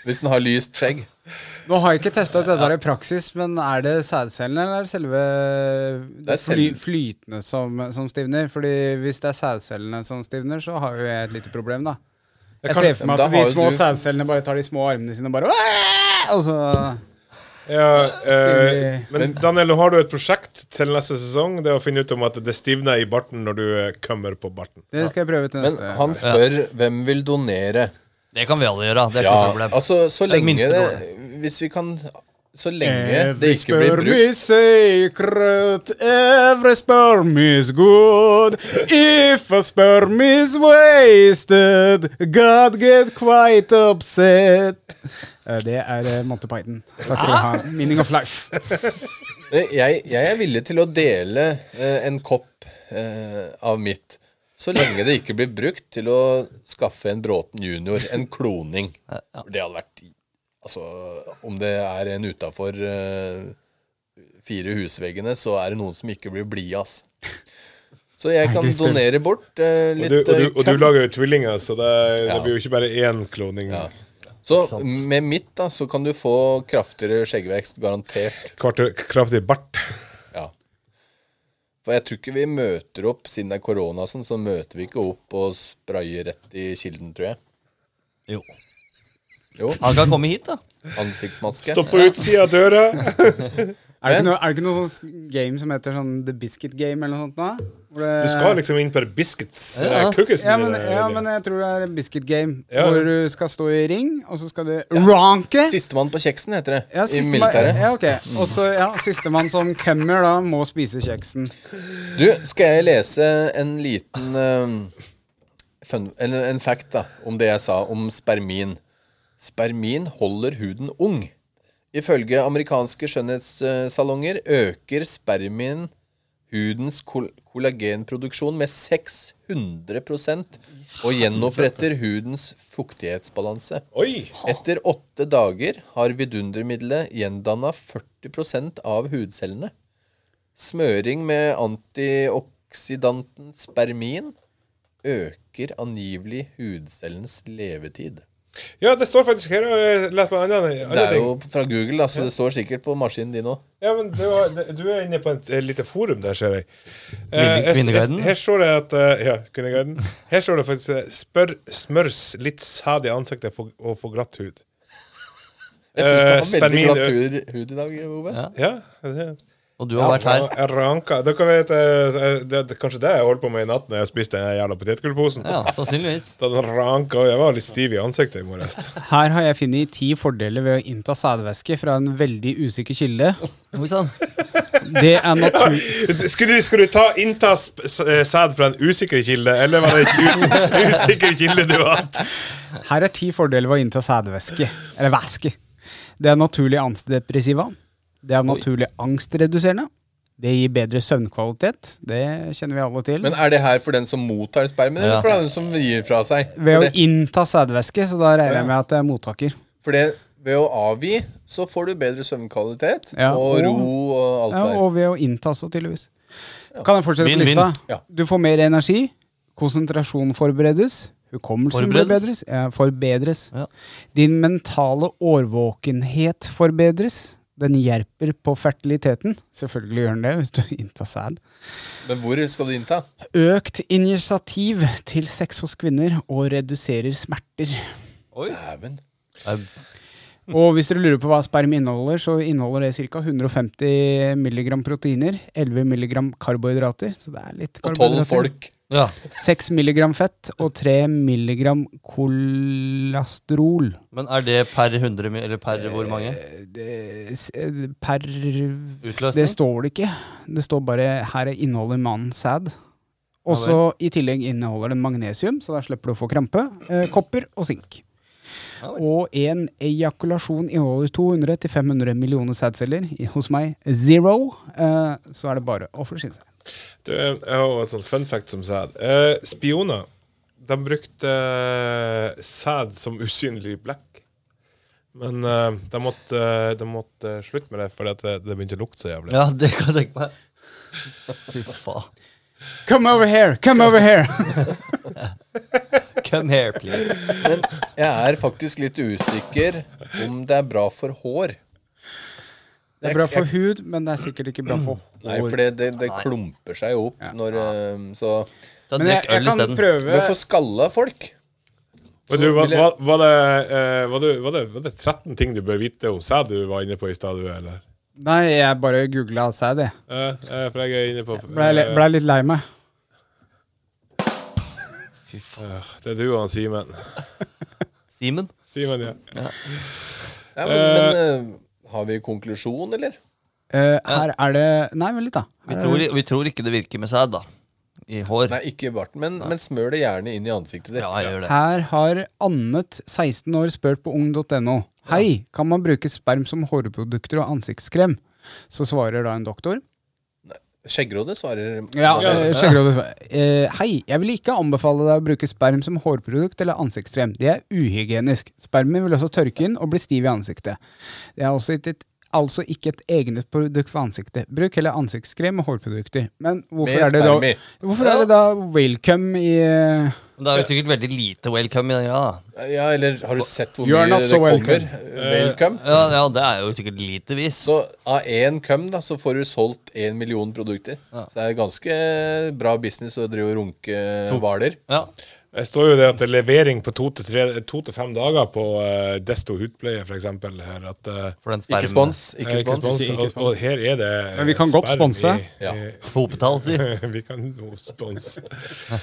Speaker 5: Hvis den har lyst skjegg.
Speaker 1: Nå har jeg ikke testa dette der i praksis, men er det sædcellene eller er det selve
Speaker 5: Det er
Speaker 1: fly,
Speaker 5: cellen.
Speaker 1: flytende som, som stivner? Fordi hvis det er sædcellene som stivner, så har jo jeg et lite problem, da. Jeg
Speaker 3: kan-
Speaker 1: ser for
Speaker 5: men
Speaker 1: meg
Speaker 5: da
Speaker 1: at de
Speaker 5: har jo
Speaker 1: små
Speaker 5: du-
Speaker 1: sædcellene bare tar de små armene sine og bare «Åh!» Og så
Speaker 3: Ja, eh,
Speaker 1: Stivner.
Speaker 3: men Daniel, nå har du et prosjekt til neste sesong. Det er å finne ut om at det stivner i barten når du eh, kommer på barten.
Speaker 1: Det skal jeg prøve til
Speaker 5: Men
Speaker 1: neste.
Speaker 5: han spør hvem vil donere.
Speaker 2: Det kan vi alle gjøre. Det er ikke noe
Speaker 5: Ja,
Speaker 2: problem.
Speaker 5: altså, så
Speaker 2: Det er
Speaker 5: lenge
Speaker 2: minste
Speaker 5: det Hvis vi kan Så
Speaker 1: Eh,
Speaker 5: lenge det ikke blir
Speaker 1: Every sperm
Speaker 5: brukt
Speaker 1: is sacred, every sperm is good. If a sperm is wasted, God get quite upset. Eh, Det er eh, Monty Python. Takk skal du ha. Meaning of life.
Speaker 5: jeg, jeg er villig til å dele eh, en kopp eh, av mitt. Så lenge det ikke blir brukt til å skaffe en Bråten junior en kloning. Det hadde vært Altså, om det er en utafor eh, fire husveggene, så er det noen som ikke blir blide, ass. Så jeg kan
Speaker 1: Christer.
Speaker 5: donere bort eh,
Speaker 3: Og
Speaker 5: litt
Speaker 3: du, og du, og du
Speaker 5: eh,
Speaker 3: lager jo tvillinger, så det, det
Speaker 5: Ja.
Speaker 3: blir jo ikke bare én kloning.
Speaker 5: Så med mitt da, så kan du få kraftigere skjeggvekst, garantert.
Speaker 3: Kvarte, kraftig bart.
Speaker 5: Ja. For jeg tror ikke vi møter opp, siden det er korona og sånn, så møter vi ikke opp og sprayer rett i kilden, tror jeg.
Speaker 2: Jo.
Speaker 5: Jo,
Speaker 2: Han kan komme hit, da.
Speaker 5: ansiktsmaske.
Speaker 3: Stå på utsida av døra!
Speaker 1: Er det ikke noe, er det ikke noe sånn game som heter sånn The Biscuit Game eller noe sånt? da? Hvor det-
Speaker 3: Du skal liksom inn på eh, biscuits.
Speaker 2: Ja.
Speaker 3: Ja. Cookiesen
Speaker 1: ja men,
Speaker 3: dine,
Speaker 1: ja,
Speaker 3: Willy.
Speaker 1: men jeg tror det er en biscuit game.
Speaker 3: Ja.
Speaker 1: Hvor du skal stå i ring, og så skal du ranke.
Speaker 5: Sistemann på kjeksen, heter det.
Speaker 1: Ja,
Speaker 5: I
Speaker 1: sistemann
Speaker 5: militæret.
Speaker 1: ja, okay. Og så, ja, sistemann som kommer, da, må spise kjeksen.
Speaker 5: Du, skal jeg lese en liten eh, fun, eller en fact da, om det jeg sa om spermin. Spermin holder huden ung. Ifølge amerikanske skjønnhetssalonger øker spermin hudens kol kollagenproduksjon med 600 og gjenoppretter hudens fuktighetsbalanse.
Speaker 3: Oi!
Speaker 5: Etter åtte dager har vidundermiddelet gjendanna 40 av hudcellene. Smøring med antioksidanten spermin øker angivelig hudcellens levetid.
Speaker 3: Ja, det står faktisk her. Og jeg leser på en annen,
Speaker 5: Det
Speaker 3: annen
Speaker 5: er
Speaker 3: ting.
Speaker 5: jo fra Google, da, så det står sikkert på maskinen din òg.
Speaker 3: Ja, men det var, det, Du er inne på et, et lite forum der, ser jeg. Eh,
Speaker 2: Kvinne-
Speaker 3: jeg-
Speaker 2: Kvinneguiden?
Speaker 3: jeg- Her står det at eh, Ja, Kvinneguiden. Her står det faktisk eh, spør, smørs litt sæd i ansiktet for, og få glatt hud.
Speaker 5: Jeg syns det
Speaker 3: Eh,
Speaker 5: var veldig
Speaker 3: spermin
Speaker 5: glatt hud- hud i dag, Ove.
Speaker 2: Ja.
Speaker 3: Ja, det-
Speaker 2: Og du har vært her.
Speaker 3: Jeg ranka. Dere vet, eh, det, det, kanskje det jeg holdt på med i natt når jeg spiste den jævla potetgullposen.
Speaker 2: Ja, sannsynligvis.
Speaker 3: Da den ranka, og Jeg var litt stiv i ansiktet i morges.
Speaker 1: Her har jeg funnet ti fordeler ved å innta sædvæske fra en veldig usikker kilde.
Speaker 2: Oi sann.
Speaker 1: Det er natur...
Speaker 3: Skulle du, skulle du ta innta sp- s- eh, sæd fra en usikker kilde, eller var det en u- usikker kilde du hadde?
Speaker 1: Her er ti fordeler ved å innta sædvæske. Eller væske. Det er naturlig antidepressiva. Det er naturlig angstreduserende. Det gir bedre søvnkvalitet. Det kjenner vi alle til.
Speaker 5: Men er det her for den som mottar spermen, eller
Speaker 2: Ja.
Speaker 5: for den som gir fra seg?
Speaker 1: ved
Speaker 5: For
Speaker 1: å
Speaker 5: det-
Speaker 1: innta sædvæske, så da regner jeg med at det er mottaker.
Speaker 5: For det, ved å avgi, så får du bedre søvnkvalitet
Speaker 1: Ja,
Speaker 5: og
Speaker 1: og-
Speaker 5: ro og alt
Speaker 1: Ja, oh.
Speaker 5: det der.
Speaker 1: og ved å innta også, tydeligvis. Kan jeg fortsette
Speaker 2: Vinn,
Speaker 1: på lista?
Speaker 2: vinn.
Speaker 5: Ja.
Speaker 1: Du får mer energi. Konsentrasjon forberedes. Hukommelsen forberedes.
Speaker 2: Forberedes?
Speaker 1: Ja, forbedres.
Speaker 2: Ja.
Speaker 1: Din mentale årvåkenhet forbedres. Den hjelper på fertiliteten. Selvfølgelig gjør den det hvis du inntar sæd.
Speaker 5: Men hvor skal du innta?
Speaker 1: Økt initiativ til sex hos kvinner og reduserer smerter.
Speaker 5: Dæven.
Speaker 1: Og hvis dere lurer på hva sperm inneholder, så inneholder det ca. 150 mg proteiner, 11 mg karbohydrater, så det er litt
Speaker 5: Og tolv
Speaker 1: karbohydrater.
Speaker 5: folk.
Speaker 2: Ja.
Speaker 1: 6 mg fett og 3 mg kolesterol
Speaker 2: Men er det per 100 mi- Eller per hvor mange?
Speaker 1: Eh, det- s- eh, per Det
Speaker 2: Utløsning?
Speaker 1: står det ikke. Det står bare 'her inneholder mannen sæd'. Og så i tillegg inneholder den magnesium, så der slipper du å få krampe. Eh, kopper og sink.
Speaker 2: Ja vel.
Speaker 1: Og en ejakulasjon inneholder 200-500 millioner sædceller. I- Hos meg zero. Eh, så er det bare å forsyne seg.
Speaker 3: Du, jeg har et sånt fun fact som sæd. Eh, spioner de brukte eh, sæd som usynlig blekk. Men eh, de måtte, eh, de måtte slutte med det fordi at det, det begynte å lukte så jævlig.
Speaker 2: Ja, det kan jeg tenke meg. Fy faen.
Speaker 1: Come over here! Come over here!
Speaker 2: Come here, please.
Speaker 5: Men jeg er faktisk litt usikker om det er bra for hår.
Speaker 1: Det er bra for hud, men det er sikkert ikke bra for
Speaker 5: Nei, for
Speaker 1: hår.
Speaker 5: det, det, det klumper seg jo opp når eh, Så
Speaker 2: Da
Speaker 1: Men jeg,
Speaker 2: drikk
Speaker 1: jeg
Speaker 2: øl
Speaker 1: kan
Speaker 2: isteden.
Speaker 5: Men
Speaker 1: prøve
Speaker 5: for skalla folk
Speaker 3: Men du, hva,
Speaker 5: vil jeg-
Speaker 3: hva, var, det, eh, var, du, var, det, var det 13 ting du bør vite om sæd du var inne på i stad, du, eller?
Speaker 1: Nei, jeg bare googla sæd, jeg.
Speaker 3: Eh, eh, for jeg er inne på
Speaker 1: Blei
Speaker 3: eh,
Speaker 1: li- blei litt lei meg.
Speaker 2: Fy faen.
Speaker 3: Eh, Det er du og han Simen.
Speaker 2: Simen?
Speaker 3: Simen, ja.
Speaker 5: ja, men, men eh, har vi konklusjon, eller?
Speaker 1: Eh, her er det Nei, vent litt, da.
Speaker 2: Vi
Speaker 1: Her er
Speaker 2: tror,
Speaker 1: det-
Speaker 2: vi tror ikke det virker med sæd, da. I hår.
Speaker 5: Nei, ikke i barten, men, men smør det gjerne inn i ansiktet ditt.
Speaker 2: Ja, jeg gjør det.
Speaker 1: Her har Annet, 16 år, spurt på ung.no. Hei, kan man bruke sperm som hårprodukter og ansiktskrem? Så svarer da en doktor.
Speaker 5: Skjeggråde svarer
Speaker 1: Ja, eh, skjeggerådet svarer. Eh, hei, jeg vil ikke anbefale deg å bruke sperm som hårprodukt eller ansiktskrem. Det er uhygienisk. Spermen vil også tørke inn og bli stiv i ansiktet. Det er altså ikke et Altså ikke et egnet produkt for ansiktet. Bruk heller ansiktskrem og hårprodukter. Men hvorfor
Speaker 5: Med
Speaker 1: er det da,
Speaker 5: sperm i.
Speaker 1: hvorfor er det da welcome i eh,
Speaker 2: Men det er jo sikkert veldig lite welcome i den grad, da.
Speaker 5: Ja, eller har du sett hvor
Speaker 1: You're
Speaker 5: mye
Speaker 1: not
Speaker 5: det
Speaker 1: so Eh.
Speaker 5: kommer?
Speaker 1: welcome.
Speaker 5: Welcome.
Speaker 2: Ja, ja, det er jo sikkert lite vis.
Speaker 5: Så av én køm da, så får du solgt én million produkter. Så det er ganske bra business å drive og runke hvaler.
Speaker 2: Ja.
Speaker 3: Det står jo det at det er levering på to til tre- to til fem dager på eh, Desto hudpleie, for eksempel. Her, at, eh,
Speaker 2: For den
Speaker 5: Ikke
Speaker 2: spermen.
Speaker 5: spons.
Speaker 3: eh,
Speaker 5: Ikke spons.
Speaker 3: Og, og her er det
Speaker 1: Men vi kan godt
Speaker 3: sperm
Speaker 1: sponse.
Speaker 3: i-
Speaker 5: Ja.
Speaker 2: Hopetall, si.
Speaker 3: vi kan jo sponse.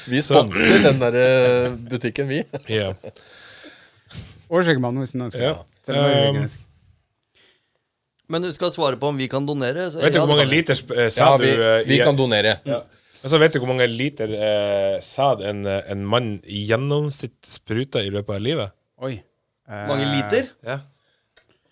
Speaker 5: Vi sponser den der eh, butikken, vi.
Speaker 3: Ja.
Speaker 1: Og skjeggmannen, hvis den ønsker
Speaker 3: Ja.
Speaker 1: det. Selv om det. er
Speaker 3: Um,
Speaker 1: uhygienisk.
Speaker 2: Men du skal svare på om vi kan donere. Så,
Speaker 3: Vet du
Speaker 2: Ja, det
Speaker 3: hvor mange
Speaker 2: kan vi.
Speaker 3: liter sp- eh, sæd
Speaker 5: Ja, vi,
Speaker 3: du eh,
Speaker 5: vi
Speaker 3: i-
Speaker 5: kan donere.
Speaker 3: ja. Altså, Vet du hvor mange liter eh, sæd en, eh, en mann i gjennomsnitt spruter i løpet av livet?
Speaker 1: Oi. Eh,
Speaker 2: Mange liter?
Speaker 3: Ja.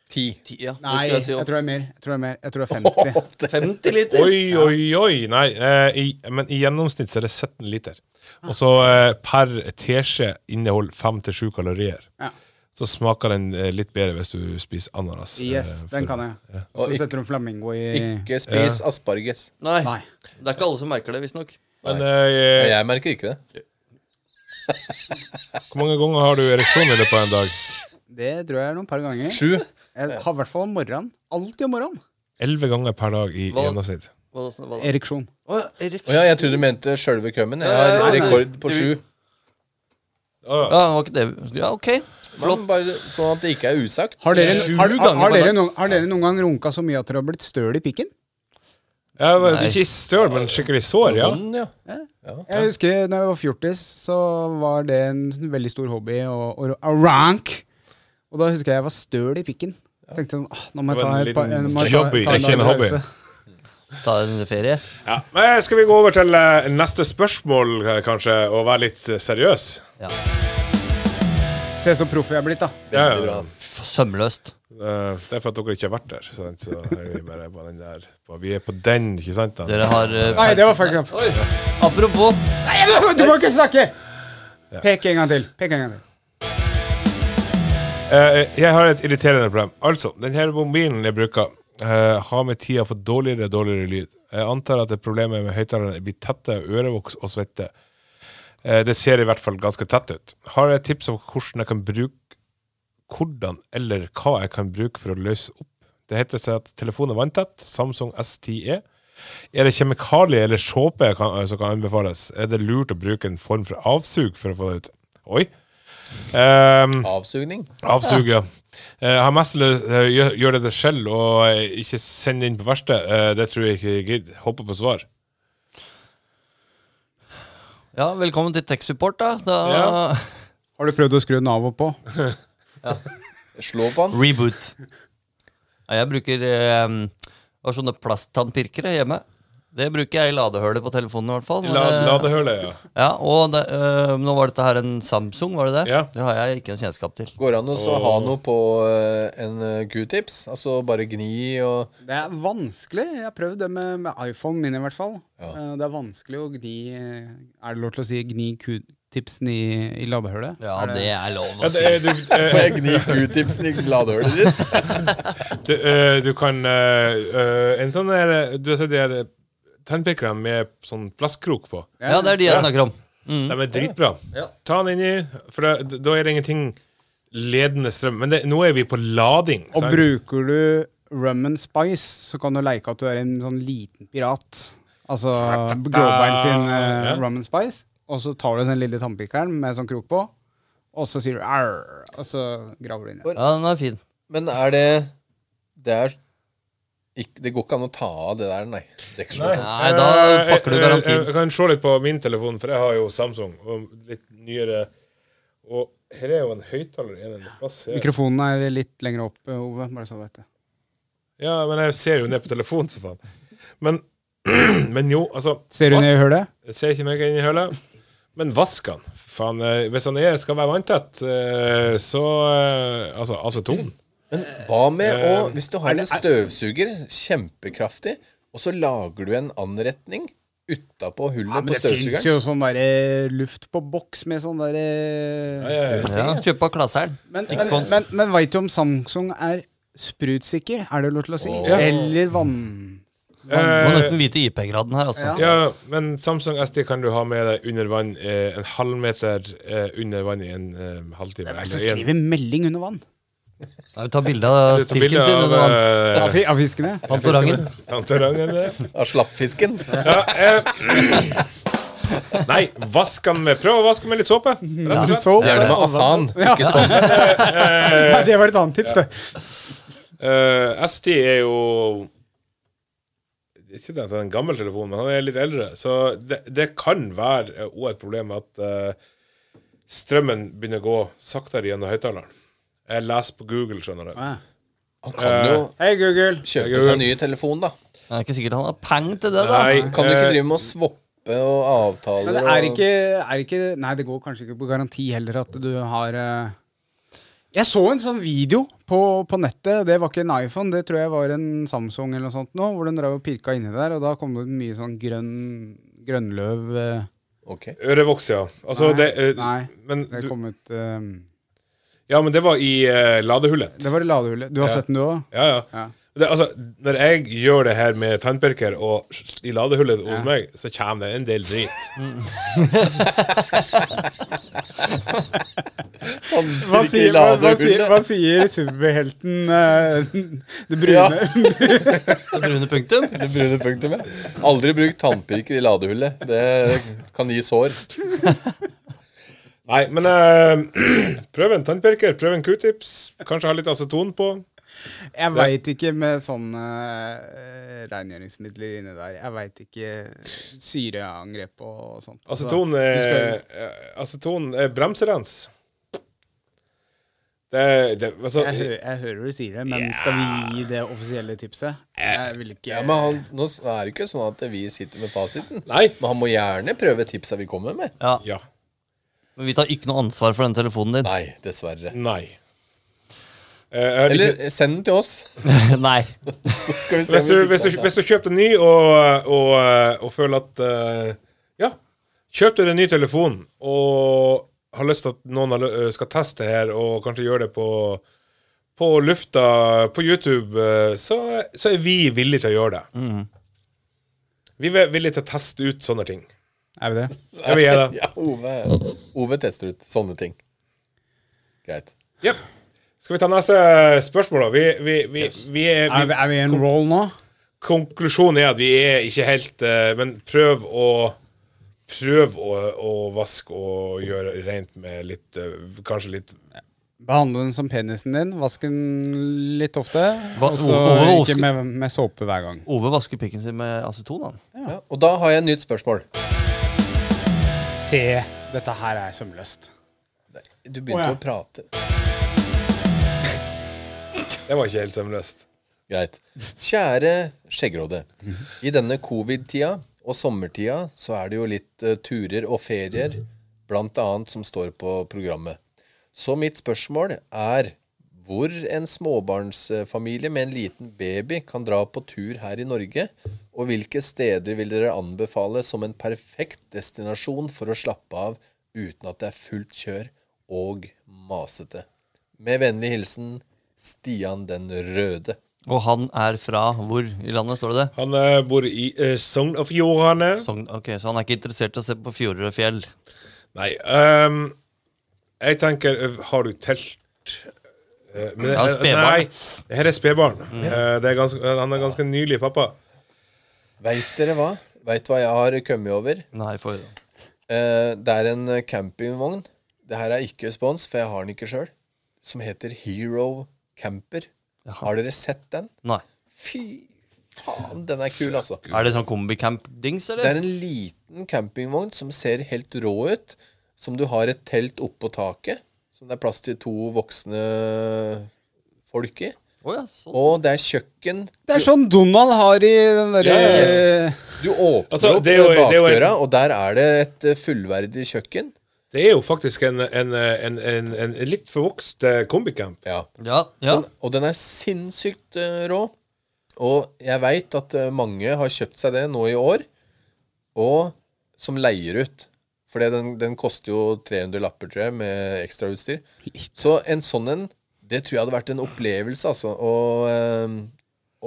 Speaker 5: Ti.
Speaker 2: Ti, ja. Nå
Speaker 1: Nei,
Speaker 2: skulle
Speaker 1: jeg
Speaker 2: jeg si
Speaker 1: tror
Speaker 2: opp.
Speaker 1: det er mer. Jeg tror det er mer. Jeg tror det er 50.
Speaker 2: 50 liter?
Speaker 3: Oi, oi, oi! Nei, eh, i, men i gjennomsnitt så er det 17 liter. Og så eh, per teskje inneholder 5-7 kalorier.
Speaker 1: Ja.
Speaker 3: Så smaker den eh, litt bedre hvis du spiser ananas. eh,
Speaker 1: Yes, den
Speaker 3: for-
Speaker 1: kan jeg.
Speaker 5: Og
Speaker 1: Så
Speaker 5: ikke,
Speaker 1: setter du en flamingo i
Speaker 5: ikke spis asparges.
Speaker 2: Nei.
Speaker 1: Nei.
Speaker 2: Det er ikke alle som merker det, visstnok.
Speaker 3: Men
Speaker 5: Nei,
Speaker 3: eh,
Speaker 5: Jeg merker ikke det.
Speaker 3: hvor mange ganger har du ereksjon i løpet av en dag?
Speaker 1: Det tror jeg er noen par ganger.
Speaker 5: Sju.
Speaker 1: Jeg har i hvert fall om morgenen. Alltid om morgenen.
Speaker 3: 11 ganger per dag i
Speaker 2: Hva-
Speaker 3: gjennomsnitt.
Speaker 2: Hva, hva, hva?
Speaker 1: Ereksjon.
Speaker 2: Å, ja, Erik.
Speaker 5: Å ja, jeg trodde du mente sjølve kømmen. Jeg
Speaker 2: Ja, ja,
Speaker 5: har
Speaker 2: ja.
Speaker 5: rekord på sju.
Speaker 3: Å,
Speaker 2: Ja, var ikke det. ja, ok. Flott.
Speaker 5: Men Bare sånn at det ikke er usagt.
Speaker 1: Har dere,
Speaker 2: Sju
Speaker 1: har, har,
Speaker 2: ganger
Speaker 1: har,
Speaker 2: på
Speaker 1: dere
Speaker 2: dag.
Speaker 1: noen, har dere noen gang runka så mye at dere har blitt støl i pikken?
Speaker 3: Jeg var
Speaker 2: Nei.
Speaker 3: ikke i støl, men skikkelig sår, ja.
Speaker 5: Vond, ja.
Speaker 1: Jeg husker da jeg var fjortis, så var det en sånn veldig stor hobby å å- å rank. Og da husker jeg jeg var støl i pikken. Tenkte sånn, ah, nå må jeg
Speaker 3: Det var
Speaker 1: ta
Speaker 3: en
Speaker 1: et par-
Speaker 3: liten
Speaker 1: nå må jeg ta-
Speaker 3: hobby,
Speaker 1: ta
Speaker 3: ikke
Speaker 1: lang
Speaker 3: en hobby.
Speaker 1: pause.
Speaker 2: Ta en ferie.
Speaker 3: ja. Men skal vi gå over til eh, neste spørsmål, eh, kanskje, og være litt eh, seriøs?
Speaker 2: Ja.
Speaker 1: Se så proff jeg er blitt, da.
Speaker 3: Ja,
Speaker 5: Veldig bra,
Speaker 3: ja.
Speaker 5: ass.
Speaker 2: Sømløst.
Speaker 3: Eh, det er for at dere ikke har vært der. Sant? Så er vi, bare på den der. på- Vi er på den, ikke sant? Da?
Speaker 2: Dere har eh,
Speaker 1: Nei, det var fucked up.
Speaker 2: Oi. Apropos
Speaker 1: Du må ikke snakke! Pek en gang til. Pek en gang til.
Speaker 3: Eh, jeg har et irriterende problem. Altså, denne mobilen jeg bruker, eh, har med tida fått dårligere og dårligere lyd. Jeg antar at det problemet med høyttaleren blir tette ørevoks og svette. Eh, Det ser i hvert fall ganske tett ut. Har jeg tips om hvordan jeg kan bruke hvordan eller hva jeg kan bruke for å løse opp? Det heter seg at telefonen er vanntett. Samsung S10E. Er det kjemikalier eller såpe jeg kan- eh, som kan anbefales? Er det lurt å bruke en form for avsug for å få det ut? Oi. Um,
Speaker 5: Avsugning.
Speaker 3: Avsug, ja. Eh, har mest eller, eh, gjør, gjør det det selv og eh, ikke send det inn på verste. Eh, det tror jeg ikke jeg gidder. Håper på svar.
Speaker 2: Ja, velkommen til Tech Support, da. da
Speaker 3: Ja.
Speaker 1: Har du prøvd å skru den av og på?
Speaker 5: Slå på han.
Speaker 2: Reboot. Ja, jeg bruker eh, har sånne plasttannpirkere hjemme. Det bruker jeg i ladehølet på telefonen. i hvert fall Eh,
Speaker 3: La, la det høre, ja.
Speaker 2: Ja, og det, eh, Nå var dette her en Samsung, var det det?
Speaker 3: Ja.
Speaker 2: Det har jeg ikke noe kjennskap til.
Speaker 5: Går an å så ha noe på eh, en eh, q-tips? Altså bare gni og
Speaker 1: Det er vanskelig. Jeg har prøvd det med, med iPhone min i hvert fall.
Speaker 5: Ja.
Speaker 1: Eh, Det er vanskelig å gni Er det lov til å si gni q-tipsen i, i ladehølet?
Speaker 2: Ja,
Speaker 1: Er
Speaker 2: det er lov å
Speaker 3: ja det,
Speaker 2: si.
Speaker 3: er- du,
Speaker 5: Får
Speaker 3: eh,
Speaker 5: jeg gni q-tipsen i ladehølet ditt?
Speaker 3: du, eh, du kan eh, eh, En sånn der eh, Du har sett de her eh, tannpirkerne med sånn plastkrok på?
Speaker 2: Ja, det er de jeg snakker om.
Speaker 3: De er dritbra.
Speaker 2: Ja.
Speaker 3: Ta den inni, for da, da er det ingenting ledende strøm. Men det, nå er vi på lading.
Speaker 1: Og
Speaker 3: sant?
Speaker 1: bruker du rum and spice, så kan du leke at du er en sånn liten pirat. Altså Grovbein sin eh,
Speaker 3: Ja.
Speaker 1: rum and spice. Og så tar du den lille tannpikeren med sånn krok på, og så sier du arr, og så graver du inn.
Speaker 2: Ja, den er fin.
Speaker 5: Men er det Det er ikke, Det går ikke an å ta av det der, nei. Deksel og sånt.
Speaker 2: Nei, da
Speaker 3: Eh,
Speaker 2: fucker du
Speaker 3: eh,
Speaker 2: garantien.
Speaker 3: eh, Jeg kan se litt på min telefon, for jeg har jo Samsung. Og litt nyere Og her er jo en høyttaler i en eller annen plass. her.
Speaker 1: Mikrofonen er litt lenger opp, eh, Ove. Bare så du vet det.
Speaker 3: Ja, men jeg ser jo ned på telefonen, for faen. Men, men jo, altså
Speaker 1: Ser du ned i hølet?
Speaker 3: Jeg ser ikke meg inn i hølet. Men vask han. Faen, eh, hvis han er, skal være vanntett, eh, så eh, Altså, aceton.
Speaker 5: Men hva med å
Speaker 1: Eh,
Speaker 5: Hvis du har en støvsuger, kjempekraftig, og så lager du en anretning utapå hullet på
Speaker 1: det fins
Speaker 5: støvsugeren
Speaker 1: jo sånn derre luft på boks med sånn derre
Speaker 3: eh,
Speaker 2: Ja, Kjøp av klasseren.
Speaker 1: Men,
Speaker 2: Ikke
Speaker 1: men,
Speaker 2: sant?
Speaker 1: men, men veit du om Samsung er sprutsikker? Er det lov til å si?
Speaker 5: Ja.
Speaker 1: Eller vann...
Speaker 2: Må
Speaker 3: Eh,
Speaker 2: nesten vite IP-graden her, altså.
Speaker 1: Ja.
Speaker 3: ja, men Samsung SD kan du ha med deg under vann eh, en halvmeter eh, under vann i en eh, halvtime.
Speaker 1: Hvem er det som
Speaker 3: eller en-
Speaker 1: skriver melding under vann?
Speaker 2: Nei, vi tar bilde av
Speaker 3: Du tar
Speaker 2: stilken
Speaker 3: bilde
Speaker 2: sin.
Speaker 3: av,
Speaker 2: under vann.
Speaker 3: eh,
Speaker 1: Av, fi- av fiskene?
Speaker 2: Fantorangen.
Speaker 3: Tantorangen, det.
Speaker 5: av slappfisken?
Speaker 3: eh, Nei, vask den med Prøv å vaske med litt såpe. Rett og slett.
Speaker 1: Så,
Speaker 5: Gjerne med asan. Ikke spons.
Speaker 1: Eh, Nei, det var et annet tips, det.
Speaker 3: Eh, SD er jo Ikke det at det er en gammel telefon, men han er litt eldre. Så det, det kan være eh, også et problem at eh, strømmen begynner å gå saktere gjennom høyttaleren. Jeg leser på Google, skjønner du.
Speaker 5: Han kan jo
Speaker 1: Hei, Google.
Speaker 5: kjøpe seg ny telefon, da.
Speaker 2: Det er ikke sikkert han har peng til det, da.
Speaker 3: Nei,
Speaker 5: Kan du
Speaker 3: eh,
Speaker 5: ikke drive med å swappe og avtaler
Speaker 1: Men det er
Speaker 5: og-
Speaker 1: ikke, er ikke Nei, det går kanskje ikke på garanti heller at du har eh, Jeg så en sånn video på, på nettet, det var ikke en iPhone, det tror jeg var en Samsung eller noe sånt nå, hvor den drev og pirka inni der, og da kom det mye sånn grønn grønnløv eh,
Speaker 5: Ok.
Speaker 3: Ørevoks, ja. Altså,
Speaker 1: Nei,
Speaker 3: det, eh,
Speaker 1: nei,
Speaker 3: men,
Speaker 1: Det
Speaker 3: du,
Speaker 1: kom ut eh,
Speaker 3: ja, men det var i eh, ladehullet.
Speaker 1: Det var i ladehullet. Du har
Speaker 3: Ja.
Speaker 1: sett den, du òg?
Speaker 3: Ja, ja.
Speaker 1: Ja.
Speaker 3: Det, altså, når jeg gjør det her med tannpirker og s- i ladehullet hos
Speaker 1: Ja.
Speaker 3: meg, så kommer det en del drit.
Speaker 1: Hva
Speaker 5: Tannpirker i
Speaker 1: sier, hva, hva sier,
Speaker 5: ladehullet.
Speaker 1: hva sier superhelten eh, det brune?
Speaker 2: Det brune punktum.
Speaker 5: Det brune punktumet. Aldri bruk tannpirker i ladehullet. Det kan gi sår.
Speaker 3: Nei, men eh, prøv en tannpirker, prøv en q-tips. Kanskje ha litt aceton på.
Speaker 1: Jeg veit ikke med sånne eh, rengjøringsmidler inni der. Jeg veit ikke eh, syreangrep og, og sånt. Altså,
Speaker 3: Aceton er, aceton er bremserens. Det, det, altså,
Speaker 1: jeg, hø jeg hører du sier det, men skal vi gi det offisielle tipset? Jeg vil ikke
Speaker 5: Ja, men han, nå er det ikke sånn at vi sitter med fasiten.
Speaker 3: nei.
Speaker 5: Men han må gjerne prøve tipsa vi kommer med.
Speaker 2: Ja.
Speaker 3: Ja.
Speaker 2: Men vi tar ikke noe ansvar for den telefonen din.
Speaker 5: Nei, dessverre.
Speaker 3: Nei. Eh, jeg har ikke-
Speaker 5: Eller send den til oss.
Speaker 2: Nei.
Speaker 5: Skal vi
Speaker 3: hvis, du,
Speaker 5: se om
Speaker 3: hvis,
Speaker 5: vi sånn, fikser
Speaker 3: du,
Speaker 5: den.
Speaker 3: hvis du kjøper en ny og, og, og føler at eh, Ja, kjøp deg en ny telefon og har lyst til at noen har lø- skal teste her, og kanskje gjøre det på, på lufta, på YouTube, eh, så,
Speaker 5: Mm.
Speaker 3: så er vi villige til å gjøre det. Vi er villige til å teste ut sånne ting.
Speaker 1: Er vi det?
Speaker 3: Ja, vi er det.
Speaker 5: Ja, Ove, Ove tester ut sånne ting. Greit.
Speaker 3: Jep. Skal vi ta neste spørsmål, da? Vi, vi, vi, vi er,
Speaker 1: Er vi,
Speaker 3: vi,
Speaker 1: er vi i en roll nå?
Speaker 3: konklusjonen er at vi er ikke helt eh, Men prøv å Prøv å, å vaske og gjøre rent med litt eh, Kanskje litt
Speaker 1: Behandle den som penisen din. Vask den litt ofte.
Speaker 2: Hva-
Speaker 1: Og så
Speaker 2: Ove
Speaker 1: ikke
Speaker 2: Olsen-
Speaker 1: med, med såpe hver gang.
Speaker 2: Ove vasker pikken sin med aceton, han.
Speaker 5: Ja, og da har jeg et nytt spørsmål.
Speaker 1: Se, dette her er sømløst.
Speaker 5: Du begynte
Speaker 1: Å, ja.
Speaker 5: å prate.
Speaker 3: Det var ikke helt sømløst.
Speaker 5: Greit. Kjære Skjeggråde. I denne covid-tida og sommertida så er det jo litt eh, turer og ferier, blant annet, som står på programmet. Så mitt spørsmål er hvor en småbarnsfamilie med en liten baby kan dra på tur her i Norge, og hvilke steder vil dere anbefale som en perfekt destinasjon for å slappe av uten at det er fullt kjør og masete? Med vennlig hilsen Stian den røde.
Speaker 2: Og han er fra hvor i landet, står det det?
Speaker 3: Han eh, bor i eh, Sogn og Fjordane.
Speaker 2: Sogn, ok, Så han er ikke interessert i å se på fjorder og fjell?
Speaker 3: Nei ehm, Jeg tenker eh, Har du telt? Eh, men
Speaker 2: Ja,
Speaker 3: det-
Speaker 2: spedbarn. Mm.
Speaker 3: Nei, det her er spedbarn. Eh, det er ganske, han er ganske nylig pappa.
Speaker 5: Veit dere hva? Veit hva jeg har kommet over?
Speaker 2: Nei, får høre.
Speaker 5: Eh, det er en campingvogn. Det her er ikke spons, for jeg har den ikke sjøl. Som heter Hero Camper. Har dere sett den?
Speaker 2: Nei.
Speaker 5: Fy faen, den er kul, altså.
Speaker 2: Er det sånn kombicamp-dings,
Speaker 5: Det
Speaker 2: eller?
Speaker 5: er en liten campingvogn som ser helt rå ut. Som du har et telt oppå taket, som det er plass til to voksne folk i.
Speaker 2: Å ja, sånn.
Speaker 5: Og det er kjøkken.
Speaker 1: Det er sånn Donald har i den eh, derre
Speaker 3: Yes.
Speaker 5: Du åpner
Speaker 3: Altså,
Speaker 5: opp
Speaker 3: det er jo- det er jo en-
Speaker 5: bakdøra, og der er det et eh, fullverdig kjøkken.
Speaker 3: Det er jo faktisk en, en, en, en, en litt forvokst eh, kombicamp.
Speaker 5: Ja.
Speaker 2: Ja, ja.
Speaker 5: Den, og den er sinnssykt eh, rå. Og jeg veit at eh, mange har kjøpt seg det nå i år, og som leier ut. For det- den, den koster jo 300 lapper, tror jeg, med ekstrautstyr. Så en sånn en, det tror jeg hadde vært en opplevelse, altså. Og, eh,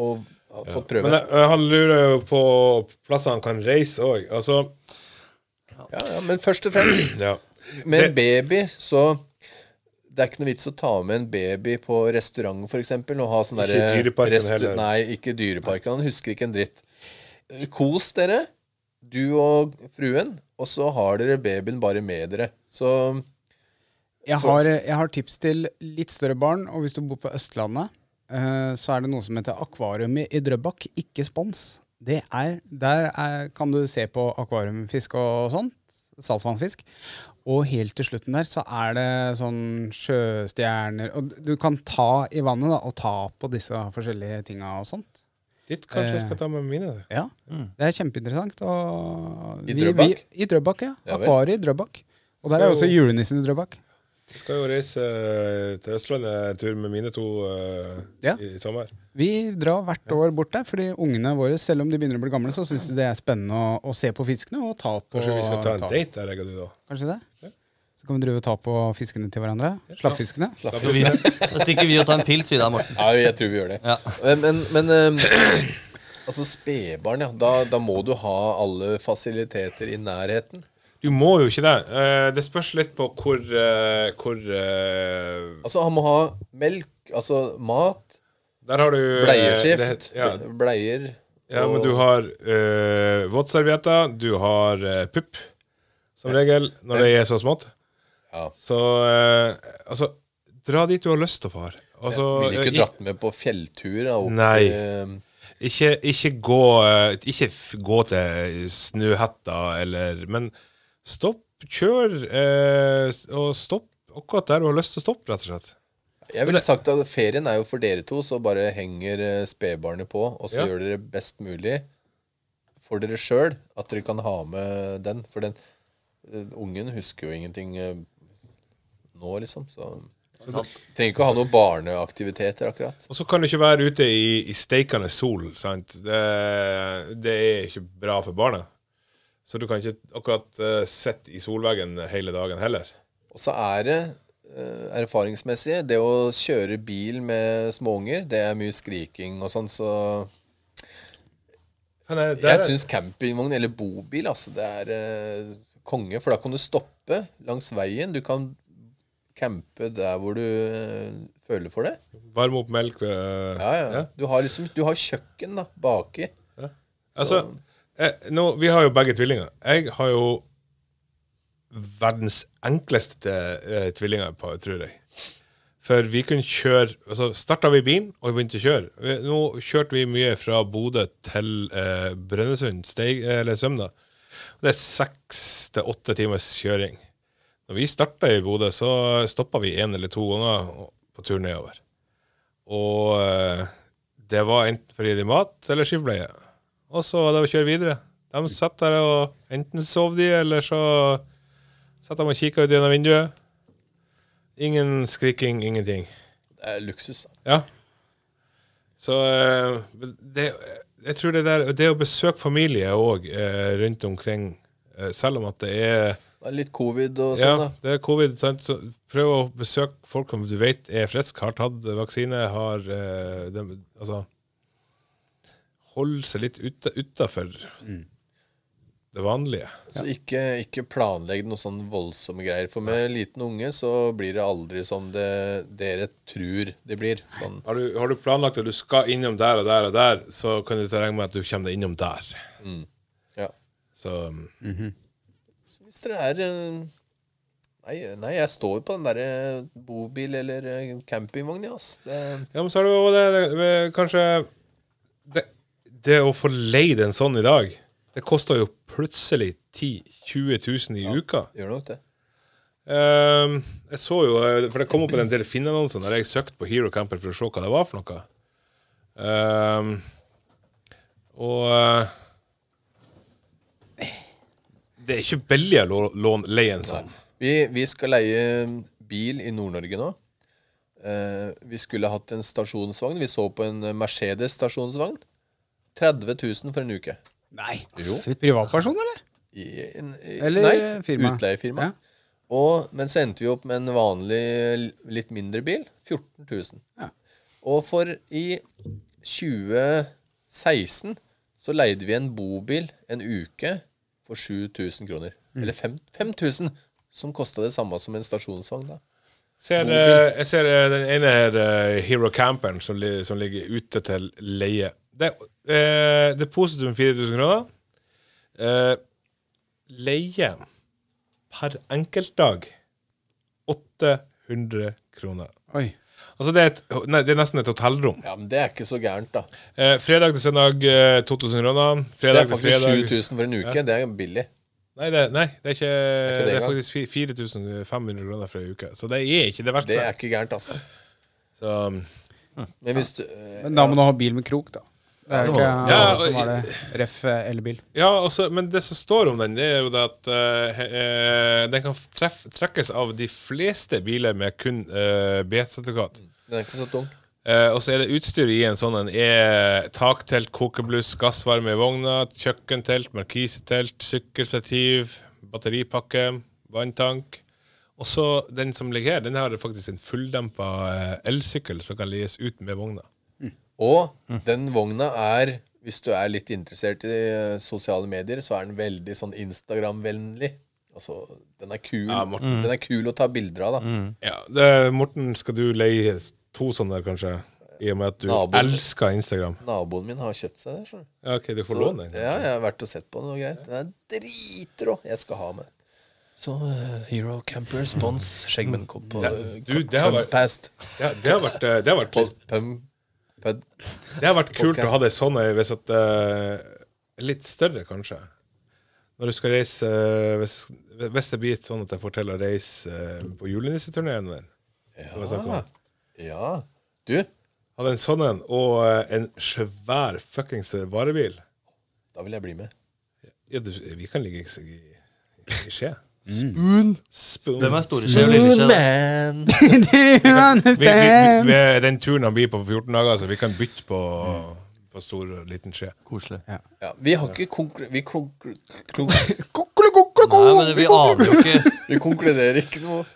Speaker 5: og ha fått prøve.
Speaker 3: Men
Speaker 5: Ja,
Speaker 3: jeg, han lurer jo på plasser han kan reise òg. Altså
Speaker 5: ja, men først og fremst,
Speaker 3: ja.
Speaker 5: med en baby, så det er ikke noe vits å ta med en baby på restaurant for eksempel, og ha sånn
Speaker 3: Ikke
Speaker 5: derre
Speaker 3: i Dyreparken
Speaker 5: rest-
Speaker 3: heller.
Speaker 5: Nei, ikke i Dyreparken. Han husker ikke en dritt. Eh, Kos dere, du og fruen, og så har dere babyen bare med dere. Så
Speaker 1: Jeg har, jeg har tips til litt større barn, og hvis du bor på Østlandet, eh, så er det noe som heter Akvarium i i Drøbak. Ikke spons. Det er, der er, kan du se på akvariumfisk og sånt. Saltvannfisk. Og helt til slutten der så er det sånn sjøstjerner Og du kan ta i vannet da, og ta på disse forskjellige tinga og sånt.
Speaker 3: Dit kanskje jeg skal ta med mine.
Speaker 1: Ja, Det er kjempeinteressant. Og
Speaker 5: Mm. I Drøbak?
Speaker 1: Vi, I Drøbak, ja.
Speaker 5: Ja vel.
Speaker 1: Akvariet i Drøbak. Og der er også julenissen i Drøbak.
Speaker 3: Jeg skal jo reise eh, til Østlandet en tur med mine to eh,
Speaker 1: Ja.
Speaker 3: i, i sommer.
Speaker 1: Vi drar hvert år bort der, fordi ungene våre, selv om de begynner å bli gamle, så syns de det er spennende å, å se på fiskene og ta på
Speaker 3: Kanskje vi skal ta en
Speaker 1: ta-
Speaker 3: date der, jeg og du, da.
Speaker 1: Kanskje det? Så kan vi drive og ta på fiskene til hverandre. Slappfiskene.
Speaker 2: Så vi- Da stikker vi og tar en pils, vi da, Morten.
Speaker 5: ja, jeg tror vi gjør det.
Speaker 2: Ja.
Speaker 5: Men, men, men eh, altså spedbarn, ja. Da, da må du ha alle fasiliteter i nærheten.
Speaker 3: Du må jo ikke det. Eh, det spørs litt på hvor, eh, hvor eh,
Speaker 5: Altså, han må ha melk, altså mat,
Speaker 3: Der har du eh,
Speaker 5: bleieskift,
Speaker 3: det- Ja,
Speaker 5: bleier
Speaker 3: ja, men
Speaker 5: og-
Speaker 3: du har eh, våtservietter, du har eh, pupp, som regel, når det er så smått.
Speaker 5: Ja.
Speaker 3: Så eh, altså Dra dit du har lyst til, far. Altså,
Speaker 5: Ville
Speaker 3: eh,
Speaker 5: ikke dratt med på fjelltur da, opp
Speaker 3: Nei.
Speaker 5: til- eh,
Speaker 3: ikke, ikke gå eh, Ikke f- gå til Snøhetta eller Men stopp, kjør, eh, s- og stopp akkurat der du har lyst til å stoppe, rett og slett.
Speaker 5: Jeg ville sagt at ferien er jo for dere to, så bare henger eh, spedbarnet på, og så
Speaker 3: Ja.
Speaker 5: gjør dere best mulig for dere sjøl at dere kan ha med den. For den eh, ungen husker jo ingenting eh, nå, liksom. Så trenger ikke å ha noen barneaktiviteter, akkurat.
Speaker 3: Og så kan du ikke være ute i, i steikende sol. Sant? Det, det er ikke bra for barnet. Så du kan ikke akkurat eh, sitte i solveggen hele dagen heller.
Speaker 5: Og så er det eh, erfaringsmessig Det å kjøre bil med småunger, det er mye skriking og sånn, så
Speaker 3: Han er, der,
Speaker 5: Jeg syns campingvogn eller bobil altså, det er eh, konge, for da kan du stoppe langs veien. Du kan campe der hvor du eh, føler for det.
Speaker 3: Varm opp melk øh,
Speaker 5: Ja, ja. Du, har liksom, du har kjøkken da, baki.
Speaker 3: Altså, eh, nå, vi har jo begge tvillinger. Jeg har jo verdens enkleste eh, tvillinger, på, tror jeg. For vi kunne kjøre altså Starta vi bilen og begynte å kjøre. Vi- Nå kjørte vi mye fra Bodø til eh, Brønnøysund, Steig, eller Sømna. Det er seks til åtte timers kjøring. Når vi starta i Bodø, så stoppa vi én eller to ganger på tur nedover. Og eh, det var enten fordi de mat eller skiftbleie. Og så var det å kjøre videre. De satt der og enten sov de, eller så satt de og kikka ut gjennom vinduet. Ingen skriking, ingenting.
Speaker 5: Det er luksus. da.
Speaker 3: Ja. Så eh, men det, jeg tror det der Det å besøke familie òg eh, rundt omkring, eh, selv om at det er
Speaker 5: Det er litt covid og sånn,
Speaker 3: ja,
Speaker 5: da.
Speaker 3: det er covid. Sant? Så prøv å besøke folk som du vet er friske, har tatt vaksine, har eh, dem- Altså Hold seg litt ute, utafor det vanlige.
Speaker 5: Så ikke, ikke planlegg noen sånn voldsomme greier. For med liten unge så blir det aldri som det, dere tror det blir. Sånn.
Speaker 3: Har du, har du planlagt at du skal innom der og der og der, så kan du ta regne med at du kommer deg innom der.
Speaker 5: Ja.
Speaker 3: Så mm.
Speaker 5: Hvis dere er eh, Nei, nei jeg står på den derre bobil eller eh, campingvogn, ja. ass. Det,
Speaker 3: Ja, men så er det jo det, det- det Kanskje det, det å få leid en sånn i dag, det koster jo plutselig 10 000-20 000 i uka.
Speaker 5: gjør nok det.
Speaker 3: Ehm, jeg så jo, eh, for det kom opp en del Finn-annonser når jeg søkte på Hero Camper for å se hva det var for noe. Ehm, og eh, Det er ikke billig å lå- låne- leie en sånn.
Speaker 5: Vi, vi skal leie bil i Nord-Norge nå. Eh, vi skulle hatt en stasjonsvogn. Vi så på en Mercedes stasjonsvogn. 30 000 for en uke.
Speaker 1: Nei. Privatperson, eller?
Speaker 5: I, en- i,
Speaker 1: Eller
Speaker 5: nei,
Speaker 1: firma.
Speaker 5: Utleiefirma.
Speaker 1: Ja.
Speaker 5: Og, men så endte vi opp med en vanlig, litt mindre bil. 14 000.
Speaker 1: Ja.
Speaker 5: Og for i 2016 så leide vi en bobil en uke for 7000 kroner.
Speaker 1: Mm.
Speaker 5: Eller fem- 5000, som kosta det samme som en stasjonsvogn. da.
Speaker 3: Ser, eh, jeg ser eh, den ene her, eh, Hero Camperen, som, li, som ligger ute til leie. Det, eh, det er positivt med 4000 kroner. Eh, leie per enkeltdag 800 kroner.
Speaker 1: Oi.
Speaker 3: Altså det er, et, nei, det er nesten et hotellrom.
Speaker 5: Ja, men det er ikke så gærent, da.
Speaker 3: Eh, fredag til søndag eh, 2000 kroner.
Speaker 5: Det er
Speaker 3: Fredag til
Speaker 5: faktisk
Speaker 3: fredag
Speaker 5: 7000 for en uke. Det er billig.
Speaker 3: Nei, det, nei, det er ikke
Speaker 5: ikke det
Speaker 3: Det er
Speaker 5: engang.
Speaker 3: faktisk fi- 4500 kroner for ei uke. Så det er ikke det verste.
Speaker 5: Det er ikke gærent, ass.
Speaker 3: Så, um,
Speaker 5: Men hvis du eh,
Speaker 1: Men da må du ha bil med krok, da. Det er jo ikke alle
Speaker 3: Ja,
Speaker 1: som
Speaker 3: og-
Speaker 1: har det. Ref. eh, elbil.
Speaker 3: Ja, altså, men det som står om den, det er jo det at eh, he- eh, den kan treff, trekkes av de fleste biler med kun uh, B-sertifikat.
Speaker 5: Den er ikke så tung.
Speaker 3: Eh, og så er det utstyr i en sånn en er taktelt, kokebluss, gassvarme i vogna, kjøkkentelt, markisetelt, sykkelstativ, batteripakke, vanntank. Og så den som ligger her, den har faktisk en fulldempa eh, elsykkel som kan leies ut med vogna.
Speaker 5: Og den vogna er, hvis du er litt interessert i eh, sosiale medier, så er den veldig sånn Instagram-vennlig. Altså, den er kul.
Speaker 3: Ja, Morten. Mm.
Speaker 5: Den er kul å ta bilder av, da.
Speaker 3: Ja, det, Morten, skal du leie to sånne der, kanskje? I og med at du
Speaker 5: Nabo.
Speaker 3: elsker Instagram.
Speaker 5: Naboen min har kjøpt seg der. Så.
Speaker 3: Ja, ok, du får
Speaker 5: Så, eh,
Speaker 3: låne den.
Speaker 5: ja, jeg har vært og sett på den og greit. Den er dritrå. Jeg skal ha med. Så eh, Hero Camper Spons Skjeggmennkopp på eh,
Speaker 3: Det- du, det har vært-
Speaker 5: Pumpast.
Speaker 3: Ja, det har vært, eh, det har vært,
Speaker 5: Pod, pum, pud.
Speaker 3: det har vært kult å
Speaker 5: podcast.
Speaker 3: ha det sånn eh, hvis at eh, Litt større, kanskje. Når du skal reise eh, Hvis, hvis det blir sånn at jeg får til å reise eh, på julenisseturneen min som jeg snakket om.
Speaker 5: Ja. Du,
Speaker 3: Hadde en sånn en, og eh, en svær fuckings varebil.
Speaker 5: da vil jeg bli med.
Speaker 3: Ja, du, vi kan ligge i, i, i skje.
Speaker 5: Mm.
Speaker 3: Spoon.
Speaker 2: Hvem er storeskje og lilleskje? da?
Speaker 5: Moonman!
Speaker 3: Vi, vi, vi, vi, den turen han blir på på 14 dager, så vi kan bytte på,
Speaker 5: Mm.
Speaker 3: på stor og liten skje.
Speaker 2: Koselig.
Speaker 5: Ja, vi har ikke konklu... Vi konklu... konklu-
Speaker 2: Nei, men vi aner jo ikke
Speaker 5: Vi konkluderer ikke noe.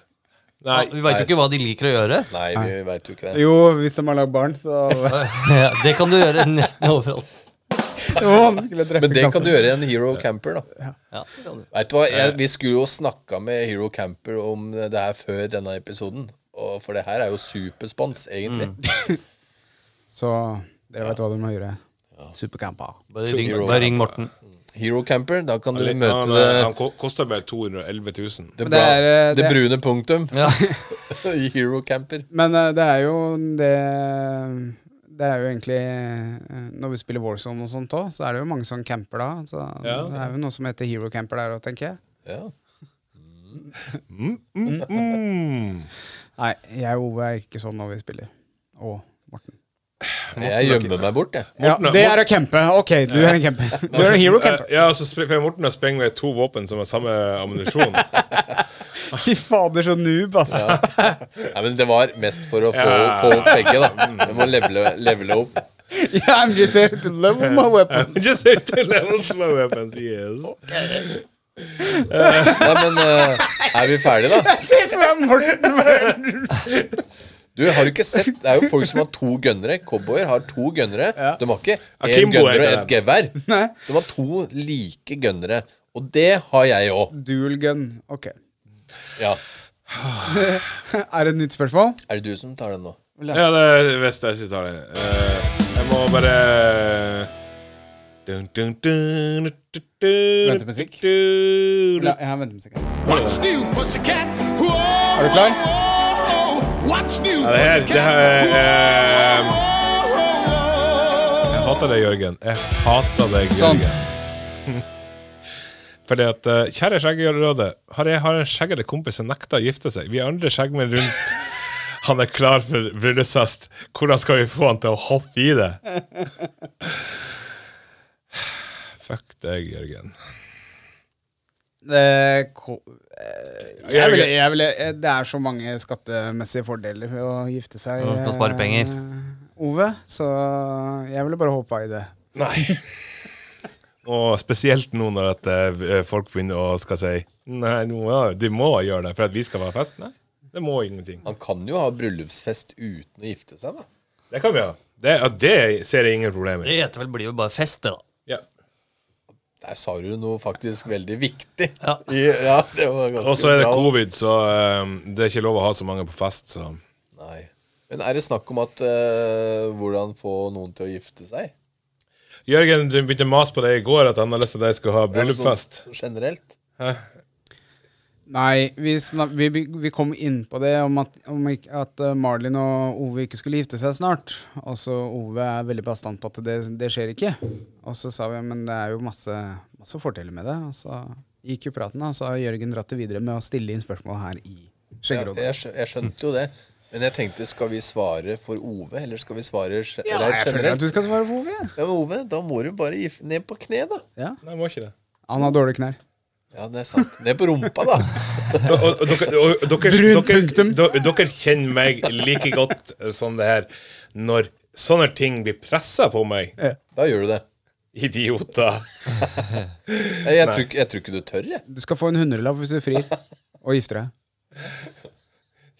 Speaker 3: Nei,
Speaker 2: Vi veit jo ikke hva de liker å gjøre.
Speaker 5: Nei, vi veit jo ikke det.
Speaker 1: Jo, hvis de har lagd barn, så
Speaker 2: Ja, Det kan du gjøre nesten overalt.
Speaker 1: Det var vanskelig å treffe
Speaker 5: Men det kan
Speaker 1: knappen.
Speaker 5: du gjøre i en Hero Camper, da.
Speaker 2: Ja, det kan du.
Speaker 5: Vet du hva, jeg, Vi skulle jo snakka med Hero Camper om det her før denne episoden. Og for det her er jo superspons, egentlig.
Speaker 3: Mm.
Speaker 1: Så dere vet hva dere må gjøre. Supercamper.
Speaker 2: Bare ring, bare ring Morten.
Speaker 5: Hero Camper, da kan du
Speaker 3: Han,
Speaker 5: møte
Speaker 3: han,
Speaker 5: det,
Speaker 3: eh, han ko- koster bare 211 000.
Speaker 5: det,
Speaker 1: Men det
Speaker 5: bra-
Speaker 1: er, eh,
Speaker 5: det
Speaker 1: det-
Speaker 5: brune punktum
Speaker 2: Ja.
Speaker 5: i Hero Camper.
Speaker 1: Men eh, det er jo det Det er jo egentlig eh, Når vi spiller Warzone og sånt òg, så er det jo mange sånne camper da. Så
Speaker 3: Ja.
Speaker 1: Det er jo noe som heter Hero Camper der òg, tenker jeg.
Speaker 5: Ja.
Speaker 3: Mm.
Speaker 1: Nei, jeg og Ove er ikke sånn når vi spiller. Å, Morten.
Speaker 5: Jeg gjemmer meg bort, jeg.
Speaker 1: Ja,
Speaker 3: Morten er-
Speaker 1: det er å campe. Ok, du er en camper. Du er en hero camper.
Speaker 3: Ja, så spre- for Morten har sprengt med to våpen som har samme ammunisjon.
Speaker 1: Fy fader, så noob, ass.
Speaker 5: Nei, men det var mest for å få,
Speaker 3: Ja.
Speaker 5: få opp begge, da. Du må levele, levele opp.
Speaker 1: Yeah, I'm just here to level my weapon.
Speaker 3: Just hit the levels of my weapons, yes.
Speaker 5: Nei, men eh, er vi ferdige, da?
Speaker 1: Se for meg Morten med
Speaker 5: Du, har du ikke sett Det er jo folk som har to gønnere. Cowboyer har to gønnere. De har ikke én
Speaker 3: Akimbo
Speaker 5: gønner og
Speaker 3: heter
Speaker 5: et gevær. De har to like gønnere. Og det har jeg òg.
Speaker 1: dual gun. Ok.
Speaker 5: Ja.
Speaker 1: Er det et nytt spørsmål?
Speaker 5: Er det du som tar den nå?
Speaker 3: Ja, det visste jeg ikke tar det. Eh, jeg må bare dun, dun, dun, dun, dun,
Speaker 1: Vente musikk?
Speaker 3: dun,
Speaker 1: Ja,
Speaker 3: dun.
Speaker 1: jeg har ventet en sekund.
Speaker 4: What's new, pussycat? Whoa,
Speaker 1: Er du klar?
Speaker 4: whoa, whoa. What's new,
Speaker 3: Ja, det her, det her eh,
Speaker 4: pussycat?
Speaker 3: Jeg hater deg, Jørgen. Jeg hater deg,
Speaker 1: Sånn.
Speaker 3: Jørgen. Fordi at eh, Kjære skjeggerøde, har jeg har en skjeggete kompis som nekter å gifte seg. Vi andre skjeggmenn rundt han er klar for bryllupsfest. Hvordan skal vi få han til å hoppe i det? Fuck deg, Jørgen.
Speaker 1: Det, ko- eh, jeg
Speaker 3: Jørgen.
Speaker 1: ville, jeg ville, eh, det er så mange skattemessige fordeler ved å gifte seg.
Speaker 2: Ja, du kan spare
Speaker 1: eh,
Speaker 2: penger.
Speaker 1: Ove, så jeg ville bare hoppa i det.
Speaker 3: Nei. Og spesielt nå når at eh, folk begynner å skal si Nei, nå, ja, de må gjøre det for at vi skal ha fest. Nei, det må ingenting.
Speaker 5: Han kan jo ha bryllupsfest uten å gifte seg, da.
Speaker 3: Det kan vi ha. Det, ja, det ser jeg ingen problemer i.
Speaker 2: Det heter vel blir jo bare fest, det, da.
Speaker 3: Ja.
Speaker 5: Der sa du noe faktisk veldig viktig.
Speaker 2: Ja.
Speaker 5: I, ja det var ganske
Speaker 3: Og så er det
Speaker 5: bra.
Speaker 3: covid, så eh, det er ikke lov å ha så mange på fest. Så.
Speaker 5: Nei. Men er det snakk om at eh, hvordan få noen til å gifte seg?
Speaker 3: Jørgen du begynte å mase på deg i går at han har lyst til at jeg skal ha
Speaker 5: Ja,
Speaker 3: bryllupsfest.
Speaker 5: sånn- sånn generelt?
Speaker 1: Nei, vi, snak, vi, be- vi kom inn på det om at, om ikke, at eh, Marlin og Ove ikke skulle gifte seg snart. Og så Ove er veldig bastant på at det, det skjer ikke. Og så sa vi men det er jo masse, masse fordeler med det. Og så gikk jo praten, og så har Jørgen dratt det videre med å stille inn spørsmål her i
Speaker 5: Ja,
Speaker 1: Skjeggerådet.
Speaker 5: jeg, skjø- jeg skjønte jo det. Men jeg tenkte, skal vi svare for Ove, eller skal vi svare ge-
Speaker 1: Ja, jeg føler
Speaker 5: rent
Speaker 1: at
Speaker 5: generelt?
Speaker 1: du skal svare på Ove.
Speaker 5: Ja, men Ove, da må du bare gif- ned på kne, da.
Speaker 1: Ja.
Speaker 3: Nei, må ikke det.
Speaker 1: Han har dårlige knær.
Speaker 5: Ja, det er sant. Ned på rumpa, da.
Speaker 3: Og, og, og, dere- og, dere,
Speaker 1: Brun
Speaker 3: dere,
Speaker 1: punktum.
Speaker 3: do- dere kjenner meg like godt som det her når sånne ting blir pressa på meg.
Speaker 5: Da gjør du det.
Speaker 3: Idioter.
Speaker 5: Jeg, jeg, tror, ikke- jeg tror ikke du tør, jeg.
Speaker 1: Du skal få en hundrelapp hvis du frir og gifter deg.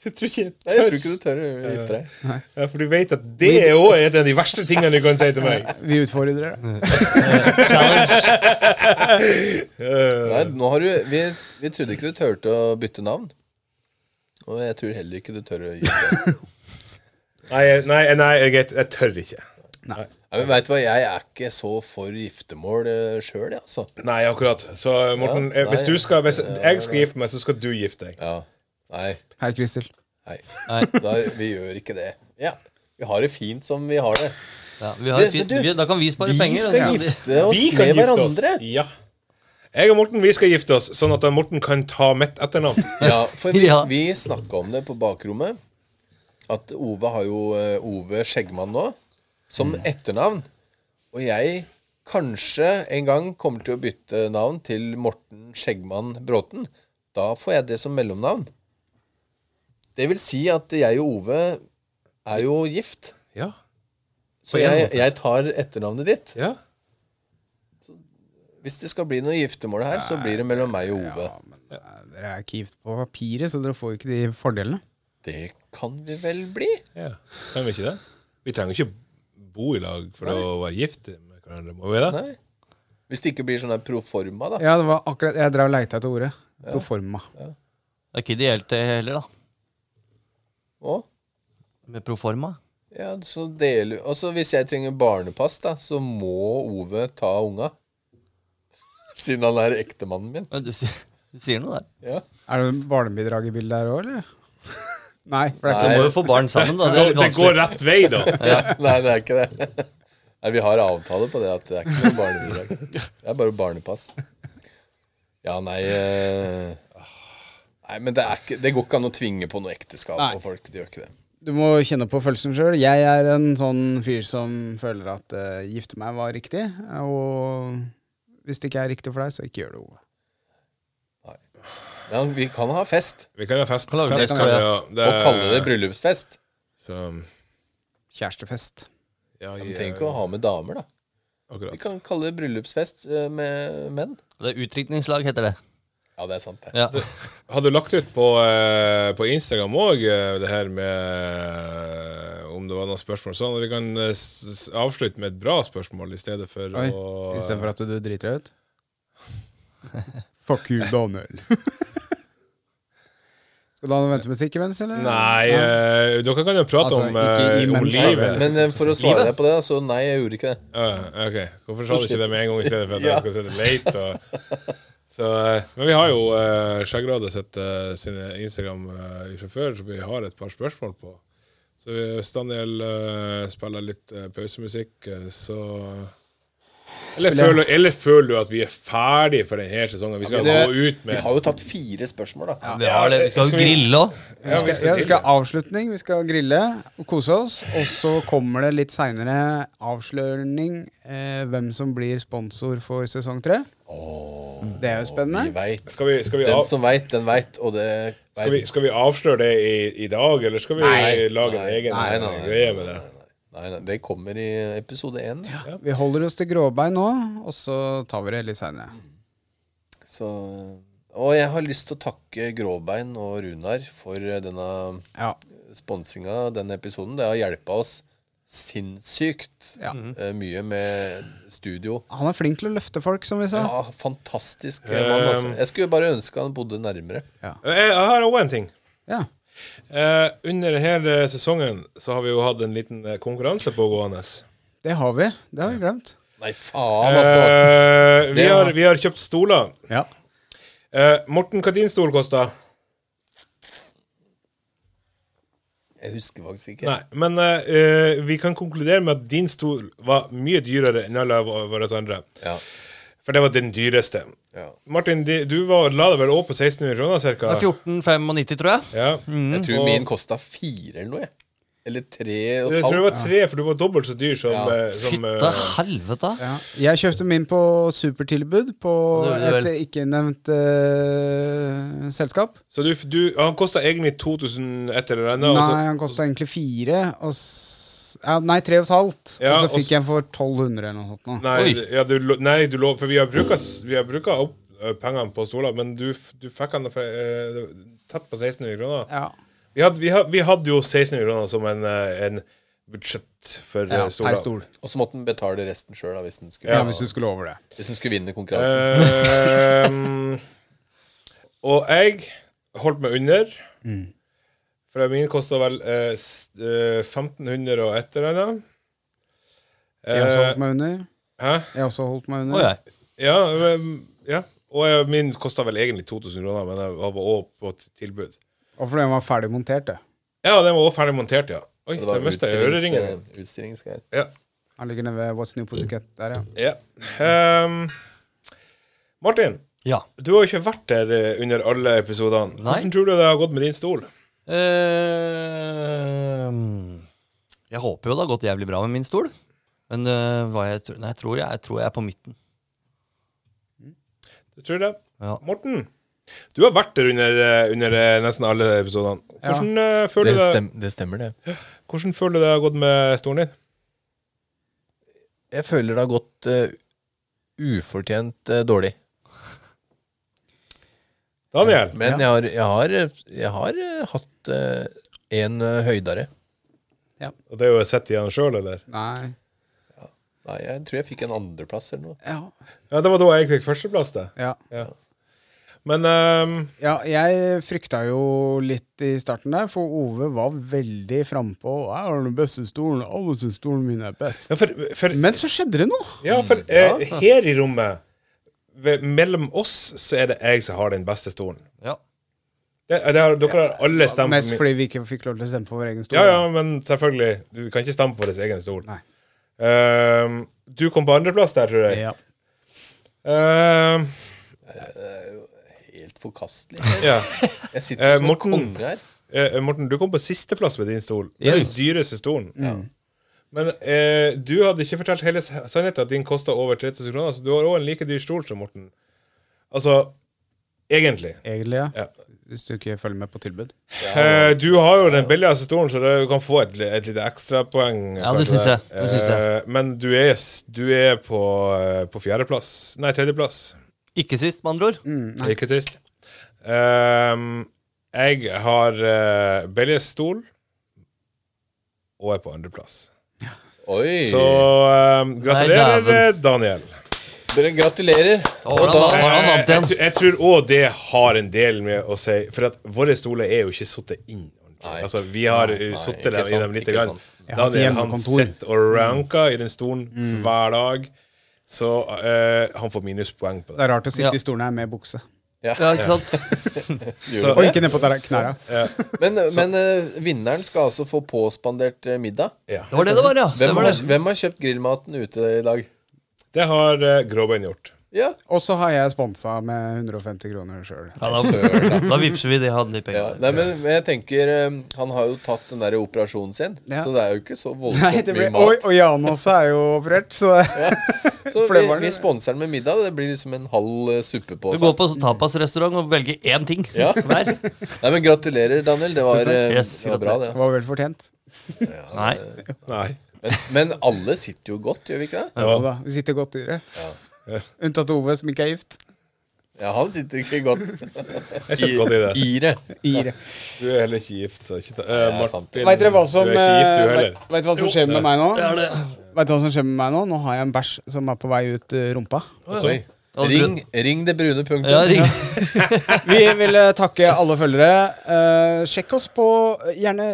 Speaker 3: Jeg tror ikke jeg
Speaker 5: Nei, jeg tror
Speaker 3: tør.
Speaker 5: ikke du tør å gifte deg.
Speaker 3: Ja, for du vet at det er også en av de verste tingene du kan si til meg.
Speaker 1: Vi utfordrer deg.
Speaker 5: Nei, nå har du, vi, vi trodde ikke du turte å bytte navn. Og jeg tror heller ikke du tør å gifte deg.
Speaker 3: Nei, nei, nei jeg, vet- jeg tør ikke.
Speaker 5: Nei, men vet du hva, jeg er ikke så for giftermål sjøl, jeg, altså.
Speaker 3: Nei, akkurat. Så Morten,
Speaker 5: Ja,
Speaker 3: eh, hvis,
Speaker 5: nei,
Speaker 3: du skal, hvis
Speaker 5: ja, ja,
Speaker 3: jeg skal gifte meg, så skal du gifte deg.
Speaker 5: Ja. Nei.
Speaker 1: Hei, Kristel.
Speaker 5: Nei.
Speaker 2: Nei.
Speaker 5: Da, vi gjør ikke det. Ja. Vi har det fint som vi har det.
Speaker 2: Ja, vi har
Speaker 5: Det-
Speaker 2: fint,
Speaker 5: men du,
Speaker 2: vi, da kan vi spare
Speaker 5: Vi
Speaker 2: penger. altså.
Speaker 5: skal
Speaker 2: ja.
Speaker 5: gifte oss
Speaker 3: Vi kan
Speaker 5: med
Speaker 3: gifte
Speaker 5: hverandre.
Speaker 3: oss. Ja. Jeg og Morten vi skal gifte oss, sånn at Morten kan ta mitt etternavn.
Speaker 5: Ja, for vi,
Speaker 2: Ja.
Speaker 5: vi snakka om det på bakrommet. At Ove har jo eh, Ove Skjeggmann nå som etternavn. Og jeg kanskje en gang kommer til å bytte navn til Morten Skjeggmann Bråten. Da får jeg det som mellomnavn. Det vil si at jeg og Ove er jo gift.
Speaker 3: Ja,
Speaker 5: Så jeg, jeg tar etternavnet ditt.
Speaker 3: ja.
Speaker 5: Hvis det skal bli noe giftermål her, så blir det mellom meg og Ove.
Speaker 1: Dere er ikke gift på papiret, så dere får jo ikke de fordelene.
Speaker 5: Det kan vi vel bli?
Speaker 3: ja. Kan vi ikke det? Vi trenger ikke bo i lag for å være gift. men hverandre, må vi det?
Speaker 5: Nei. Hvis det ikke blir sånn der proforma, da.
Speaker 1: Ja, det var akkurat Jeg drev og leita etter ordet. Proforma.
Speaker 2: Det er ikke ideelt det heller, da.
Speaker 5: Og,
Speaker 2: Med proforma.
Speaker 5: ja, så deler, og så hvis jeg trenger barnepass, da, så må Ove ta unga. Siden han er ektemannen min.
Speaker 2: Men Du, sier- du sier noe der.
Speaker 5: Ja.
Speaker 1: Er det barnebidrag i bildet her òg, eller? Nei. For det er
Speaker 2: Vi
Speaker 1: ikke
Speaker 2: må jo få barn sammen, da. Det er
Speaker 3: Det,
Speaker 2: litt
Speaker 3: det går
Speaker 2: vanskelig.
Speaker 3: rett vei, da.
Speaker 5: Nei, det er ikke det. Nei, Vi har avtale på det at det er ikke noe barnebidrag. Det er bare barnepass. Ja, nei eh, Nei, men det, er ikke, det går ikke an å tvinge på noe ekteskap
Speaker 1: Nei.
Speaker 5: på folk. Det gjør ikke det.
Speaker 1: Du må kjenne på følelsen sjøl. Jeg er en sånn fyr som føler at eh, gifte meg var riktig, og hvis det ikke er riktig for deg, så ikke gjør det. Ove.
Speaker 5: Ja, vi kan ha fest,
Speaker 3: Vi kan ha fest.
Speaker 2: Kan lage
Speaker 3: fest
Speaker 2: fest,
Speaker 3: kan vi
Speaker 2: ja.
Speaker 3: ha.
Speaker 5: og kalle det bryllupsfest.
Speaker 3: Så,
Speaker 1: Kjærestefest.
Speaker 3: ja,
Speaker 5: Vi
Speaker 3: jeg-
Speaker 5: trenger ikke å ha med damer, da. Vi
Speaker 3: Akkurat.
Speaker 5: kan kalle det bryllupsfest eh, med menn.
Speaker 2: Det er utdrikningslag, heter det.
Speaker 5: Ja, det er sant, det.
Speaker 2: Ja.
Speaker 3: Har du lagt ut på, eh, på Instagram òg det her med eh, Om det var noen spørsmål sånn? Vi kan eh, s- s- avslutte med et bra spørsmål i stedet for
Speaker 1: Oi,
Speaker 3: å
Speaker 1: Istedenfor at du driter deg ut. Fuck you, Daniel. Skal du ha noe ventemusikk imens, eller?
Speaker 3: Nei, eh, dere kan jo prate
Speaker 1: Altså,
Speaker 3: om,
Speaker 1: ikke
Speaker 3: eh, om
Speaker 1: imens, da,
Speaker 3: livet.
Speaker 5: Men eh, for å svare deg på det, da, så nei, jeg gjorde ikke det.
Speaker 3: Ja, ok, Hvorfor sa du ikke det med en gang i stedet for at
Speaker 5: Ja.
Speaker 3: jeg skal sitte late? Og, så, eh, men vi har jo uh, Skjeggrådet sitt eh, sine Instagram eh, fra før, så vi har et par spørsmål på. Så hvis Daniel eh, spiller litt eh, pausemusikk, eh, så eller
Speaker 1: Spiller-
Speaker 3: føler, eller føler du at vi er ferdig for denne sesongen? Vi skal gå
Speaker 5: Men
Speaker 3: ut
Speaker 5: Vi
Speaker 3: med
Speaker 5: har jo tatt fire spørsmål, da.
Speaker 2: Vi, har det. vi skal jo
Speaker 3: Skal vi-
Speaker 2: grille òg.
Speaker 3: Ja,
Speaker 1: Vi skal, ja, vi skal ha avslutning, vi skal grille og kose oss. Og så kommer det litt seinere avsløring eh, hvem som blir sponsor for sesong tre. det er jo
Speaker 5: Vi
Speaker 1: spennende.
Speaker 5: veit.
Speaker 3: Skal vi, skal vi,
Speaker 5: Den
Speaker 3: av,
Speaker 5: som veit, den veit, og det
Speaker 3: skal vi, skal vi avsløre det i, i dag, eller skal vi
Speaker 5: Nei,
Speaker 3: lage en
Speaker 5: nei,
Speaker 3: egen eh,
Speaker 5: nei, nei, nei,
Speaker 3: greie med det?
Speaker 5: Nei, nei, det kommer i episode én. Ja.
Speaker 1: Vi holder oss til gråbein nå, og så tar vi det litt seinere.
Speaker 5: Så Og jeg har lyst til å takke Gråbein og Runar for eh, denne
Speaker 1: Ja.
Speaker 5: sponsinga av denne episoden. Det har hjelpa oss sinnssykt
Speaker 1: Ja.
Speaker 5: eh, mye med studio.
Speaker 1: Han er flink til å løfte folk, som vi sa.
Speaker 5: Ja, fantastisk mann.
Speaker 3: Ehm.
Speaker 5: Altså. Jeg skulle bare ønske han bodde nærmere.
Speaker 3: Eh, Jeg, jeg har òg en ting.
Speaker 1: Ja.
Speaker 3: Eh, under denne sesongen så har vi jo hatt en liten eh, konkurranse pågående.
Speaker 1: Det har vi. Det har vi glemt.
Speaker 5: Nei, faen, altså.
Speaker 3: Eh, vi,
Speaker 5: Det
Speaker 3: har,
Speaker 5: har-
Speaker 3: vi har kjøpt stoler.
Speaker 1: Ja.
Speaker 3: Eh, Morten, hva din stol kosta?
Speaker 5: Jeg husker faktisk ikke.
Speaker 3: Nei, men eh, eh, vi kan konkludere med at din stol var mye dyrere enn alle vå- våre andre.
Speaker 5: Ja.
Speaker 3: For det var den dyreste.
Speaker 5: Ja.
Speaker 3: Martin, de, du var, la deg vel òg på 1600 kroner cirka?
Speaker 2: 14,95, tror jeg.
Speaker 3: Ja.
Speaker 5: Jeg tror
Speaker 3: Mm. Og-
Speaker 5: min kosta fire eller noe. jeg. Eller tre og
Speaker 3: Jeg
Speaker 5: et
Speaker 3: tror det
Speaker 5: halvt.
Speaker 3: var tre, for du var dobbelt så dyr som,
Speaker 5: Ja.
Speaker 3: eh, som eh,
Speaker 2: Fytte helvete.
Speaker 1: Ja. Jeg kjøpte min på supertilbud på
Speaker 2: Ja, det gjorde
Speaker 1: et
Speaker 2: du
Speaker 1: ikke-nevnt eh, selskap.
Speaker 3: Så du, du, han kosta egentlig 2000 et eller annet. og så-
Speaker 1: Nei, han kosta egentlig fire. Og s ja, nei, tre og et halvt.
Speaker 3: Ja,
Speaker 1: og så
Speaker 3: og
Speaker 1: fikk jeg for 1200 eller noe sånt. Nå.
Speaker 3: Nei,
Speaker 2: Oi.
Speaker 3: du- ja, du, lo- nei du lov, for vi har bruka, vi har bruka opp eh, pengene på stoler, men du, f- du fikk den for, eh, tett på 1600 kroner.
Speaker 1: Ja,
Speaker 3: Vi, hadde, vi, had- vi hadde jo 1600 kroner som en, eh, en budsjett for
Speaker 1: ja
Speaker 3: eh,
Speaker 1: per
Speaker 3: stoler.
Speaker 1: stol.
Speaker 5: Og så måtte han betale resten sjøl hvis, den skulle-
Speaker 1: Ja, hvis du skulle over det.
Speaker 5: hvis den skulle vinne konkurransen.
Speaker 3: Eh, Ehm, og jeg holdt meg under.
Speaker 1: Mm.
Speaker 3: For min kosta vel eh, s- eh, 1500 og et eller annet.
Speaker 1: Jeg også
Speaker 3: Eh,
Speaker 1: holdt meg under.
Speaker 3: hæ?
Speaker 1: Jeg også holdt meg
Speaker 2: Og
Speaker 1: under.
Speaker 2: jeg.
Speaker 3: Ja, men- ja. og jeg- min kosta vel egentlig 2000 kroner, men jeg var også på et tilbud.
Speaker 1: Og fordi den var ferdig montert, det.
Speaker 3: Ja, den var også ferdig montert, ja. Oi, der
Speaker 5: Det var
Speaker 3: mista jeg øreringen.
Speaker 5: utstillings- utstillingsgreier.
Speaker 3: Ja.
Speaker 1: Han ligger nede ved What's New Pussycat der, ja.
Speaker 3: ja. Ehm, Martin,
Speaker 2: Ja.
Speaker 3: du har jo ikke vært der eh, under alle episodene.
Speaker 2: Nei.
Speaker 3: Hvordan tror du det har gått med din stol?
Speaker 2: Eh, Ehm, jeg håper jo det har gått jævlig bra med min stol. Men eh, hva jeg, tror- nei, jeg, tror jeg, jeg tror jeg er på midten.
Speaker 3: Du tror det?
Speaker 2: Ja.
Speaker 3: Morten, du har vært der under, eh, under eh, nesten alle episodene. Hvordan, eh,
Speaker 5: Det,
Speaker 3: føler du det,
Speaker 5: stem, det stemmer, det.
Speaker 3: hvordan føler du det har gått med stolen din?
Speaker 5: Jeg føler det har gått eh, ufortjent eh, dårlig.
Speaker 3: Daniel?
Speaker 5: Men jeg har, jeg har, jeg har eh, hatt eh, en eh, høydere.
Speaker 3: Og det er jo sett igjen sjøl, eller?
Speaker 1: Nei.
Speaker 5: Nei, jeg tror jeg fikk en andreplass eller noe.
Speaker 1: Ja.
Speaker 3: Ja, Det var da jeg fikk førsteplass, det.
Speaker 1: ja.
Speaker 3: Ja. Men ehm,
Speaker 1: Ja, jeg frykta jo litt i starten der, for Ove var veldig frampå. 'Jeg har den beste stolen. Alle syns stolen min er best.'
Speaker 3: ja, for, for,
Speaker 1: Men så skjedde det noe!
Speaker 3: ja, for eh, her i rommet, ved, mellom oss, så er det jeg som har den beste stolen.
Speaker 2: Ja.
Speaker 3: Det, eh, det har, dere har alle stemt
Speaker 1: Mest
Speaker 3: på min.
Speaker 1: fordi vi ikke fikk lov til å stemme på vår egen stol.
Speaker 3: Ja, ja, men selvfølgelig. Du kan ikke stemme på deres egen stol.
Speaker 1: Nei.
Speaker 3: Ehm, du kom på andreplass der, tror jeg.
Speaker 1: Ja.
Speaker 3: Ehm,
Speaker 5: Helt forkastelig.
Speaker 3: ja.
Speaker 5: Jeg sitter
Speaker 3: Eh,
Speaker 5: som en
Speaker 3: Morten.
Speaker 5: konge her.
Speaker 3: Eh, Morten, du kom på sisteplass med din stol. Det er Den
Speaker 1: Yes.
Speaker 3: dyreste stolen. Men eh, du hadde ikke fortalt hele s- sannheten at din kosta over 3000 kroner, så du har òg en like dyr stol som Morten. Altså egentlig.
Speaker 1: Egentlig, ja.
Speaker 3: Ja.
Speaker 1: Hvis du ikke følger med på tilbud.
Speaker 3: Eh, du har jo den billigste stolen, så det- du kan få et, li- et lite ekstrapoeng.
Speaker 2: Ja, det
Speaker 3: kanskje.
Speaker 2: syns jeg. Det syns
Speaker 3: Eh, men du er, s- du er på, eh, på fjerdeplass. Nei, tredjeplass.
Speaker 2: Ikke sist, med andre ord.
Speaker 3: Det er Ikke trist. Ehm, jeg har uh, billigst stol og er på andreplass.
Speaker 5: Oi!
Speaker 3: Så ehm, gratulerer,
Speaker 2: Nei,
Speaker 3: Daniel.
Speaker 5: Dere gratulerer.
Speaker 2: Å,
Speaker 5: Og
Speaker 2: han
Speaker 5: da
Speaker 2: vant.
Speaker 3: Jeg,
Speaker 2: Har han
Speaker 3: jeg,
Speaker 2: vant igjen?
Speaker 3: jeg, jeg tror òg det har en del med å si For at våre stoler er jo ikke sittet inn. ordentlig.
Speaker 5: Nei.
Speaker 3: Altså, vi har
Speaker 5: Nei,
Speaker 3: sittet
Speaker 5: ikke
Speaker 3: dem i
Speaker 5: sant,
Speaker 3: dem lite
Speaker 5: ikke
Speaker 3: grann.
Speaker 5: sant.
Speaker 3: Daniel han
Speaker 1: hjemmekontor.
Speaker 3: sitter og ranker i den stolen
Speaker 5: Mm.
Speaker 3: hver dag. Så eh, han får minuspoeng på
Speaker 1: Det
Speaker 3: det.
Speaker 1: er rart å sitte
Speaker 2: Ja.
Speaker 1: i stolen her med bukse.
Speaker 2: Ja, ikke sant?
Speaker 3: Så-
Speaker 1: Og ikke nedpå knærne.
Speaker 5: Men, men eh, vinneren skal altså få påspandert eh, middag.
Speaker 3: Ja.
Speaker 2: Det var det det var, ja.
Speaker 5: Hvem
Speaker 2: Stemmer
Speaker 5: har,
Speaker 2: det.
Speaker 5: hvem har kjøpt grillmaten ute i dag?
Speaker 3: Det har eh, Gråbein gjort.
Speaker 5: Ja.
Speaker 1: Og så har jeg sponsa med 150 kroner sjøl.
Speaker 2: Ja, da, da vipser vi de han de
Speaker 5: ja.
Speaker 2: pengene.
Speaker 5: Nei, men men jeg tenker eh, Han har jo tatt den der operasjonen sin,
Speaker 1: Ja.
Speaker 5: så det er jo ikke så
Speaker 1: Nei,
Speaker 5: voldsomt
Speaker 1: det ble,
Speaker 5: mye
Speaker 1: og,
Speaker 5: mat.
Speaker 1: og Jan også er jo operert, så
Speaker 5: Så
Speaker 1: for
Speaker 5: vi,
Speaker 1: det var det.
Speaker 5: vi sponser den med middag. Det blir liksom en halv eh, suppe på
Speaker 2: Du går på sånn tapasrestaurant og velger én ting
Speaker 5: Ja.
Speaker 2: hver.
Speaker 5: Nei, men gratulerer, Daniel. Det var, eh,
Speaker 2: Yes,
Speaker 5: det var bra, det.
Speaker 1: det altså. var vel fortjent.
Speaker 2: Nei.
Speaker 3: Nei.
Speaker 5: Men, men alle sitter jo godt, gjør vi ikke det?
Speaker 1: Ja. Da, vi sitter godt i det. Unntatt Ove, som ikke er gift.
Speaker 5: Ja, han sitter ikke godt
Speaker 3: Jeg sitter godt i det.
Speaker 5: i det.
Speaker 1: I det.
Speaker 3: Du er heller ikke gift. Så ikke ta, eh,
Speaker 5: er sant.
Speaker 3: Martin,
Speaker 1: Vet dere hva som,
Speaker 3: du er ikke gift,
Speaker 1: eh,
Speaker 3: du heller.
Speaker 1: vet, vet du hva som skjer med meg nå?
Speaker 2: Det er det.
Speaker 1: Vet du hva som skjer med meg Nå Nå har jeg en bæsj som er på vei ut eh, rumpa.
Speaker 5: Oi. Ring, ring det brune punktet.
Speaker 2: Ja, ring.
Speaker 1: Vi vil eh, takke alle følgere. Eh, sjekk oss på Gjerne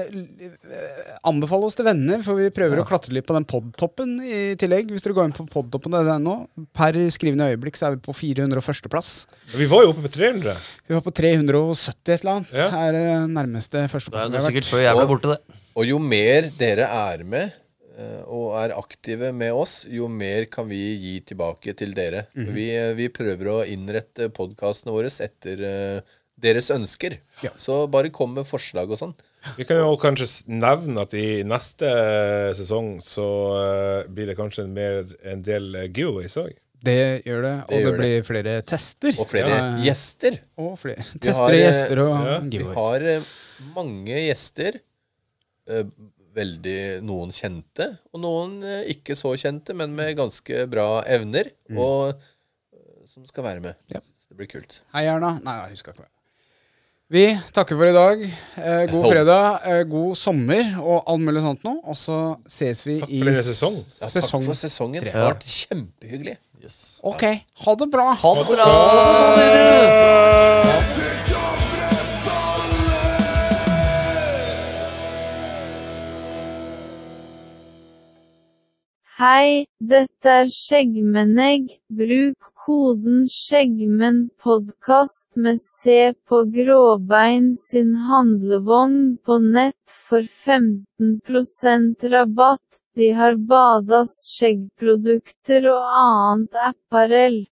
Speaker 1: eh, anbefale oss til venner, for vi prøver å klatre litt på den podtoppen i tillegg. Hvis dere går inn på podtoppen.no. Per skrivende øyeblikk så er vi på 401.-plass.
Speaker 3: Vi var jo oppe på 300.
Speaker 1: Vi var på 370 et eller annet.
Speaker 3: Ja.
Speaker 1: Her er det nærmeste
Speaker 2: Det er
Speaker 1: førsteplassen vi
Speaker 2: jo
Speaker 1: har vært.
Speaker 2: sikkert før jeg ble borte, det.
Speaker 5: Og jo mer dere er med eh, og er aktive med oss, jo mer kan vi gi tilbake til dere.
Speaker 1: Mhm.
Speaker 5: vi, eh, vi prøver å innrette podkastene våre etter eh, deres ønsker.
Speaker 1: Ja.
Speaker 5: Så bare kom med forslag og sånn.
Speaker 3: Vi kan jo kanskje s- nevne at i neste sesong så eh, blir det kanskje en, mer, en del eh, giveaways òg.
Speaker 1: Det gjør det. Og
Speaker 5: Det
Speaker 1: det,
Speaker 5: gjør
Speaker 1: blir flere tester.
Speaker 5: Og flere
Speaker 1: Ja, ja.
Speaker 5: gjester.
Speaker 1: Og flere
Speaker 5: Vi
Speaker 1: tester,
Speaker 5: har, eh,
Speaker 1: gjester og
Speaker 3: ja,
Speaker 5: Vi
Speaker 1: giveaways.
Speaker 5: har eh, mange gjester. eh, Veldig noen kjente, og noen eh, ikke så kjente, men med ganske bra evner. Og eh, som skal være med.
Speaker 1: Mm. Ja.
Speaker 5: Så det blir kult.
Speaker 1: Hei, Erna. Nei, jeg husker ikke. hva. Vi takker for i dag. Eh, god
Speaker 5: Jo.
Speaker 1: fredag, eh, god sommer og alt mulig sånt nå. Og så ses vi
Speaker 3: Takk
Speaker 1: i
Speaker 3: for denne sesong.
Speaker 5: Ja,
Speaker 1: s- sesong.
Speaker 5: Takk for sesongen. Det
Speaker 2: Ja.
Speaker 5: har vært kjempehyggelig.
Speaker 1: Ok, ha det bra.
Speaker 2: Ha det bra! dere!
Speaker 8: Hei, dette er Skjeggmennegg. Bruk koden skjeggmennpodkast med C på Gråbein sin handlevogn på nett for 15 rabatt. De har Badas skjeggprodukter og annet apparell.